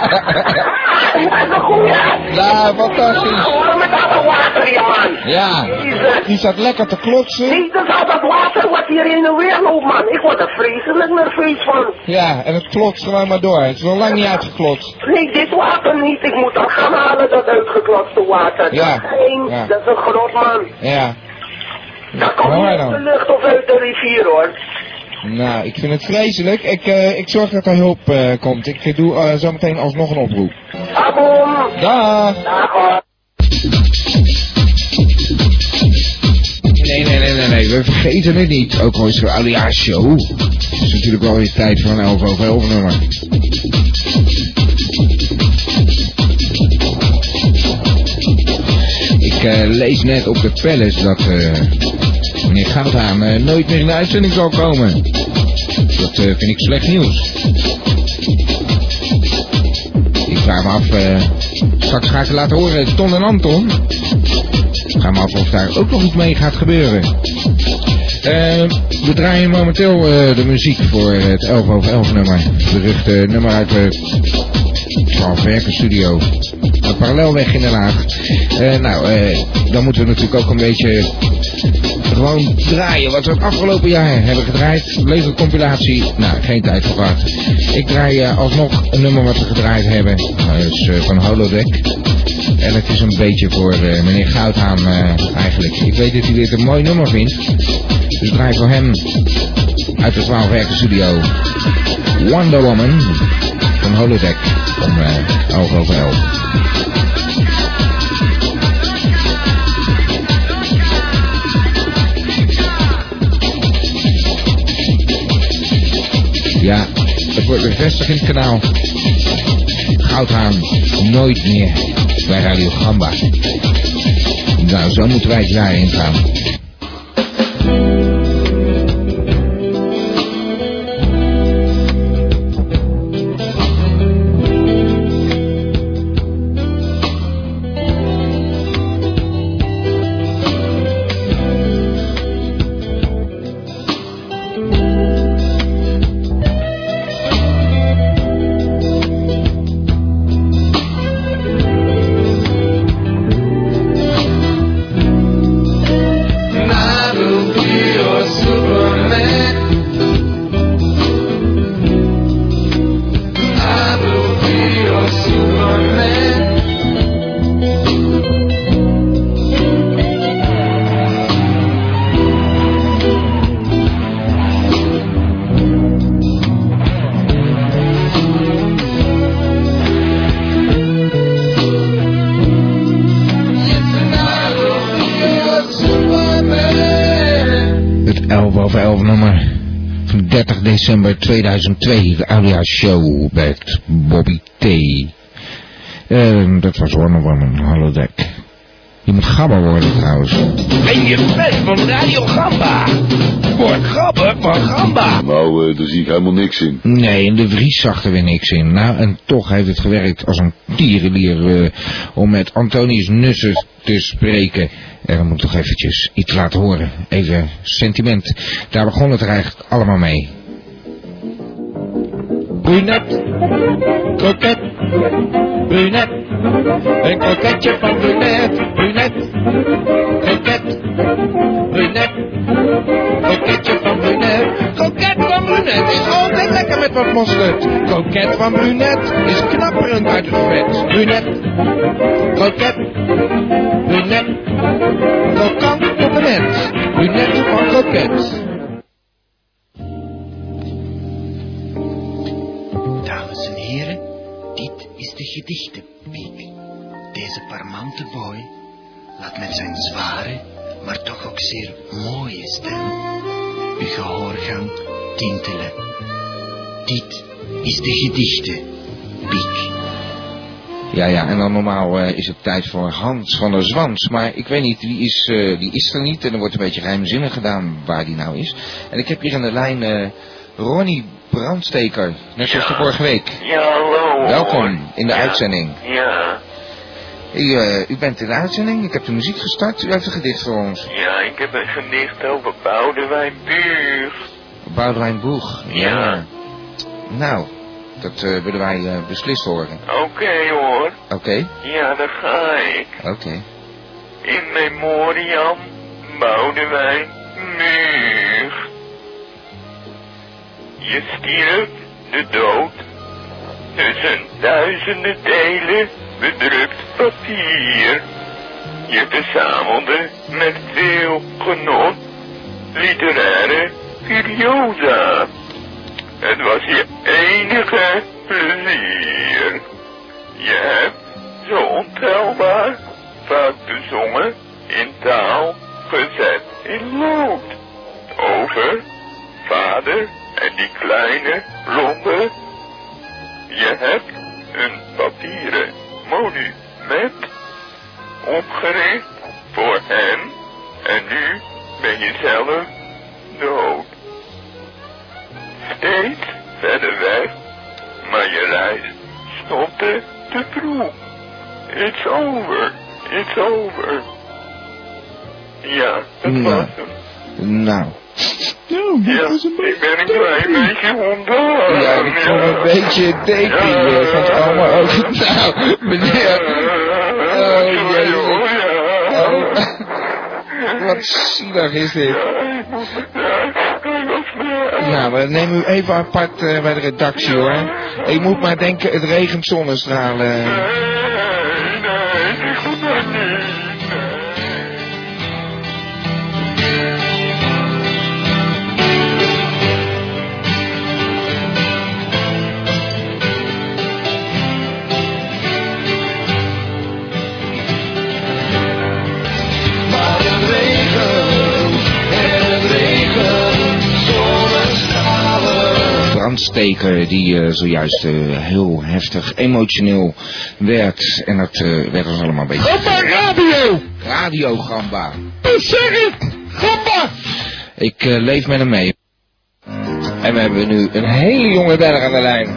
S12: Ah, Dat is een goeie!
S2: Ja, Nou, fantastisch.
S12: Gewoon met al dat water, ja, man!
S2: Ja, die zat lekker te klotsen.
S12: Niet dus al dat water wat hier in de weer loopt, man. Ik word er vreselijk nerveus van.
S2: Ja, en het klotst gewoon maar door. Het is nog lang niet uitgeklotst.
S12: Nee, dit water niet. Ik moet dat gaan halen, dat uitgeklotste water.
S2: Ja,
S12: Dat is één.
S2: ja.
S12: Dat is een groot man.
S2: Ja.
S12: Dat komt
S2: Nou,
S12: niet
S2: ja
S12: uit de
S2: dan.
S12: lucht of uit de rivier, hoor.
S2: Nou, ik vind het vreselijk. Ik, eh, ik zorg dat er hulp eh, komt. Ik eh, doe eh, zometeen alsnog een oproep.
S12: Aboom!
S2: Dag!
S12: Dag, hoor.
S2: Nee, nee, nee, nee, nee. We vergeten het niet. Ook al is het een show. Het is natuurlijk wel weer tijd voor een 11 over 11 nummer. eh, lees net op de Palace dat eh, meneer Goudhaan eh, nooit meer in de uitzending zal komen. Dat eh, vind ik slecht nieuws. Ik vraag me af, eh, straks ga ik het laten horen, Ton en Anton. Ik vraag me af of daar ook nog iets mee gaat gebeuren. Eh, we draaien momenteel eh, de muziek voor het 11 over 11 nummer. Het beruchte nummer uit de Charles Werken Studio. Een parallelweg in Den Haag. Eh, nou, eh, dan moeten we natuurlijk ook een beetje gewoon draaien. Wat we het afgelopen jaar hebben gedraaid. Leuke compilatie. Nou, geen tijd voor gehad. Ik draai eh, alsnog een nummer wat we gedraaid hebben. Dat is eh, van Holodeck. En het is een beetje voor eh, meneer Goudhaan eh, eigenlijk. Ik weet dat hij dit een mooi nummer vindt. Dus draai ik voor hem uit de 12 Werken Studio. Wonder Woman van Holodeck om eh 11 over 11. Ja, het wordt bevestigd in het kanaal. Goudhaan nooit meer bij Radio Gamba. Nou, zo moeten wij het jaar ingaan.
S24: I will be your Superman. I will be your Superman.
S2: Het 11 over 11 nummer van 30 december 2002. De Audia Show met Bobby T. Ehm, dat was Wonder Woman, Holodeck. Je moet gabber worden trouwens.
S5: Ben je fan van Radio Gamba? Word gabber van Gamba.
S2: Nou, daar zie ik helemaal niks in. Nee, in de Vries zag er weer niks in. Nou, en toch heeft het gewerkt als een tierenlier eh, om met Antonius Nussen te spreken. En dan moet toch eventjes iets laten horen. Even sentiment. Daar begon het er eigenlijk allemaal mee.
S4: Brunet, kroket, brunet, een kroketje van brunet, brunet, kroket, brunet, kroketje van brunet, kroket van brunet is altijd lekker met wat mosterd. Kroket van brunet is knapperend uit het vet. Brunet, kroket, brunet, krokant van brunet, brunet van kroket.
S25: Dames en heren, dit is de gedichtenpiek. Deze parmante boy laat met zijn zware, maar toch ook zeer mooie stem uw gehoorgang tintelen. Dit is de gedichtenpiek.
S2: Ja, ja, en dan normaal eh, is het tijd voor Hans van der Zwans. Maar ik weet niet, die is, eh, die is er niet. En er wordt een beetje geheimzinnig gedaan waar die nou is. En ik heb hier aan de lijn eh, Ronnie Brandsteker. Net zoals de vorige week.
S4: Ja, hallo.
S2: Welkom in de uitzending.
S4: Ja,
S2: U, eh, u bent in de uitzending, ik heb de muziek gestart. U heeft een gedicht voor ons.
S4: ja, ik heb een gedicht over Boudewijn Buur.
S2: Boudewijn Boeg.
S4: Ja.
S2: Nou, dat eh, willen wij eh, beslist horen.
S4: Oké hoor.
S2: Oké,
S4: Ja, daar ga ik.
S2: oké.
S4: In memoriam Boudewijn Muur. Je stierf de dood tussen duizenden delen bedrukt papier. Je verzamelde met veel genot literaire curiosa. Het was je enige plezier. Je hebt zo ontelbaar vaak bezongen, in taal gezet in lood. Over vader en die kleine ronde. Je hebt een papieren monument opgericht
S19: voor hen. En nu ben je zelf dood. Steeds verder weg, maar je lijst stopte te vroeg. It's over, it's over. Ja, dat
S2: Nou.
S19: was hem.
S2: Nou. Nou,
S19: Ja, ik ben een klein beetje ontdaan.
S2: Ja, ik kom een beetje in tekening weer van het allemaal over. Nou, meneer. Oh, jezus. Oh, Wat zielig is dit. Nou, we nemen u even apart eh, bij de redactie hoor. Ik moet maar denken, het regent zonnestralen.
S26: Maar het regent, en het regent, zonnestralen.
S2: brandsteker die eh, zojuist eh, heel heftig emotioneel werd. En dat eh, werd ons allemaal een beetje...
S26: Gamba Radio!
S2: Radio Gamba.
S26: Zeg het! Gamba!
S2: Ik eh, leef met hem mee. En we hebben nu een hele jonge berg aan de lijn.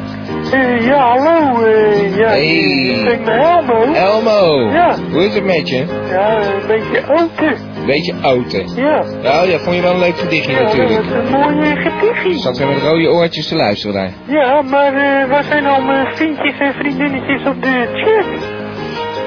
S4: ja, hallo. eh, ja,
S2: Hey.
S4: ik ben Elmo.
S2: Elmo,
S4: Ja.
S2: hoe is het met je?
S4: Ja, een beetje ouder.
S2: Beetje oud, hè?
S4: Ja.
S2: Nou ja, vond je wel een leuk gedichtje
S4: Ja,
S2: natuurlijk.
S4: dat is een mooi eh, gedichtje.
S2: Zat weer met rode oortjes te luisteren daar.
S4: Ja, maar eh, waar zijn al mijn vriendjes en vriendinnetjes op de chat?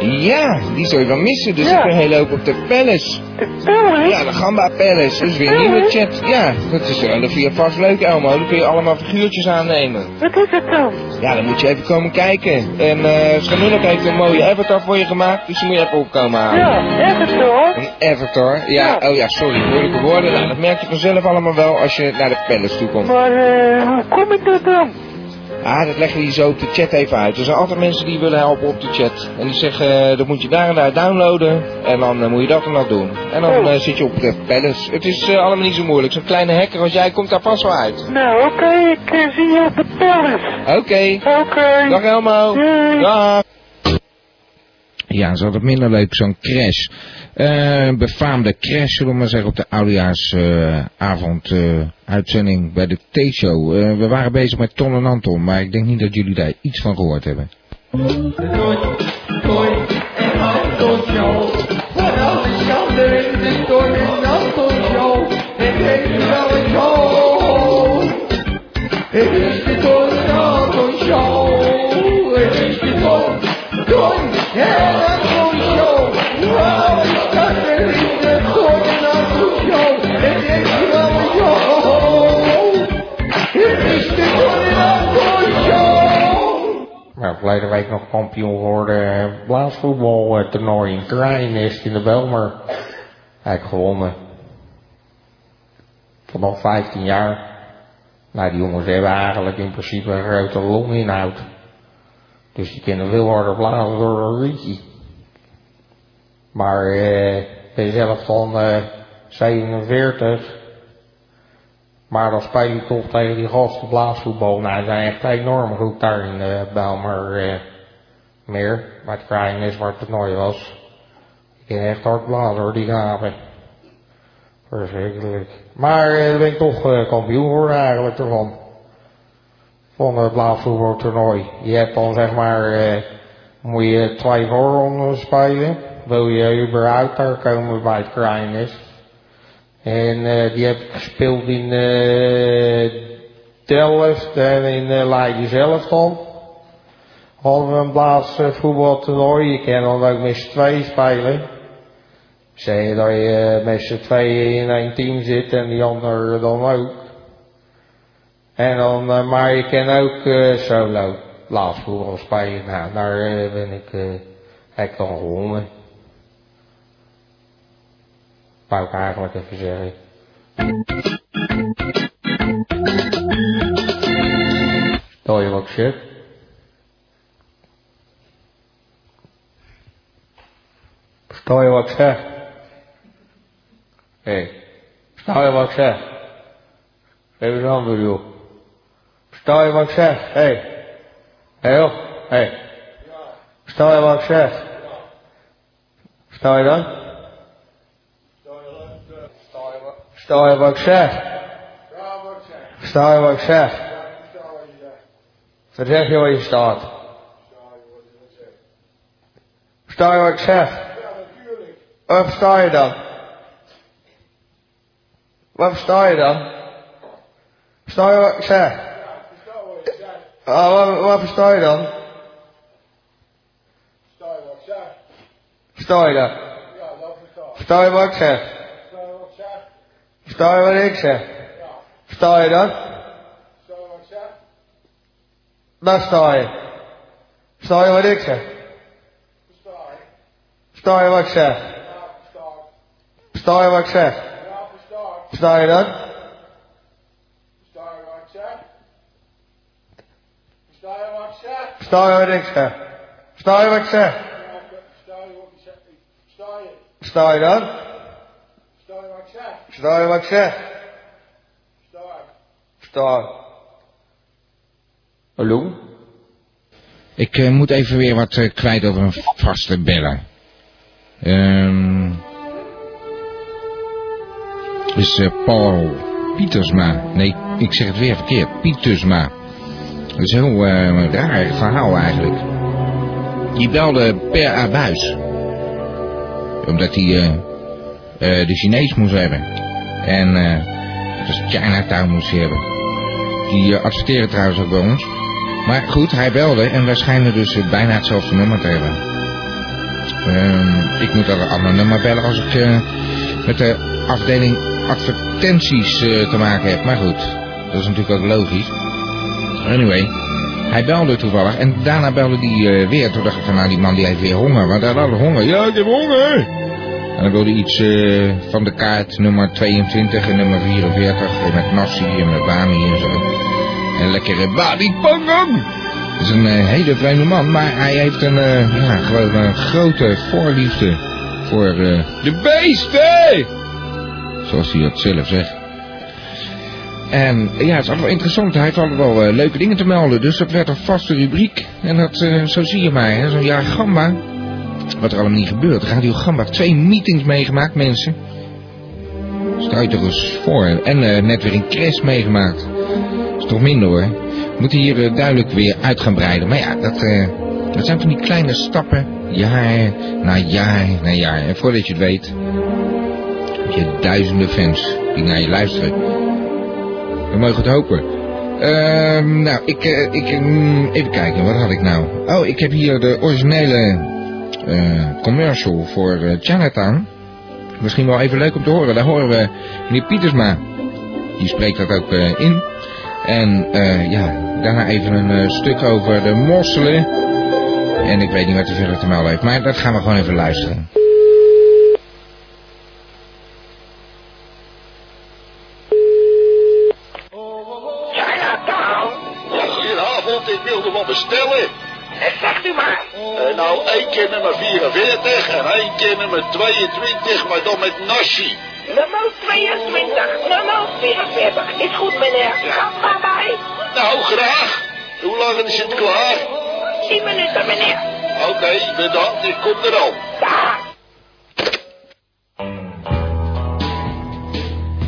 S2: Ja, die zou je wel missen. Dus
S4: Ja.
S2: ik een hele hoop op de Palace.
S4: De Palace?
S2: Ja, de Gamba Palace. Dat is weer een nieuwe chat. Ja, dat is eh, dat vind je vast leuk, Elmo. Dan kun je allemaal figuurtjes aannemen.
S4: Wat is het dan?
S2: Ja, dan moet je even komen kijken. En eh Schanullik heeft een mooie avatar voor je gemaakt, dus die moet je even opkomen halen.
S4: Ja, Everton.
S2: Een avatar? Ja, oh ja, sorry, moeilijke woorden. Nou, dat merk je vanzelf allemaal wel als je naar de palace toe komt.
S4: Maar eh, hoe kom ik dat dan?
S2: Ah, dat leggen die zo op de chat even uit. Er zijn altijd mensen die willen helpen op de chat. En die zeggen, eh, dat moet je daar en daar downloaden. En dan eh, moet je dat en dat doen. En dan eh, zit je op de palace. Het is eh, allemaal niet zo moeilijk. Zo'n kleine hacker als jij komt daar vast wel uit.
S4: Nou, oké, ik eh, zie je op de Palace.
S2: Oké.
S4: Oké.
S2: Dag Elmo.
S4: Doei.
S2: Dag. Ja, ze had het minder leuk, zo'n crash. Eh, een befaamde crash, zullen we maar zeggen, op de oudejaarsavond eh, uitzending bij de T-show. Eh, we waren bezig met Ton en Anton, maar ik denk niet dat jullie daar iets van gehoord hebben.
S27: Nou, verleden week nog kampioen geworden eh, blaasvoetbal eh, toernooi in Kraaienest in de Belmer. Heb ik gewonnen. Toen nog 15 jaar. Nou, die jongens hebben eigenlijk in principe een grote longinhoud. Dus die kunnen veel harder blazen door een rietje. Maar eh, ik ben zelf van eh 47. Maar dan speel je toch tegen die gasten blaasvoetbal. Nou, ze zijn echt enorm goed daar in de Belmer eh, meer. Maar het klein is waar het toernooi was. Ik ben echt hard blazen hoor, die gaven. Verschrikkelijk. Maar eh, dan ben ik toch eh, kampioen geworden eigenlijk ervan. Van het blaasvoetbal toernooi. Je hebt dan zeg maar, eh, moet je twee voorronden spelen. Wil je überhaupt daar komen bij het klein is. En eh, die heb ik gespeeld in eh Delft en in eh, Leiden zelf dan. Hadden we een plaats eh, voetbaltoernooi. Je kan dan ook met z'n tweeën spelen. Zeg je dat je eh, met z'n tweeën in één team zit en die ander dan ook. En dan, eh, maar je kan ook eh, solo plaats voetbal spelen. Nou, daar eh, ben ik, eh heb ik dan gewonnen. Wou ik eigenlijk even zeggen. Stel je wat Oh, shit. Versta je wat ik zeg? Hé, hey, versta je wat ik zeg? Geef eens antwoord, joh. Versta je wat ik zeg? Hé. Hey. Hé joh, hé. Hey. Versta je wat ik zeg? Versta je dat?
S10: Versta je wat ik zeg? Versta je wat ik zeg? Verzeg je wat je staat. Versta je wat ik zeg? Wat versta je dan? Wat versta je dan? Versta je wat ik zeg? Ah, wat, wat versta je dan? Versta je dat? Versta je wat ik zeg? Versta je wat ik zeg? Versta je dat? Daar sta je. Versta je wat ik zeg? Versta je wat ik zeg? Versta je wat ik zeg? Versta je dat? Versta je wat ik zeg? Versta je wat ik zeg? Versta je dat? Versta je wat ik zeg? Versta je. Hallo?
S2: Ik eh, moet even weer wat eh, kwijt over een vaste beller. Ehm dus eh, Paul Pietersma. Nee, ik zeg het weer verkeerd. Pietersma. Dat is een heel eh, raar verhaal eigenlijk. Die belde per abuis. Omdat hij eh, eh, de Chinees moest hebben. En eh dus Chinatown moest hij hebben. Die eh, adverteren trouwens ook bij ons. Maar goed, hij belde en wij schijnen dus eh, bijna hetzelfde nummer te hebben. Ehm, ik moet al een ander nummer bellen als ik eh, met de afdeling advertenties eh, te maken heb. Maar goed, dat is natuurlijk ook logisch. Anyway, hij belde toevallig en daarna belde hij eh, weer. Toen dacht ik van nou, die man die heeft weer honger. Want hij had al honger. Ja, ik heb honger. En dan wilde hij iets eh, van de kaart nummer 22 en nummer 44 eh, met nasi en met bami en zo. En lekkere bami pangang. Het is een eh, hele vreemde man, maar hij heeft een, eh, ja, gewoon een grote voorliefde voor eh, de beesten! Zoals hij dat zelf zegt. En ja, het is allemaal interessant. Hij heeft allemaal wel eh, leuke dingen te melden. Dus dat werd een vaste rubriek. En dat, eh, zo zie je mij, hè, zo'n jaar gamba. Wat er allemaal niet gebeurt. Radio Gamba, twee meetings meegemaakt, mensen. Stel je toch eens voor. En eh, net weer een crash meegemaakt. Is toch minder hoor. We moeten hier eh, duidelijk weer uit gaan breiden. Maar ja, dat, eh, dat zijn van die kleine stappen. Jaar na jaar na jaar. En voordat je het weet, heb je duizenden fans die naar je luisteren. We mogen het hopen. Ehm, nou, ik, eh, ik, mm, even kijken, wat had ik nou? Oh, ik heb hier de originele eh, commercial voor eh, Chinatown. Misschien wel even leuk om te horen. Daar horen we meneer Pietersma. Die spreekt dat ook eh, in. En eh, ja, daarna even een eh, stuk over de mosselen. En ik weet niet wat hij verder te melden heeft, maar dat gaan we gewoon even luisteren.
S28: Goedenavond, ik wilde wat bestellen. Zegt u maar. nou, één keer nummer 44 en één keer nummer 22, maar dan met nasi.
S4: Nummer 22, nummer 44. Is goed, meneer. Gaat daarbij.
S28: Nou, graag. Hoe lang is het klaar?
S4: 10 minuten, meneer.
S28: Oké, bedankt, ik kom er al.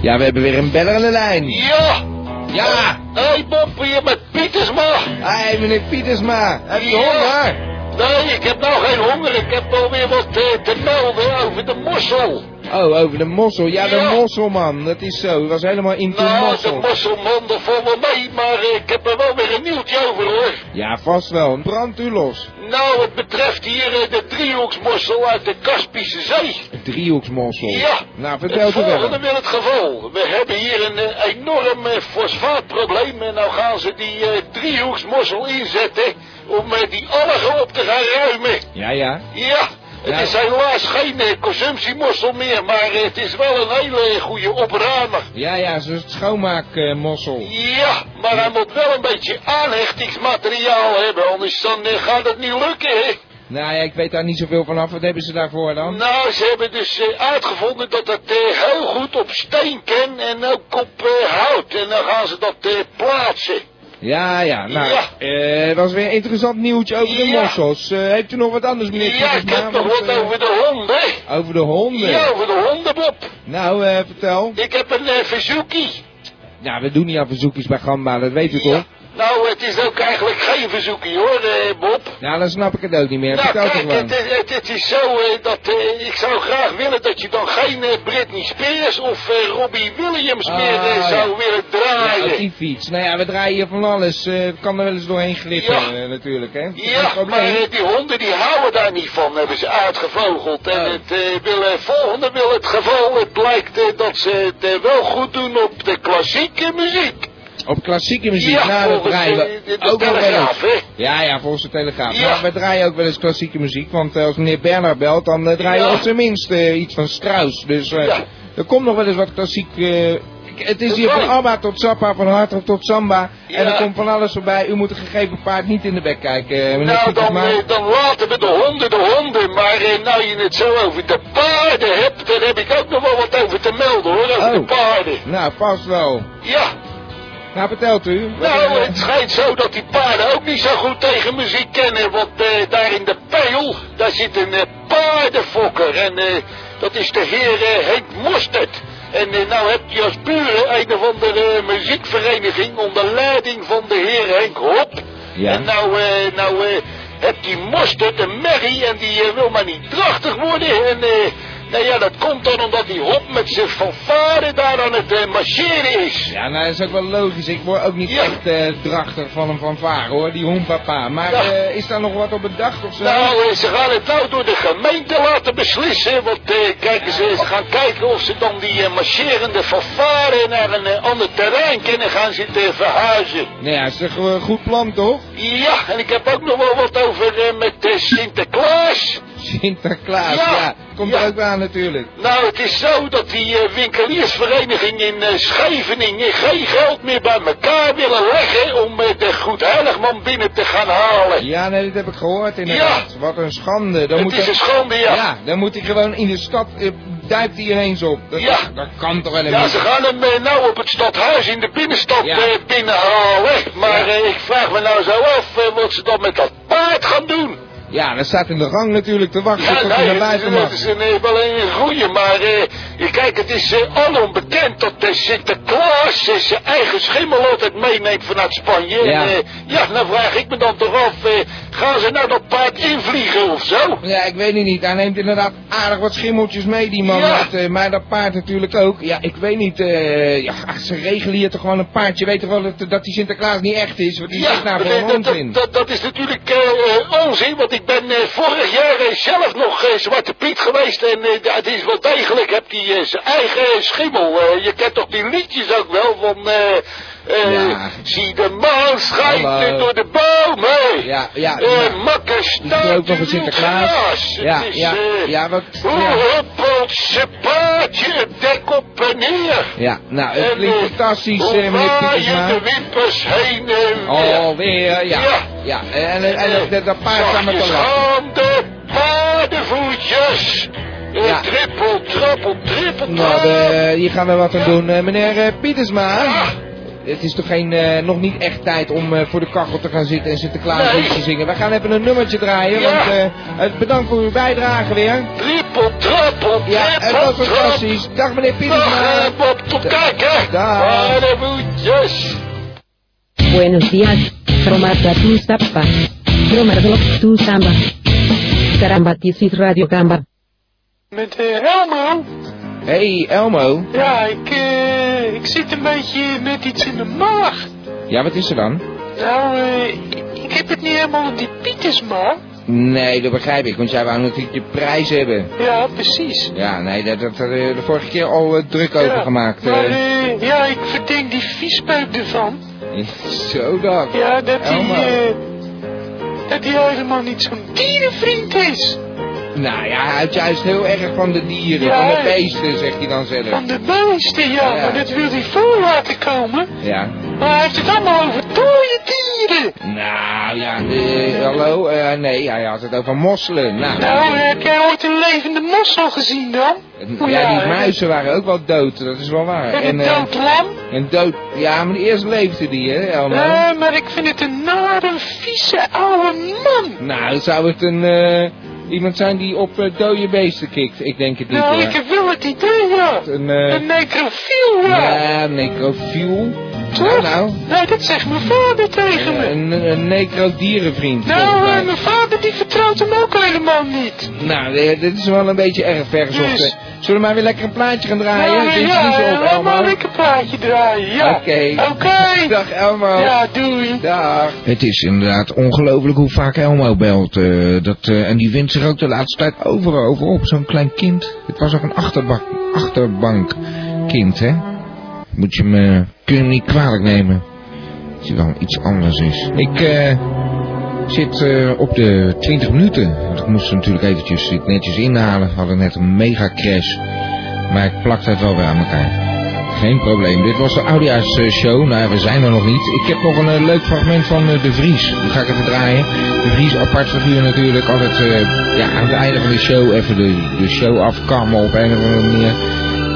S2: Ja, we hebben weer een beller aan de lijn.
S28: Ja!
S2: Ja!
S28: Hé, hey, Bob, hier met Pietersma.
S2: Hé, meneer Pietersma.
S28: Heb je honger? Nee, ik heb nou geen honger. Ik heb alweer wat eh, te melden over de mossel.
S2: Oh, over de mossel. Ja, de
S28: Ja.
S2: mosselman. Dat is zo. Het was helemaal into
S28: Nou, de
S2: mossel.
S28: mosselman, dat valt wel mee, maar eh, ik heb er wel weer een nieuwtje over, hoor.
S2: Ja, vast wel. Een brand u los.
S28: Nou, het betreft hier eh, de driehoeksmossel uit de Kaspische Zee.
S2: Een driehoeksmossel.
S28: Ja.
S2: Nou, vertel het
S28: het volgende
S2: wel.
S28: wil het geval. We hebben hier een eh, enorm eh, fosfaatprobleem. En nou gaan ze die eh, driehoeksmossel inzetten om eh, die algen op te gaan ruimen.
S2: Ja, ja.
S28: Ja, het
S2: Nou.
S28: is helaas geen eh, consumptiemossel meer, maar eh, het is wel een hele goede opruimer.
S2: Ja, ja, zo'n schoonmaakmossel.
S28: Ja, maar hij moet wel een beetje aanhechtingsmateriaal hebben, anders dan eh, gaat het niet lukken, hè.
S2: nou ja, ik weet daar niet zoveel van af. Wat hebben ze daarvoor dan?
S28: Nou, ze hebben dus eh, uitgevonden dat het eh, heel goed op steen kan en ook op eh, hout. En dan gaan ze dat eh, plaatsen.
S2: Ja, ja. Nou, eh, was weer interessant nieuwtje over de
S28: Ja.
S2: mossels. Eh, heeft u nog wat anders, meneer
S28: Ja, ik
S2: Pietersma?
S28: heb nog
S2: Want,
S28: wat
S2: eh,
S28: over de honden.
S2: Over de honden.
S28: Ja, over de honden, Bob.
S2: Nou, eh, vertel.
S28: Ik heb een eh, verzoekje.
S2: Ja, we doen niet aan verzoekjes bij Gamba, dat weet u toch?
S28: Nou, het is ook eigenlijk geen verzoekje hoor, eh, Bob.
S2: Ja, Nou, dan snap ik het ook niet meer.
S28: Nou,
S2: vertel
S28: kijk,
S2: toch gewoon.
S28: het, is- het, het is zo eh, dat eh, ik zou graag willen dat je dan geen eh, Britney Spears of eh, Robbie Williams meer eh,
S2: Ah,
S28: zou
S2: ja.
S28: willen
S2: Ja, op
S28: draaien.
S2: die fiets. Nou ja, we draaien hier van alles. Eh, Het kan er wel eens doorheen glippen,
S28: Ja.
S2: eh, natuurlijk, hè? Dat is
S28: Ja,
S2: het probleem.
S28: maar eh, die honden die houden daar niet van, hebben ze uitgevogeld. En het eh, wil, eh, volgende wil het geval, het blijkt eh, dat ze het eh, wel goed doen op de klassieke muziek.
S2: Op klassieke muziek,
S28: Ja,
S2: nou, dat
S28: volgens,
S2: draaien
S28: eh,
S2: we
S28: de- de
S2: ook nog wel
S28: Telegraaf,
S2: eens.
S28: hè?
S2: Ja, ja, volgens de Telegraaf.
S28: Ja.
S2: Maar we draaien ook wel eens klassieke muziek, want eh, als meneer Bernard belt, dan eh, draaien we
S28: Ja.
S2: op zijn minst eh, iets van Strauss. Dus eh, er komt nog wel eens wat klassiek... eh, k- het is Dat hier van kan. Abba tot Zappa, van Hartog tot Samba.
S28: Ja.
S2: En er komt van alles voorbij. U moet een gegeven paard niet in de bek kijken, eh, meneer
S28: Nou, dan,
S2: Pietersma.
S28: eh, dan laten we de honden de honden, maar eh, nou je het zo over de paarden hebt, daar heb ik ook nog wel wat over te melden hoor, over de paarden.
S2: Nou, vast wel.
S28: Ja,
S2: Nou, vertelt u. Wat,
S28: Nou,
S2: eh,
S28: het schijnt zo dat die paarden ook niet zo goed tegen muziek kennen. Want eh, daar in de pijl, daar zit een eh, paardenfokker. En eh, dat is de heer eh Henk Mostert. En eh, nou heb je als buren een of andere eh, muziekvereniging onder leiding van de heer Henk Hop.
S2: Ja.
S28: En nou, eh, nou eh, heb die Mostert een merrie en die eh, wil maar niet drachtig worden. En eh, nou ja, dat komt dan omdat die Hop met zijn fanfare daar aan het eh, marcheren is.
S2: Ja, nou, dat is ook wel logisch. Ik word ook niet echt eh, drachtig van een fanfare, hoor. Die hoenpapa. Maar
S28: Ja.
S2: eh, is daar nog wat op bedacht of zo?
S28: Nou, eh, ze gaan het nou door de gemeente laten beslissen. Want eh, kijken ze, ze gaan kijken of ze dan die eh, marcherende vervaren naar een eh, ander terrein kunnen gaan zitten verhuizen.
S2: Nou ja, is toch een goed plan, toch?
S28: Ja, en ik heb ook nog wel wat over eh, met eh, Sinterklaas.
S2: Sinterklaas, ja.
S28: Ja.
S2: Komt er ook wel aan, natuurlijk.
S28: Nou, het is zo dat die eh, winkeliersvereniging in eh, Scheveningen geen geld meer bij elkaar willen leggen om eh, de Goedheiligman binnen te gaan halen.
S2: Ja, nee, dat heb ik gehoord inderdaad. Wat een schande. Dan
S28: Het
S2: moet
S28: is
S2: er-
S28: een schande, ja.
S2: Ja, dan moet hij gewoon in de stad, eh, duikt hij ineens op. Dat,
S28: Ja.
S2: dat kan toch wel een
S28: Ja, ze gaan hem eh, nou op het stadhuis in de binnenstad
S2: Ja.
S28: eh, binnenhalen. Maar eh, ik vraag me nou zo af eh, wat ze dan met dat paard gaan doen.
S2: Ja, dat staat in de gang natuurlijk te wachten
S28: Ja,
S2: tot hij naar buiten
S28: dat
S2: mag.
S28: is een, eh, wel een goeie, maar eh, je kijk, het is eh, alom bekend dat de Sinterklaas eh, zijn eigen schimmel altijd meeneemt vanuit Spanje.
S2: Ja.
S28: En, eh, ja, dan vraag ik me dan toch af, eh, gaan ze nou dat paard invliegen of zo?
S2: Ja, ik weet het niet. Hij neemt inderdaad aardig wat schimmeltjes mee, die man.
S28: Ja.
S2: Met, eh, maar dat paard natuurlijk ook. Ja, ik weet niet. eh, ja, ach, ze regelen hier toch gewoon een paard. Je weet toch wel dat, dat die Sinterklaas niet echt is? Wat is dit nou
S28: maar,
S2: voor
S28: eh, dat,
S2: onzin?
S28: dat, dat, dat is natuurlijk eh, eh, onzin, want ik ben eh, vorig jaar eh, zelf nog eh, Zwarte Piet geweest. En eh, ja, het is wel degelijk, heb die eh, zijn eigen eh, schimmel. Eh, je kent toch die liedjes ook wel van... eh, eh, Zie de maan schijnt
S2: Hallo.
S28: eh, door de bomen.
S2: Ja, ja,
S28: Eh,
S2: ja.
S28: makker
S2: Die is er
S28: staat
S2: ook nog een Sinterklaas. Ja, ja, ja, wat... Ja,
S28: eh, Hoe huppelt ze paardje het dek op en neer.
S2: ja. nou, het
S28: En,
S2: klinkt
S28: eh,
S2: fantastisch,
S28: Hoe
S2: eh meneer
S28: waaien
S2: Pietersma.
S28: de wimpers heen en weer.
S2: Alweer, ja. Ja, en, en, en dat- dat paard staat met te lachen.
S28: de paardenvoetjes. Eh, Trippel, trappel, trippel,
S2: Nou,
S28: trappel.
S2: de- hier gaan we wat aan doen. Eh, meneer eh, Pietersma, het is toch geen, eh, nog niet echt tijd om eh, voor de kachel te gaan zitten en Sinterklaas
S28: Nee.
S2: liedjes te zingen. We gaan even een nummertje draaien,
S28: Ja.
S2: want eh, eh, bedankt voor uw bijdrage weer.
S28: Trippel, trappel,
S2: Ja, het
S28: trippel,
S2: was
S28: trappel.
S2: fantastisch. Dag meneer
S28: Dag,
S2: Pietersma.
S28: eh, Bob, tot kijken.
S2: Dag.
S28: Paardenvoetjes.
S9: Buenos días, Cromarta tu zapa. Cromarta tu samba. Carambatis Radio Gamba.
S4: Met eh, Elmo?
S2: Hey Elmo.
S4: Ja, ik, eh, ik zit een beetje met iets in de maag.
S2: Ja, wat is er dan?
S4: Nou, eh, ik heb het niet helemaal op die Pietersma.
S2: Nee, dat begrijp ik, want jij wou natuurlijk je prijs hebben.
S4: Ja, precies.
S2: Ja, nee, daar dat, dat, eh, de vorige keer al eh, druk over
S4: Ja,
S2: gemaakt.
S4: Maar
S2: eh.
S4: eh, ja, ik verdenk die viespeuk ervan.
S2: Zo dan.
S4: Ja, dat
S2: Elmo.
S4: hij dat hij helemaal niet zo'n dierenvriend is.
S2: Nou ja, hij houdt juist heel erg van de dieren,
S4: Ja,
S2: van de
S4: hè?
S2: beesten, zegt hij dan zelf.
S4: Van de beesten, ja,
S2: Ja.
S4: maar dat wil hij voor laten komen.
S2: Ja.
S4: Maar hij heeft het allemaal over dode dieren.
S29: moeder.
S2: Nou ja, eh, hallo, eh, nee, hij had het over mosselen. Nou,
S4: Nou, heb jij ooit een levende mossel gezien dan?
S2: ja, die muizen waren ook wel dood, dat is wel waar.
S4: En een
S2: eh,
S4: dood lam?
S2: Een dood, ja, maar eerst leefde die, hè, Elmo?
S4: Eh, maar ik vind het een nare, vieze oude man.
S2: Nou, dan zou het een, eh, iemand zijn die op eh, dode beesten kikt. Ik denk het niet,
S4: Nou,
S2: hoor.
S4: ik heb wel het idee, ja.
S2: Een, eh,
S4: Een necrofiel, ja.
S2: Ja, necrofiel.
S4: Toch?
S2: Nou,
S4: Nee, dat zegt mijn vader tegen me.
S2: een, een necrodierenvriend.
S4: Nou,
S2: volgens mij.
S4: eh, mijn vader die vertrouwt hem ook helemaal niet.
S2: Nou, eh, dit is wel een beetje erg vergezocht.
S4: Dus-
S2: hè. Zullen we maar weer lekker een plaatje gaan draaien?
S4: Nou,
S2: Het is
S4: ja,
S2: niet zo
S4: eh,
S2: op,
S4: laat maar
S2: Elmo.
S4: lekker plaatje draaien, ja.
S2: Oké.
S4: Oké.
S2: Dag, Elmo.
S4: Ja, doei.
S2: Dag. Het is inderdaad ongelooflijk hoe vaak Elmo belt. eh, dat, eh, en die wint zich ook de laatste tijd overal over op. Zo'n klein kind. Het was ook een achterbak, achterbankkind, hè? Moet je me, kun je hem niet kwalijk nemen. Als hij wel iets anders is. Ik eh, zit eh, op de 20 minuten. Want ik moest natuurlijk eventjes dit netjes inhalen. We hadden net een mega crash. Maar ik plakte het wel weer aan elkaar. Geen probleem. Dit was de Audia's eh, show. Nou, ja, we zijn er nog niet. Ik heb nog een eh, leuk fragment van eh, De Vries. Die ga ik even draaien. De Vries, apart figuur natuurlijk. Altijd eh, ja, aan het einde van de show even de, de show afkammen op een of andere manier.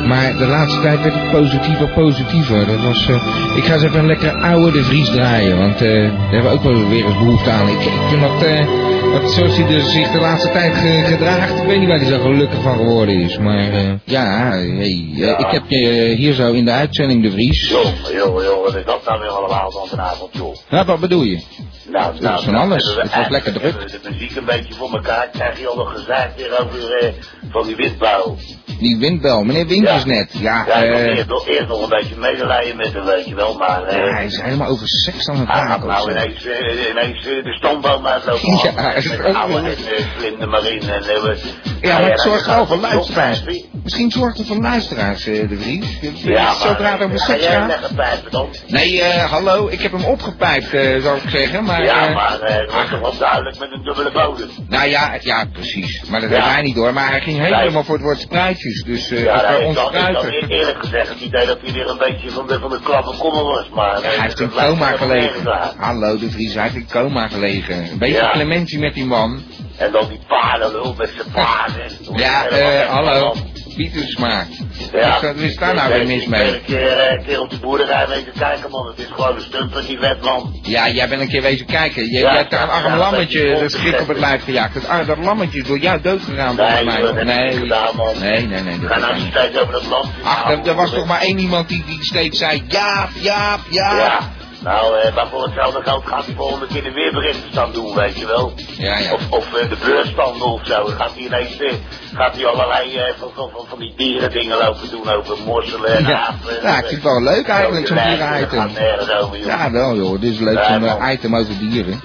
S2: Maar de laatste tijd werd het positiever, positiever. Dat was, eh, ik ga eens even een lekkere oude De Vries draaien. Want eh, daar hebben we ook wel weer eens behoefte aan. Ik, ik vind dat, eh, dat zoals hij dus zich de laatste tijd ge- gedraagt. Ik weet niet waar hij zo gelukkig van geworden is. Maar eh, ja, hey, eh,
S3: Ja.
S2: ik heb je hier zo in de uitzending De Vries.
S3: Jongen, jongen, jongen, wat is dat nou weer allemaal van vanavond, joh?
S2: Nou, wat bedoel je?
S3: Nou,
S2: Dat is van alles. Het was lekker druk.
S3: hebben we de muziek een beetje voor elkaar. Krijg je al nog gezeik weer over eh, van die witbouw.
S2: Die windbel, meneer Winkers net. Ja,
S3: Ja, ik wil
S2: eh,
S3: eerst, nog- eerst nog een beetje medelijden met hem, weet je wel, maar... eh,
S2: ja, hij is helemaal over seks aan het
S3: hij gaat
S2: praten. of zo.
S3: nou ineens, eh, ineens eh, de stoomboom uitlopen.
S2: Ja,
S3: halen.
S2: is
S3: Met
S2: ook
S3: oude
S2: wel.
S3: en eh, slim er maar in. En, eh, we-
S2: Ja, maar het
S3: dan
S2: zorgt
S3: gaat
S2: wel voor
S3: het
S2: luisteraars.
S3: nog-
S2: Misschien zorgt het voor luisteraars, eh, De Vries.
S3: Ja, maar... eh,
S2: Zodra het over
S3: ga
S2: seks
S3: jij
S2: gaat.
S3: leggen pijpen dan?
S2: Nee, eh, hallo, ik heb hem opgepijpt, eh, zou ik zeggen. Maar,
S3: ja,
S2: eh,
S3: maar eh, het was toch wel duidelijk met een dubbele bodem.
S2: Nou ja, ja, precies. Maar dat
S3: Ja.
S2: heeft hij niet door. Maar hij ging
S3: Nee.
S2: helemaal voor het woord spruitjes. Dus eh
S3: ja,
S2: dat
S3: nee,
S2: was
S3: ik
S2: ons
S3: had, ik had
S2: spruiter.
S3: eer- eerlijk gezegd het idee dat hij weer een beetje van de, van de klappen komen was, maar...
S2: Ja,
S3: eh,
S2: hij heeft in
S3: dat lijkt me
S2: coma
S3: helemaal
S2: gelegen.
S3: nergens aan.
S2: Hallo, de Vries, hij heeft in coma gelegen. Een beetje
S3: Ja.
S2: clementie met die man.
S3: En dan die paardenlul met zijn paarden.
S2: Ja, eh, hallo. Pietersma. Wat is- wat is daar nou weer mis
S3: Ik ben
S2: mee?
S3: een keer, eh, een keer op de boerderij mee te kijken, man. Het is gewoon een stumper, die wet, man.
S2: Ja, jij bent een keer wezen kijken. Je,
S3: Ja,
S2: jij hebt daar een
S3: ja,
S2: arm
S3: ja, dat
S2: lammetje
S3: is
S2: dat schrik op het lijf gejaagd. Dat, ar- dat lammetje is door jou doodgegaan volgens
S3: Nee,
S2: mij.
S3: joh, dat heb ik
S2: nee.
S3: niet gedaan, man.
S2: nee, nee, nee.
S3: We
S2: dat
S3: gaan
S2: kan
S3: nou
S2: niet.
S3: niet steeds over dat land.
S2: Ach, er, er was toch maar één iemand die, die steeds zei, Jaap, Jaap, Jaap.
S3: Ja. Nou, eh, maar voor hetzelfde geld gaat hij volgende keer de weerberichtenstand doen, weet je wel.
S2: Ja, ja.
S3: Of, of eh, de beursstanden of zo. Dan Gaat hij ineens eh, gaat hij allerlei eh, van, van, van, van die dierendingen lopen doen over morselen en
S2: Ja,
S3: apen. en,
S2: ja, ik
S3: eh,
S2: vind het wel leuk eigenlijk, zo'n
S3: grote lijken. Dat
S2: dierenitem.
S3: gaat nergens over, joh.
S2: Ja, wel joh, dit is leuk,
S3: Nee,
S2: zo'n eh,
S3: man.
S2: item over dieren.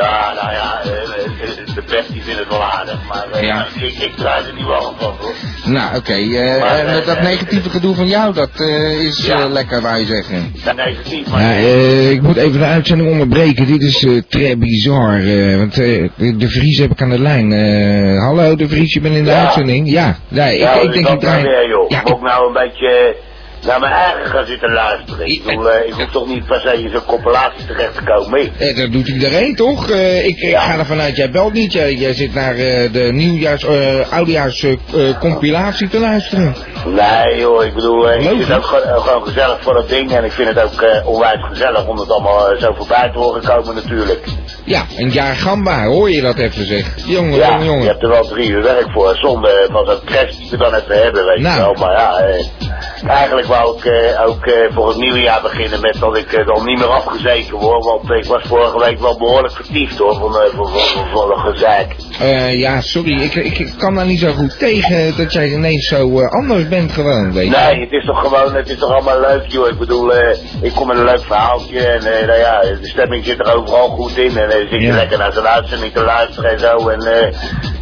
S3: Ja, nou ja, eh, eh, de pest die vindt het wel aardig, maar eh,
S2: Ja.
S3: ik, ik draai er niet warm van hoor.
S2: Nou, oké, eh,
S3: Maar,
S2: eh, met
S3: eh,
S2: dat
S3: eh,
S2: negatieve gedoe van jou, dat eh, is eh, lekker, wij zeggen.
S3: Negatief, maar
S2: Ja, eh, ik moet even de uitzending onderbreken. Dit is eh très bizar. eh, want eh, de Vries heb ik aan de lijn. Eh, hallo, de Vries, je bent in de
S3: Ja.
S2: uitzending? Ja, nee, ik,
S3: Ja,
S2: ik denk
S3: dat
S2: ik
S3: nou
S2: draai-
S3: weer, joh.
S2: Ja,
S3: ik moet nou een beetje eh, naar mijn eigen gaan zitten luisteren. Ik, bedoel, eh, ik hoef toch niet per se in zo'n compilatie terecht te komen. hè?
S2: eh, dat doet iedereen toch? Eh, ik, ik ga ervan uit, jij belt niet. Jij, jij zit naar eh, de nieuwjaars, eh oudjaars eh, eh, compilatie te luisteren.
S3: Nee joh, ik bedoel, eh, ik
S2: Leuk,
S3: vind het ook gewoon, eh, gewoon gezellig voor dat ding en ik vind het ook eh, onwijs gezellig om het allemaal eh, zo voorbij te horen komen natuurlijk.
S2: Ja, een jaar gamba, hoor je dat even zeg? Jongen,
S3: ja,
S2: jongen,
S3: je
S2: jongen.
S3: hebt er wel drie uur werk voor. Zonde eh, van zo'n crash die we dan even hebben, weet
S2: Nou.
S3: je wel. Maar ja, eh, eigenlijk wou ik eh, ook eh, voor het nieuwe jaar beginnen met dat ik eh, dan niet meer afgezeken word. Want ik was vorige week wel behoorlijk vertiefd hoor, van, eh, van, van, van, van een gezeik.
S2: Eh, ja, sorry, ik, ik, ik kan daar niet zo goed tegen dat jij ineens zo eh, anders bent gewoon, weet je.
S3: Nee, het is toch gewoon, het is toch allemaal leuk joh. Ik bedoel, eh, ik kom met een leuk verhaaltje en eh, nou ja, de stemming zit er overal goed in. En eh, zit je
S2: Ja.
S3: lekker naar zijn uitzending te luisteren en zo. En eh,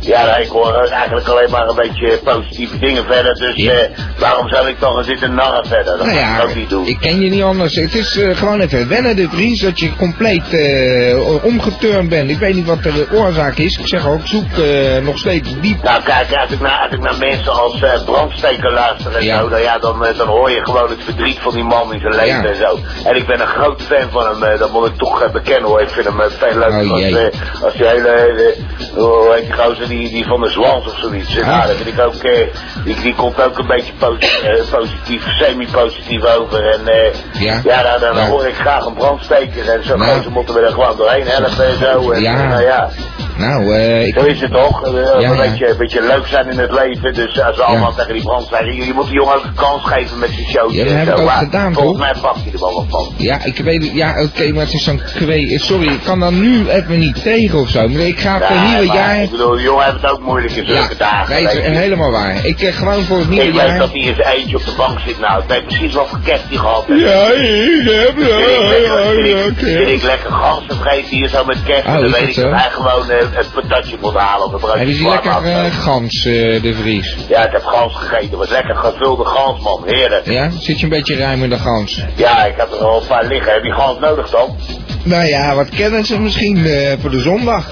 S3: Ja, nou, ik hoor eigenlijk alleen maar een beetje positieve dingen verder. Dus eh, waarom zou ik toch eens zitten narren verder? Dat
S2: Nou
S3: kan
S2: ja,
S3: ik ook niet doen.
S2: ik ken je niet anders. Het is eh, gewoon even wennen, dit Ries, dat je compleet eh, omgeturnd bent. Ik weet niet wat de oorzaak is. Ik zeg ook, ik zoek eh, nog steeds diep.
S3: Nou kijk, als ik naar, als ik naar mensen als eh brandsteker luister en zo, dan, ja, dan, eh, dan hoor je gewoon het verdriet van die man in zijn leven en zo. En ik ben een groot fan van hem, eh, dat moet ik toch eh, bekennen hoor. Ik vind hem eh, veel leuker
S2: Oh,
S3: als,
S2: jee.
S3: eh, als die hele, eh, hoe heet die gozer, die, die van de zwans of zoiets. Ja, dat vind ik ook, eh, die, die komt ook een beetje posi- eh, positief, semi-positief over. En eh,
S2: Ja.
S3: ja, nou, dan, dan hoor ik graag een brandsteker en zo,
S2: Nou.
S3: ze moeten we er gewoon doorheen helpen en zo. En,
S2: Ja.
S3: Nou ja.
S2: Nou, eh, ik...
S3: Zo is het toch? Eh,
S2: Ja,
S3: een,
S2: ja.
S3: Beetje, een beetje leuk zijn in het leven. Dus als we allemaal tegen die brand zijn. Je, je moet die jongen ook een kans geven met zijn show.
S2: Ja, dat heb ik ook gedaan,
S3: Volgens mij pakt hij er wel wat van.
S2: Ja, ik weet het. Ja, oké, maar het is zo'n kwee. eh, Sorry, ik kan daar nu even niet tegen of zo. Maar ik ga voor het eh,
S3: Nee,
S2: nieuwe
S3: maar
S2: jaar...
S3: Ik bedoel, die jongen heeft het ook moeilijk in zulke dagen.
S2: Nee,
S3: weet
S2: het
S3: je.
S2: is helemaal waar. Ik eh, gewoon voor het nieuwe
S3: ik
S2: jaar...
S3: weet dat hij in zijn eentje op de bank zit nou. Ik weet precies wat voor kerst hij gehad heeft.
S2: Ja, ik heb- ja,
S3: Zit ik lekker-
S2: ja,
S3: zit ik-
S2: ja, oké.
S3: Zit ik lekker ganzen vreten hier zo met kerst.
S2: Oh,
S3: en dan
S2: is
S3: weet
S2: dat
S3: ik
S2: zo?
S3: dat hij gewoon eh, het patatje moet halen. Of een broodje
S2: Hebben ze
S3: warm
S2: lekker eh, gans, eh, de Vries?
S3: Ja, ik heb gans gegeten. Het was lekker gevulde gans, man. Heerlijk.
S2: Ja? Zit je een beetje ruim in de gans?
S3: Ja, ik heb er al een paar liggen. Heb je gans nodig dan?
S2: Nou ja, wat kennen ze misschien eh, voor de zondag?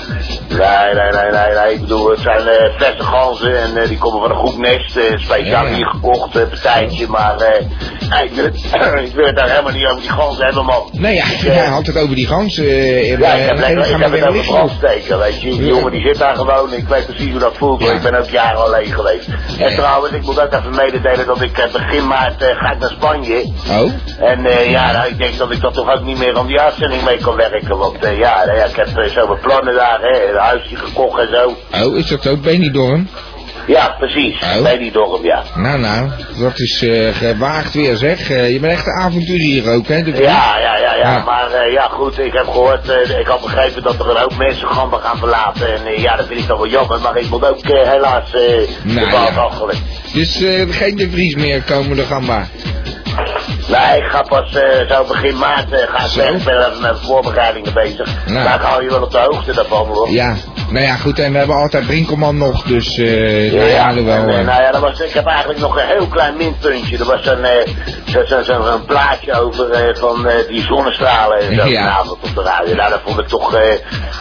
S3: Nee, nee, nee, nee, nee. Ik bedoel, het zijn eh verse ganzen en eh, die komen van een goed nest. eh, speciaal
S2: Ja, ja.
S3: hier gekocht, een partijtje. Maar eh, nee, ik, wil het, ik wil het daar helemaal niet over die ganzen hebben, man.
S2: Nee, ja, hij had het over die gans. eh,
S3: Ja,
S2: in-
S3: ik heb,
S2: eh, en
S3: lekker,
S2: gaan
S3: ik
S2: we
S3: heb het
S2: weer
S3: over
S2: liggen.
S3: brandsteken, weet je. Die
S2: Ja.
S3: jongen die zit daar gewoon. Ik weet precies hoe dat voelt, want ik ben ook jaren alleen geweest. En trouwens, ik moet ook even mededelen dat ik eh, begin maart eh, ga ik naar Spanje.
S2: Oh?
S3: En eh, ja, nou, ik denk dat ik dat toch ook niet meer aan die uitzending mee kan werken. Want eh, ja, nou ja, ik heb eh, zo mijn plannen daar, hè, een huisje gekocht en zo.
S2: Oh, is dat ook Benidorm?
S3: Ja, precies.
S2: Oh.
S3: Bij die dorp, ja.
S2: Nou, nou, dat is eh, gewaagd weer, zeg. Eh, je bent echt een avonturier ook, hè, de Vries? Ah,
S3: Ja, ja, ja, ja.
S2: Ja.
S3: Maar eh, ja, goed, ik heb gehoord, eh, ik had begrepen dat er een hoop mensen Gamba gaan verlaten. En eh, ja, dat vind ik dan wel jammer, maar ik moet ook eh, helaas eh
S2: Nou,
S3: de bal
S2: ja.
S3: afgooien.
S2: Dus eh, geen de Vries meer, komende gamba.
S3: Nee, ik ga pas eh, zo begin maart eh, ga ik
S2: Zo.
S3: weg. Ik ben even met voorbereidingen bezig.
S2: Nou.
S3: Maar ik hou je wel op de hoogte daarvan, hoor.
S2: Ja, nou ja, goed, en we hebben altijd Brinkelman nog, dus eh, nou ja, alhoewel,
S3: en, eh,
S2: eh,
S3: nou ja, dat was, ik heb eigenlijk nog een heel klein minpuntje. Er was zo'n eh, zo, zo, zo, zo'n plaatje over eh, van eh, die zonnestralen en zo
S2: Ja.
S3: vanavond op de radio. Nou, dat vond ik toch, eh,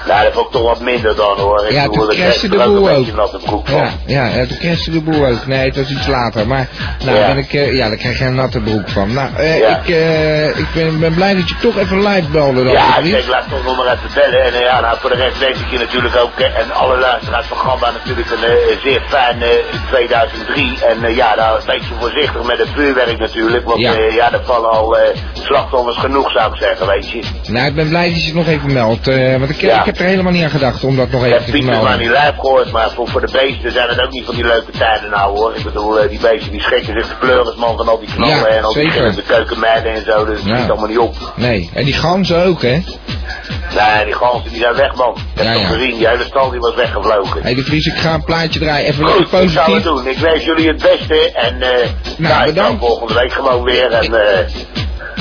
S3: nou, dat vond ik toch wat minder dan hoor. Ik
S2: Ja,
S3: bedoel,
S2: toen
S3: dat
S2: crashte
S3: kreeg
S2: de
S3: er ook
S2: boel
S3: een
S2: ook.
S3: beetje natte broek van.
S2: Ja, ja, ja, toen kreeg ze de boel ook. Nee, het was iets later. Maar nou,
S3: Ja.
S2: ben ik, eh, ja, daar krijg je een natte broek van. Nou, eh,
S3: Ja.
S2: ik, eh, ik ben, ben blij dat je toch even live belde dan.
S3: Ja,
S2: de
S3: ik
S2: Vries.
S3: denk, laat toch nog maar even bellen. En eh, ja, nou, voor de rest wens ik je natuurlijk ook, eh, en alle luisteraars van Gamba natuurlijk een eh, zeer fijn eh, 2003. En eh, ja, nou, een beetje voorzichtig met het vuurwerk natuurlijk. Want
S2: Ja.
S3: ja, ja er vallen al eh, slachtoffers genoeg, zou ik zeggen, weet je.
S2: Nou, ik ben blij dat je het nog even meldt. eh, want ik,
S3: Ja.
S2: ik heb er helemaal niet aan gedacht om dat nog
S3: Ik
S2: even
S3: heb
S2: te
S3: Pieter maar niet
S2: melden.
S3: lijf gehoord, maar voor, voor de beesten zijn het ook niet van die leuke tijden nou hoor. Ik bedoel, eh, die beesten die schrikken zich de pleurisman van al die knallen
S2: Ja,
S3: en al die
S2: zeker.
S3: gillende keukenmeiden en zo. Dus het
S2: Ja.
S3: schiet allemaal niet op.
S2: Nee, en die ganzen ook, hè?
S3: Nee, die ganzen die zijn weg man. Ik heb
S2: Ja,
S3: toch
S2: ja.
S3: gezien, die hele stal die was weggevlogen.
S2: Hé, de Vries, ik ga een plaatje draaien. Even lekker
S3: Goed, ik zou het
S2: positief.
S3: doen. Ik wens jullie het beste en eh nou, ik kan volgende week gewoon weer en eh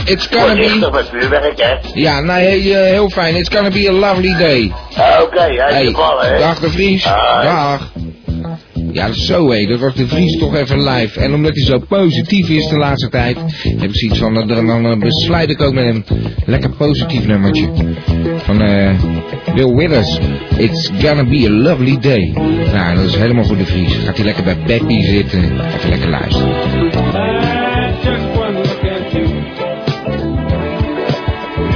S2: It's gonna be...
S3: voorzichtig met vuurwerk hè.
S2: Ja, nee, hey, eh, heel fijn. It's gonna be a lovely day.
S3: Ah, Oké, hij is gevallen hè.
S2: dag de Vries. Dag. Ja, dat is zo hé, dat was de Vries toch even live. En omdat hij zo positief is de laatste tijd, heb ik zoiets van, eh, dan, dan eh, besluit ik ook met een lekker positief nummertje. Van eh Bill Withers, It's gonna be a lovely day. Nou, dat is helemaal voor de Vries. Gaat hij lekker bij Beppie zitten, even lekker luisteren.
S30: Just one look at you,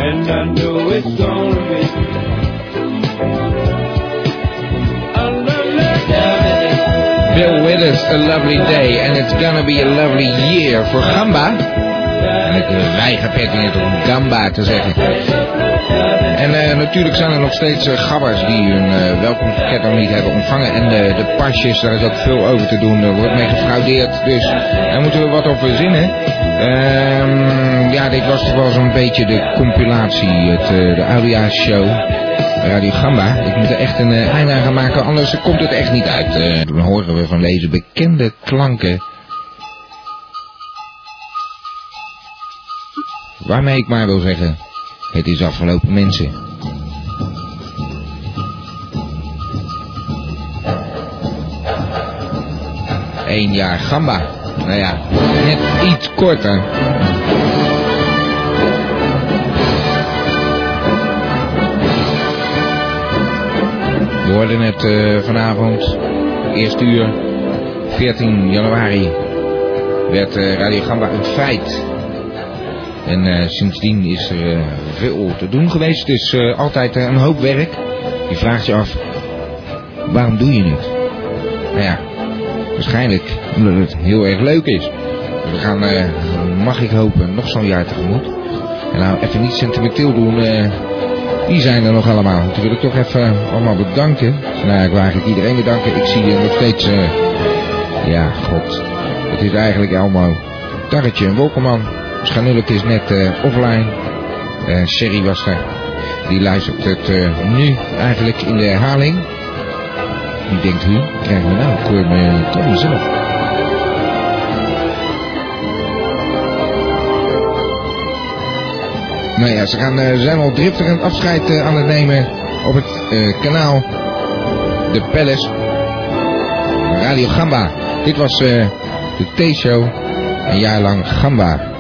S30: and I know it's gonna be a lovely day.
S2: Bill Withers, a lovely day. And it's gonna be a lovely year voor Gamba. En ik eh, weiger pertinent om Gamba te zeggen. En eh, natuurlijk zijn er nog steeds eh, gabbers die hun eh welkomstpakket nog niet hebben ontvangen. En de, de pasjes, daar is ook veel over te doen. Er wordt mee gefraudeerd. Dus daar moeten we wat op verzinnen. Ehm, ja, dit was toch wel zo'n beetje de compilatie. Het, eh, de Audia Show. Radio Gamba. Ik moet er echt een eh, einde aan gaan maken, anders komt het echt niet uit. Eh, dan horen we van deze bekende klanken. Waarmee ik maar wil zeggen, het is afgelopen mensen. één jaar gamba. Nou ja, net iets korter. We hoorden het eh, vanavond, eerste uur, 14 januari, werd eh, Radio Gamba een feit. En eh, sindsdien is er eh, veel te doen geweest. Het is eh, altijd eh, een hoop werk. Je vraagt je af, waarom doe je het? Nou ja, waarschijnlijk omdat het heel erg leuk is. Dus we gaan, eh, mag ik hopen, nog zo'n jaar tegemoet. En nou, even niet sentimenteel doen. eh, die zijn er nog allemaal. Want Die wil ik toch even eh, allemaal bedanken. Nou, ja, ik wil eigenlijk iedereen bedanken. Ik zie hier nog steeds... eh, ja, god. Het is eigenlijk allemaal... Tarretje en Wolkerman. Schanulik is net eh, offline. Eh Sherry was er. Die luistert het eh, nu eigenlijk in de herhaling. Die denkt, u, krijgen we nou? Ik hoor me, ik hoor mezelf. Nou ja, ze gaan, eh, ze zijn al driftig een afscheid eh, aan het nemen op het eh, kanaal De Palace Radio Gamba. Dit was eh, de T-show, een jaar lang Gamba.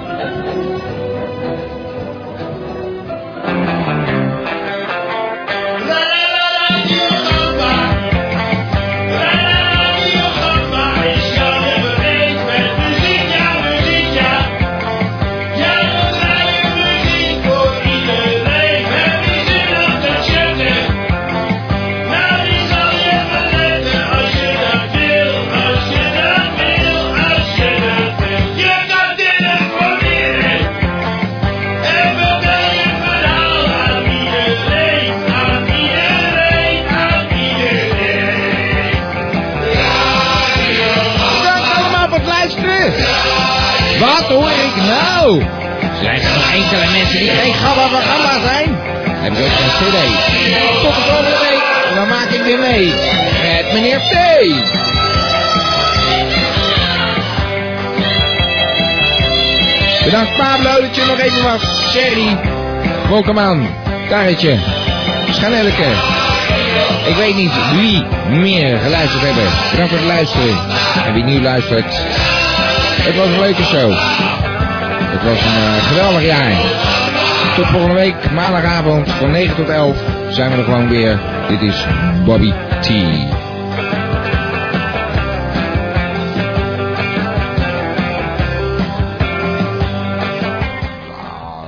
S4: Dank allemaal voor het luisteren.
S2: Wat hoor ik nou? Zijn er maar enkele mensen die geen gabba van gabba zijn? Heb ik ook een cd. Tot de volgende week. En dan maak ik weer mee. Met meneer T. Bedankt Pablo dat je er nog even was. Sherry. Wolkerman. Karretje. Schanelleke. Ik weet niet wie meer geluisterd hebben. Bedankt voor het luisteren. En wie nu luistert. Het was een leuke show. Het was een eh, geweldig jaar. Tot volgende week, maandagavond van 9 tot 11 zijn we er gewoon weer. Dit is Bobby T.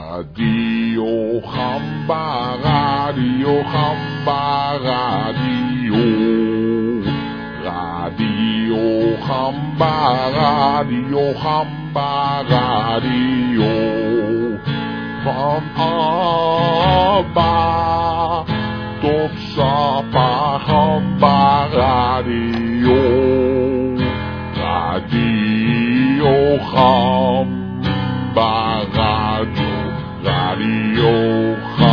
S12: Radio Gamba, Radio Gamba, Radio. Radio Gamba, Radio Gamba, Radio. Van Abba tot Sapa Gamba, Radio. Radio Gamba, Radio. Radio Gamba.